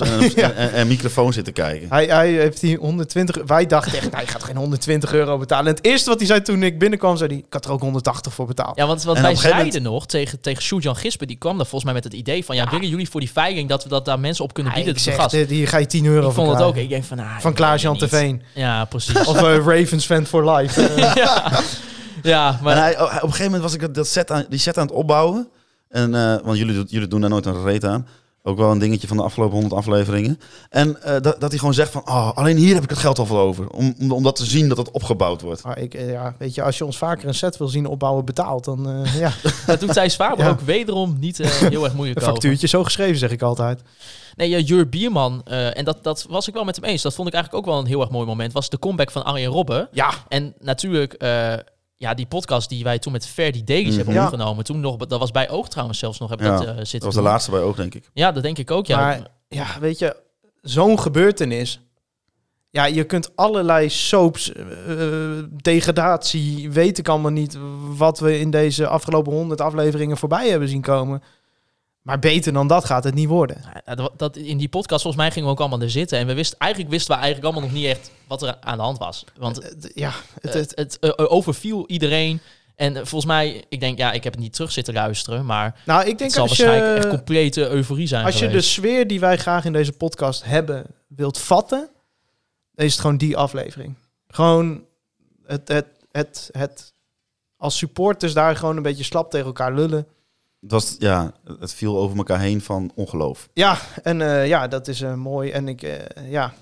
S4: *laughs*
S5: en, een- en, en, en microfoon zitten kijken.
S3: Hij, hij heeft die 120... Wij dachten echt, hij gaat geen 120 euro betalen. En het eerste wat hij zei toen ik binnenkwam, zei hij... Ik had er ook 180 voor betaald.
S4: Ja, want, want
S5: En
S4: wij
S5: op een gegeven
S4: zeiden nog tegen, tegen Sjoerd-Jan Gispen, die kwam daar volgens mij met het idee van, ja, willen jullie voor die veiling dat we dat daar mensen op kunnen
S3: Hij
S4: bieden?
S3: ik
S4: dat
S3: zeg,
S4: gast.
S3: dit- hier ga je 10 euro
S4: ik
S3: voor
S4: vond het ook.
S3: krijgen.
S4: Ik denk van, ah,
S3: Van
S4: ik
S3: Klaas-Jan
S4: weet het niet.
S3: Terveen.
S4: Ja,
S5: *laughs*
S4: precies.
S3: Of eh, Ravens fan for life. *laughs* Eh,
S4: ja. ja, maar
S5: en hij, oh, hij- op een gegeven moment was ik dat- dat set aan, die set aan het opbouwen. En, eh, want jullie, doen- jullie doen daar nooit een reet aan. Ook wel een dingetje van de afgelopen 100 afleveringen. En eh, dat, dat hij gewoon zegt van, oh, alleen hier heb ik het geld al voor over. Om, om, om dat te zien dat het opgebouwd wordt.
S3: maar ik, eh, ja, weet je, als je ons vaker een set wil zien opbouwen betaald, dan eh ja,
S4: *laughs* dat doet Thijs Faber
S3: Ja.
S4: ook wederom niet eh, heel erg
S5: *laughs*
S4: moeilijk
S3: een
S4: over.
S3: factuurtje zo geschreven, zeg ik altijd.
S4: Nee, ja, Jur Bierman, eh, en dat, dat was ik wel met hem eens. Dat vond ik eigenlijk ook wel een heel erg mooi moment. Was de comeback van Arjen Robben.
S3: Ja.
S4: En natuurlijk, eh, ja, die podcast die wij toen met Ferdi Davies hebben
S3: Ja.
S4: opgenomen. Toen nog, dat was bij Oog trouwens zelfs nog. Heb ik
S5: Mhm. Ja,
S4: dat, eh, zitten
S5: Dat was de
S4: doen.
S5: laatste bij ook, denk ik.
S4: Ja, dat denk ik ook. Ja.
S3: Maar ja, weet je, zo'n gebeurtenis. Ja, je kunt allerlei soaps, eh, eh, degradatie, weet ik allemaal niet wat we in deze afgelopen honderd afleveringen voorbij hebben zien komen. Maar beter dan dat gaat het niet worden.
S4: Ja, Eh, dat- dat, in die podcast, volgens mij gingen we ook allemaal er zitten. En we wisten, eigenlijk wisten we eigenlijk allemaal nog niet echt wat er aan de hand was. Want
S3: Eh, d- ja, het,
S4: het,
S3: het,
S4: het, eh, overviel iedereen. En eh, volgens mij, ik denk, ja, ik heb het niet terug zitten luisteren. Maar
S3: nou, ik
S4: het
S3: denk
S4: zal
S3: als
S4: waarschijnlijk echt
S3: je,
S4: complete euforie zijn
S3: als je de
S4: geweest.
S3: sfeer die wij graag in deze podcast hebben wilt vatten, dan is het gewoon die aflevering. Gewoon het, het, het, het, als supporters daar gewoon een beetje slap tegen elkaar lullen.
S5: Het, was, ja, het viel over elkaar heen van ongeloof.
S3: Ja, en eh, ja, dat is eh, mooi. En ik, eh, ja.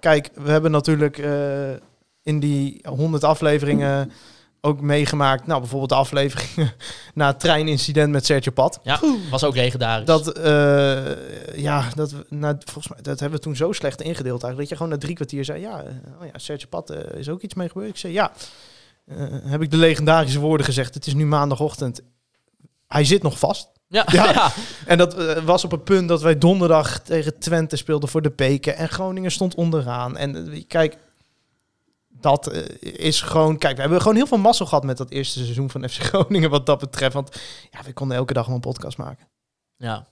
S3: Kijk, we hebben natuurlijk eh, in die 100 afleveringen ook meegemaakt. Nou, bijvoorbeeld de aflevering *laughs* na het treinincident met Sergio Pat.
S4: Ja, was ook legendarisch.
S3: dus Dat, eh, ja, dat, we- nou, volgens mij, dat hebben we toen zo slecht ingedeeld eigenlijk. Dat je gewoon na drie kwartier zei, ja, eh, oh ja Sergio Pat, eh, is ook iets mee gebeurd. Ik zei, ja, Eh, heb ik de legendarische woorden gezegd. Het is nu maandagochtend. Hij zit nog vast.
S4: ja,
S3: ja.
S4: *laughs* ja.
S3: En dat eh, was op een punt dat wij donderdag tegen Twente speelden voor de Peken. En Groningen stond onderaan. En eh, kijk, dat eh, is gewoon... Kijk, we hebben gewoon heel veel mazzel gehad met dat eerste seizoen van FC Groningen wat dat betreft. Want ja, we konden elke dag wel een podcast maken.
S4: Ja.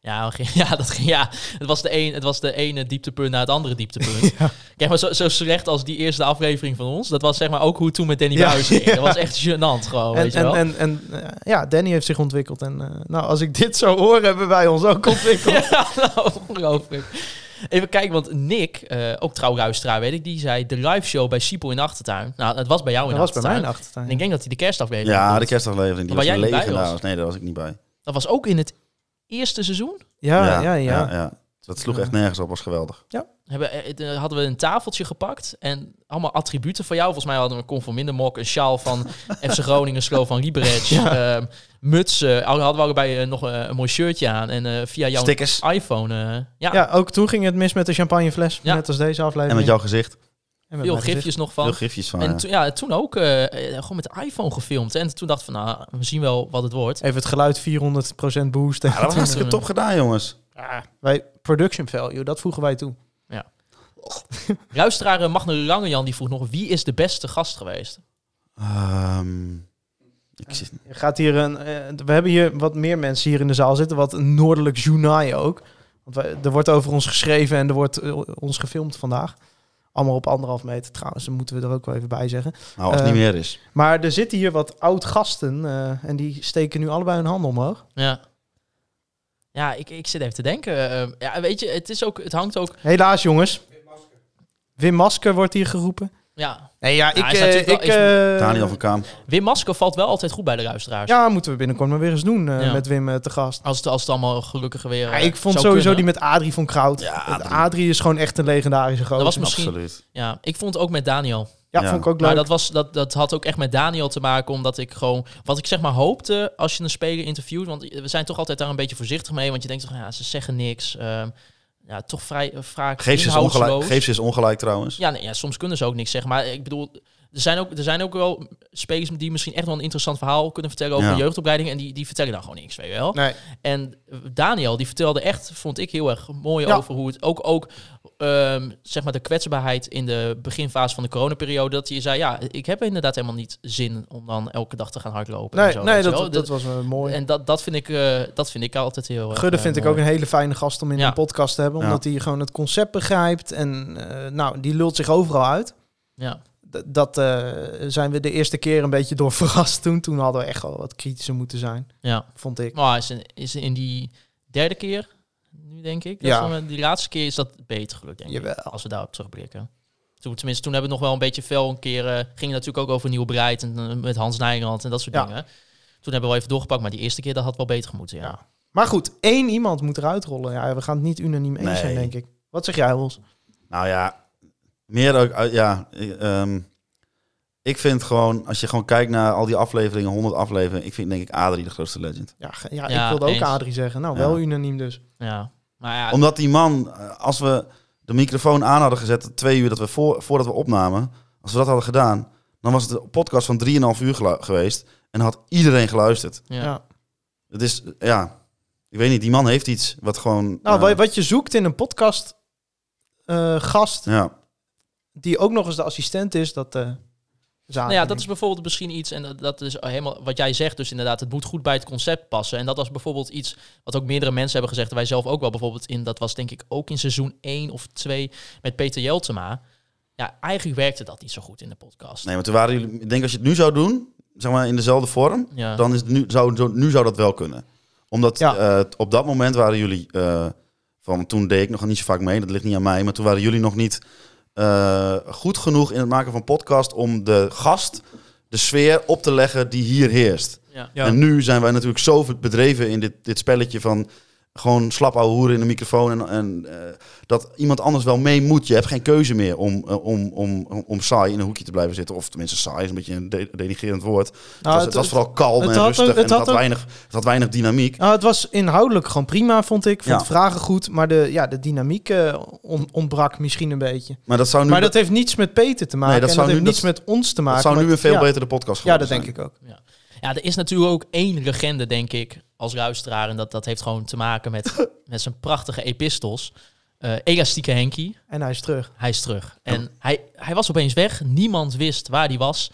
S4: Ja, *laughs* we gingen- ja, dat ging, ja. Het, was de een, het was de ene dieptepunt naar het andere
S3: *laughs*
S4: dieptepunt. Kijk, maar zo, zo slecht als die eerste aflevering van ons. Dat was zeg maar ook hoe het toen met Danny
S3: Ja,
S4: Buijs ging.
S3: *laughs* ja.
S4: Dat was echt gênant gewoon, Oh,
S3: en,
S4: weet je wel.
S3: en, en, en eh, ja, Danny heeft zich ontwikkeld. En eh, nou, als ik dit zou horen, hebben wij ons ook ontwikkeld.
S4: *laughs* Ja, nou, ongelooflijk. Even kijken, want Nick, eh ook trouw luisteraar weet ik, die zei de live show bij Siepel in de achtertuin. Nou, dat was bij jou in
S3: dat
S4: de
S3: was bij mij nou.
S4: achtertuin.
S3: in de achtertuin.
S4: En ik denk dat hij de kerstaflevering.
S5: Ja,
S4: had.
S5: de kerstaflevering. Die
S4: Maar
S5: was
S4: jij niet bij
S5: legendarisch.
S4: was.
S5: Nee, daar was ik niet bij.
S4: Dat was ook in het eerste seizoen.
S3: ja, ja, ja,
S5: ja, Dat sloeg echt nergens op. Was geweldig.
S4: Hebben, eh, de- hadden we een tafeltje gepakt en allemaal attributen van jou. Volgens mij hadden we een conforminder mok, een sjaal van FC Groningen, Slo van Liberec, ehm, mutsen. Al- Hadden we allebei eh, nog eh, een mooi shirtje aan en eh, via jouw
S5: Stickers.
S4: iPhone. eh, ja,
S3: Ja, ook toen ging het mis met de champagnefles.
S4: Ja.
S3: Net als deze aflevering.
S5: En met jouw gezicht.
S3: En
S4: veel
S3: met mijn gezicht.
S4: gifjes nog van.
S5: Veel gifjes van.
S4: En
S5: ja.
S4: toen- ja, toen ook eh, eh, gewoon met de iPhone gefilmd. En toen dacht ik van, nou, we zien wel wat het wordt.
S3: Even het geluid 400% boost.
S5: Ja, dat was hartstikke top gedaan, jongens.
S3: Wij, production value, dat voegen wij toe.
S4: Luisteraar eh, Magne Langejan die vroeg nog, wie is de beste gast geweest?
S5: Ehm, ik zit,
S3: Er Gaat hier een, eh, we hebben hier wat meer mensen hier in de zaal zitten. Wat een noordelijk journaai ook. Want wij, er wordt over ons geschreven en er wordt eh, ons gefilmd vandaag. Allemaal op anderhalf meter trouwens. Dat moeten we er ook wel even bij zeggen.
S5: nou, als het
S3: Ehm,
S4: Eh,
S5: niet meer is.
S3: Maar er zitten hier wat oud-gasten. eh, en die steken nu allebei hun handen omhoog.
S4: Ja, ja ik, ik zit even te denken. Eh, ja, weet je, het, is ook, het hangt ook...
S3: Helaas jongens. Wim Masker wordt hier geroepen.
S4: Ja.
S3: Nee ja,
S4: hij
S3: ik...
S4: is
S3: eh,
S4: natuurlijk wel-
S3: ik eh,
S5: Daniel van Kaam.
S4: Wim Masker valt wel altijd goed bij de luisteraars.
S3: Ja, moeten we binnenkort maar weer eens doen eh,
S4: Ja.
S3: met Wim eh, te gast.
S4: Als, het, als het allemaal gelukkig weer
S3: Ja,
S4: eh,
S3: ik vond
S4: zou
S3: sowieso
S4: kunnen.
S3: die met Adrie van Kraut.
S5: Ja,
S3: Adrie.
S5: Adrie.
S3: is gewoon echt een legendarische gozer.
S4: Dat was misschien...
S5: Absoluut.
S4: Ja, ik vond ook met Daniel.
S3: ja,
S5: ja.
S3: vond ik ook leuk.
S4: Maar dat, was, dat, dat had ook echt met Daniel te maken, omdat ik gewoon... Wat ik zeg maar hoopte als je een speler interviewt, want we zijn toch altijd daar een beetje voorzichtig mee, want je denkt toch, ja, ze zeggen niks. ehm, ja, toch vrij eh, vaak
S5: Geef ze, eens ongelijk,
S4: inhoudsloos.
S5: geef ze eens ongelijk trouwens.
S4: Ja, nee, ja, soms kunnen ze ook niks zeggen, maar ik bedoel... Er zijn, ook, er zijn ook wel spelers die misschien echt wel een interessant verhaal kunnen vertellen over
S5: Ja.
S4: de jeugdopleiding. En die, die vertellen dan gewoon niks, weet je wel.
S3: Nee.
S4: En Daniel, die vertelde echt, vond ik heel erg mooi
S3: Ja.
S4: over hoe het ook, ook ehm, zeg maar de kwetsbaarheid in de beginfase van de coronaperiode, dat hij zei, ja, ik heb inderdaad helemaal niet zin om dan elke dag te gaan hardlopen. en
S3: Nee,
S4: zo,
S3: nee
S4: weet je
S3: dat,
S4: wel.
S3: dat, was eh, mooi.
S4: en dat, dat, vind ik, eh, dat vind ik altijd heel erg,
S3: Gudde
S4: eh,
S3: vind ik
S4: mooi.
S3: ook een hele fijne gast om in
S4: Ja.
S3: een podcast te hebben.
S5: Ja.
S3: Omdat hij gewoon het concept begrijpt. En eh, nou, die lult zich overal uit.
S4: Ja.
S3: D- dat eh, zijn we de eerste keer een beetje door *laughs* verrast toen. Toen hadden we echt wel wat kritischer moeten zijn,
S4: ja.
S3: vond ik.
S4: Maar is in, is in die derde keer, nu denk ik, dat
S3: Ja.
S4: we- die laatste keer is dat beter gelukt, denk
S3: Jawel.
S4: ik, als we daarop terugblikken. Toen, tenminste, toen hebben we nog wel een beetje fel een keer... eh, ging het natuurlijk ook over Nieuw Breid en eh, met Hans Nijland en dat soort
S3: Ja.
S4: dingen. Toen hebben we wel even doorgepakt, maar die eerste keer dat had wel beter gemoeten, ja.
S3: Ja. Maar goed, één iemand moet eruit rollen. Ja, we gaan het niet unaniem eens
S5: Nee.
S3: zijn, denk ik. Wat zeg jij, Hols?
S5: Nou ja, meer ook. uit- Ja, ik, ehm, ik vind gewoon, als je gewoon kijkt naar al die afleveringen, 100 afleveringen, ik vind denk ik Adrie de grootste legend.
S3: Ja, ge- ja,
S4: Ja,
S3: ik wilde ook
S4: eens.
S3: Adrie zeggen. Nou,
S5: Ja.
S3: wel unaniem dus.
S4: Ja. Maar ja,
S5: Omdat die man, eh, als we de microfoon aan hadden gezet, twee uur dat we voor, voordat we opnamen, als we dat hadden gedaan, dan was het een podcast van 3,5 uur gelu- geweest en had iedereen geluisterd.
S4: ja.
S3: ja.
S5: Het is, eh, ja, ik weet niet, die man heeft iets wat gewoon.
S3: Nou,
S5: eh,
S3: wat- wat je zoekt in een podcast eh, gast
S5: ja,
S3: die ook nog eens de assistent is, dat eh zaken.
S4: Nou ja, dat is bijvoorbeeld misschien iets, en dat- dat is helemaal wat jij zegt, dus inderdaad, het moet goed bij het concept passen. En dat was bijvoorbeeld iets wat ook meerdere mensen hebben gezegd, wij zelf ook wel bijvoorbeeld in, dat was denk ik ook in seizoen 1 of 2 met Peter Jeltema. Ja, eigenlijk werkte dat niet zo goed in de podcast.
S5: nee, maar toen waren jullie, ik denk als je het nu zou doen, zeg maar in dezelfde vorm,
S4: Ja.
S5: dan is het nu, zou, zo- nu zou dat wel kunnen. Omdat
S3: Ja.
S5: eh, t- op dat moment waren jullie... eh, van toen deed ik nog niet zo vaak mee, dat ligt niet aan mij... maar toen waren jullie nog niet eh, goed genoeg in het maken van podcast... om de gast de sfeer op te leggen die hier heerst.
S4: Ja.
S3: Ja.
S5: En nu zijn wij natuurlijk zo bedreven in dit, dit spelletje van... gewoon slap ouwe hoeren in de microfoon... En, en, eh, dat iemand anders wel mee moet. Je hebt geen keuze meer om, eh, om, om, om, om saai in een hoekje te blijven zitten. Of tenminste saai is een beetje een de- denigerend woord... Dus Het was, het was vooral kalm
S3: Nou, het
S5: en
S3: had
S5: rustig
S3: ook- het
S5: en het
S3: had
S5: had,
S3: ook-
S5: weinig, het had weinig dynamiek.
S3: Nou, het was inhoudelijk gewoon prima, vond ik. Vond
S5: Ja.
S3: de vragen goed, maar de, ja, de dynamiek eh, on- ontbrak misschien een beetje.
S5: Maar dat zou nu,
S3: maar dat heeft niets met Peter te maken
S5: Nee, dat
S3: en dat
S5: zou
S3: heeft
S5: nu-
S3: niets
S5: dat-
S3: met ons te maken.
S5: dat zou
S3: maar-
S5: nu een veel
S3: ja,
S5: betere podcast
S3: Ja,
S5: geworden
S3: dat
S5: zijn.
S3: denk ik ook.
S4: Ja, er is natuurlijk ook één legende, denk ik, als luisteraar. En dat, dat heeft gewoon te maken
S3: *laughs*
S4: met, met zijn prachtige epistels. Eh, Elastieke Henkie,
S3: En hij is terug.
S4: hij is terug. En hij, hij was opeens weg. Niemand wist waar hij was.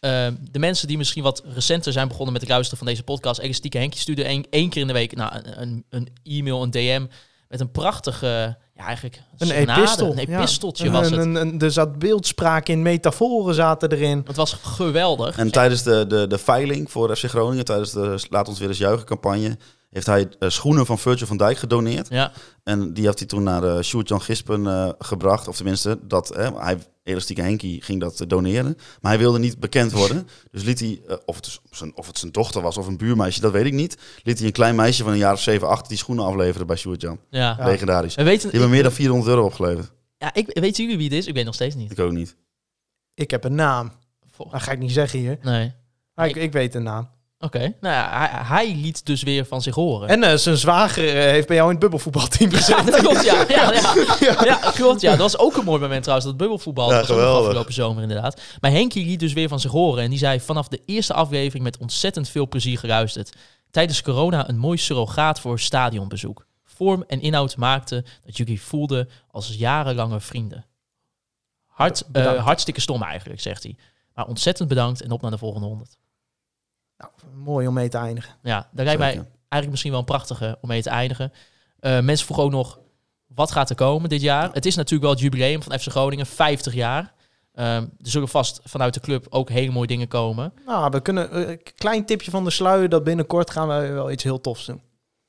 S4: eh, de mensen die misschien wat recenter zijn begonnen met het luisteren van deze podcast, Elastieke Henkie stuurde één, één keer in de week nou, een, een, een e-mail, een DM met een prachtige, ja eigenlijk
S3: Een
S4: serenade,
S3: epistel.
S4: een
S3: ja.
S4: episteltje
S3: Een-
S4: was het.
S3: een- een- er zat beeldspraak in, metaforen zaten erin.
S4: Het was geweldig.
S5: En tijdens de, de, de veiling voor FC Groningen, tijdens de Laat ons weer eens juichen campagne, heeft hij eh, schoenen van Virgil van Dijk gedoneerd.
S4: ja.
S5: En die heeft hij toen naar eh Sjoerd-Jan Gispen eh, gebracht. Of tenminste, dat, eh, hij, Elastieke Henkie ging dat eh, doneren. Maar hij wilde niet bekend worden. Dus liet hij, eh, of, het dus zijn, of het zijn dochter was of een buurmeisje, dat weet ik niet. Liet hij een klein meisje van een jaar of 7, 8 die schoenen afleveren bij Sjoerd-Jan.
S4: Ja.
S5: Legendarisch.
S4: We
S5: Die
S4: weten,
S5: hebben meer dan 400 euro opgeleverd.
S4: ja, ik, weten jullie wie het is? Ik weet nog steeds niet.
S5: Ik ook niet.
S3: Ik heb een naam.
S4: Vol-
S3: Dat ga ik niet zeggen hier.
S4: Nee.
S3: Maar ik,
S4: Ik-
S3: ik weet een naam.
S4: Oké. Nou ja, hij, hij liet dus weer van zich horen.
S3: En eh, zijn zwager eh, heeft bij jou in het
S4: *laughs*
S3: bubbelvoetbalteam
S4: Ja,
S3: gezeten.
S4: dat klopt, ja. Ja, ja. ja, klopt, ja. Dat was ook een mooi moment trouwens, dat bubbelvoetbal.
S5: Ja,
S4: dat was ook nog
S5: geweldig.
S4: afgelopen zomer inderdaad. Maar Henkie liet dus weer van zich horen. En die zei vanaf de eerste aflevering met ontzettend veel plezier geluisterd. Tijdens corona een mooi surrogaat voor stadionbezoek. Vorm en inhoud maakten dat jullie voelden als jarenlange vrienden. Hart, eh, hartstikke stom eigenlijk, zegt hij. Maar ontzettend bedankt en op naar de volgende honderd.
S3: Mooi om mee te eindigen.
S4: Ja, daar lijkt mij
S5: Zeker.
S4: eigenlijk misschien wel een prachtige om mee te eindigen. Eh, mensen vroegen ook nog, wat gaat er komen dit jaar? Het is natuurlijk wel het jubileum van FC Groningen, 50 jaar. Ehm, er zullen vast vanuit de club ook hele mooie dingen komen.
S3: Nou, we kunnen eh, een klein tipje van de sluier dat binnenkort gaan we wel iets heel tofs doen.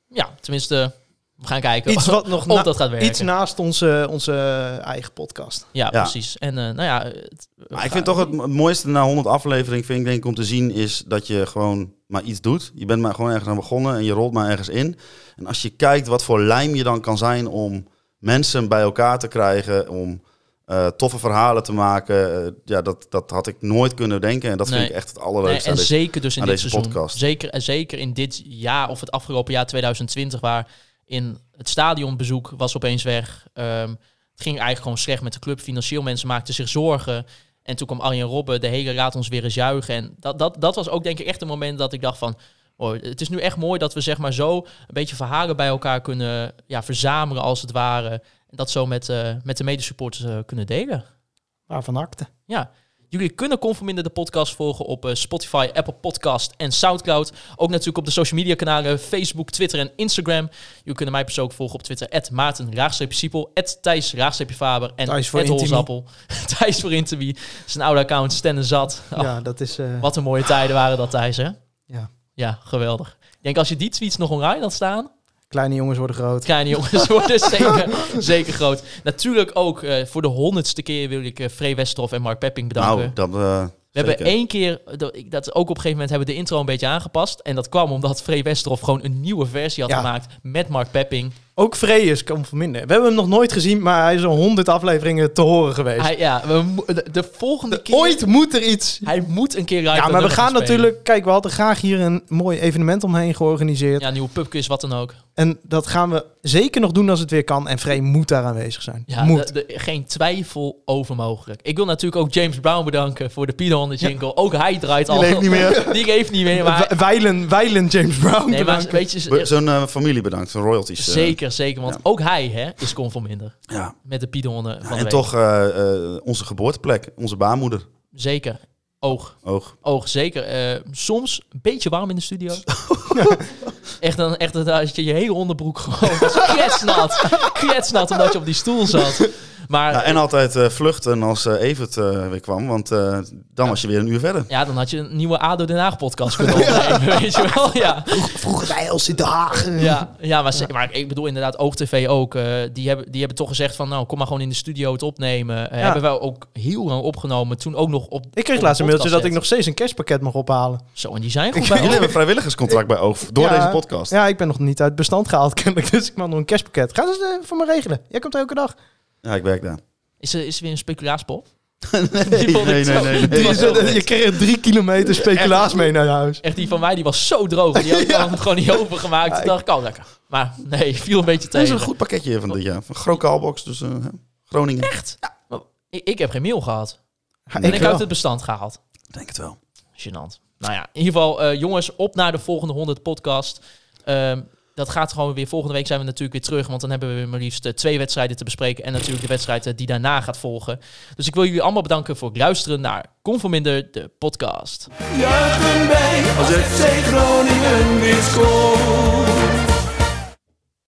S4: Ja, tenminste, we gaan kijken
S3: Iets wat nog
S4: *laughs* of
S3: na-
S4: dat gaat werken.
S3: iets naast onze, onze eh, eigen podcast.
S4: ja,
S5: Ja.
S4: precies. En eh, nou ja, het-
S5: Maar ik vind toch het, het mooiste na 100 afleveringen, vind ik denk ik, om te zien, is dat je gewoon maar iets doet. Je bent maar gewoon ergens aan begonnen en je rolt maar ergens in. En als je kijkt wat voor lijm je dan kan zijn om mensen bij elkaar te krijgen, om eh, toffe verhalen te maken, eh, ja, dat, dat had ik nooit kunnen denken. En dat vind
S4: Nee.
S5: ik echt het
S4: Nee,
S5: allerleukste.
S4: en
S5: aan dit.
S4: zeker dus in
S5: aan
S4: dit
S5: deze
S4: seizoen.
S5: podcast.
S4: Zeker, en zeker in dit jaar of het afgelopen jaar 2020, waar in het stadionbezoek was opeens weg. Ehm, het ging eigenlijk gewoon slecht met de club. Financieel mensen maakten zich zorgen. En toen kwam Arjen Robben, de hele raad ons weer eens juichen. En dat, dat, dat was ook denk ik echt een moment dat ik dacht van... Oh, het is nu echt mooi dat we zeg maar zo een beetje verhalen bij elkaar kunnen ja, verzamelen als het ware. En dat zo met, eh, met de medesupporters eh, kunnen delen.
S3: Waarvan acte.
S4: Ja. Jullie kunnen Conforminder de podcast volgen op eh, Spotify, Apple Podcast en Soundcloud. Ook natuurlijk op de social media kanalen Facebook, Twitter en Instagram. Jullie kunnen mij persoonlijk volgen op Twitter. At Maarten, Siepel. Thijs, Faber. En
S3: Thijs voor
S4: at
S3: Intimi.
S4: Holzappel. *laughs* Thijs voor Intimi. Zijn oude account, Stan en Zat. Oh,
S3: Ja, dat is... eh,
S4: Wat een mooie tijden waren dat, Thijs, hè?
S3: Ja.
S4: Ja, geweldig. Ik denk als je die tweets nog online had staan...
S3: kleine jongens worden groot.
S4: Kleine jongens *laughs* worden zeker, zeker groot. Natuurlijk ook eh, voor de honderdste keer wil ik eh Free Westerhof en Mark Pepping bedanken.
S5: Nou, dat, eh,
S4: We
S5: zeker.
S4: hebben één keer, dat ik- dat ook op een gegeven moment hebben we de intro een beetje aangepast. En dat kwam omdat Free Westerhof gewoon een nieuwe versie had
S3: Ja.
S4: gemaakt met Mark Pepping.
S3: Ook Freyus kan verminderen. We hebben hem nog nooit gezien, maar hij is al honderd afleveringen te horen geweest.
S4: Hij, ja, we, mo- de, de volgende keer...
S3: Ooit moet er iets.
S4: Hij moet een keer
S3: Ja, maar we gaan natuurlijk... Kijk, we hadden graag hier een mooi evenement omheen georganiseerd.
S4: Ja, nieuwe pubquiz, wat dan ook.
S3: En dat gaan we zeker nog doen als het weer kan. En Frey moet daar aanwezig zijn.
S4: Ja,
S3: moet.
S4: de- de- geen twijfel over mogelijk. Ik wil natuurlijk ook James Brown bedanken voor de Pidon jingle. Ook hij draait al.
S3: leeft niet meer.
S4: *laughs* Die leeft niet
S3: *laughs*
S4: meer, maar...
S3: Wij- Wijlen, wijlen James Brown.
S4: Nee, maar
S3: bedanken.
S4: weet
S5: Be-
S4: je...
S5: Zo'n eh, familie bedankt, zo'n royalties. eh.
S4: Zeker, zeker. Want ook hij hè, is conforminder.
S5: Ja.
S4: Met de Pidonnen van de
S5: En
S4: week.
S5: toch eh, eh, onze geboorteplek, onze baarmoeder.
S4: Zeker. Oog.
S5: Oog.
S4: Oog, zeker. Eh, soms een beetje warm in de studio. echt, dan, echt dan had je je hele onderbroek gewoon was kletsnat. kletsnat omdat je op die stoel zat. Maar
S5: Ja,
S4: ja,
S5: en altijd eh, vluchten als eh, Evert eh, weer kwam, want eh, dan was je weer een uur verder. *laughs*
S4: dan had je een nieuwe ADO Den Haag podcast kunnen opnemen. weet je wel, ja.
S3: Vroeger bij Els in Den Haag.
S4: Ja, ja, maar, ze- maar ik bedoel inderdaad Oog TV ook. eh, die, hebben, die hebben toch gezegd van nou, kom maar gewoon in de studio het opnemen. Eh,
S3: Ja.
S4: Hebben we ook heel lang opgenomen. Toen ook nog op
S3: Ik kreeg
S4: op
S3: laatst een
S4: de
S3: mailtje dat ik
S4: podcast
S3: nog steeds een cashpakket mag ophalen.
S4: zetten. Zo, en die zijn goed bij
S5: Jullie
S4: ons.
S5: hebben een vrijwilligerscontract bij Oog door
S3: Ja.
S5: deze podcast. Ja.
S3: Ja, ik ben nog niet uit bestand gehaald *laughs* kennelijk, dus ik mag nog een cashpakket. Ga eens eh, voor me regelen. Jij komt elke dag.
S5: ik werk daar.
S4: Is er, is er weer een speculaaspop?
S5: *laughs* Nee,
S4: vond ik
S5: nee,
S4: zo-
S5: nee, nee,
S4: Die
S5: nee.
S4: is- wel
S3: *laughs* je kreeg drie kilometer speculaas mee naar huis.
S4: Echt, die van mij die was zo droog. Die had ik dan gewoon niet opengemaakt.
S3: Ja,
S4: Toen dacht ik, oh lekker. Maar nee, *laughs* viel een beetje
S5: Dat is een
S4: tegen.
S5: goed pakketje van dit jaar. Van Grokaalbox, dus eh, Groningen. Echt? Ja,
S4: Ik, ik heb geen mail gehad.
S3: Ja,
S4: en ik
S3: wel.
S4: heb het bestand gehaald.
S5: ik denk het wel.
S4: Gênant. Nou ja, in ieder geval, eh, jongens, op naar de volgende 100 podcast. Ehm, Dat gaat gewoon weer. Volgende week zijn we natuurlijk weer terug. Want dan hebben we weer maar liefst eh, twee wedstrijden te bespreken. En natuurlijk de wedstrijd eh, die daarna gaat volgen. Dus ik wil jullie allemaal bedanken voor het luisteren naar Conforminder, de podcast.
S1: Juichen wij als FC Groningen weer scoort.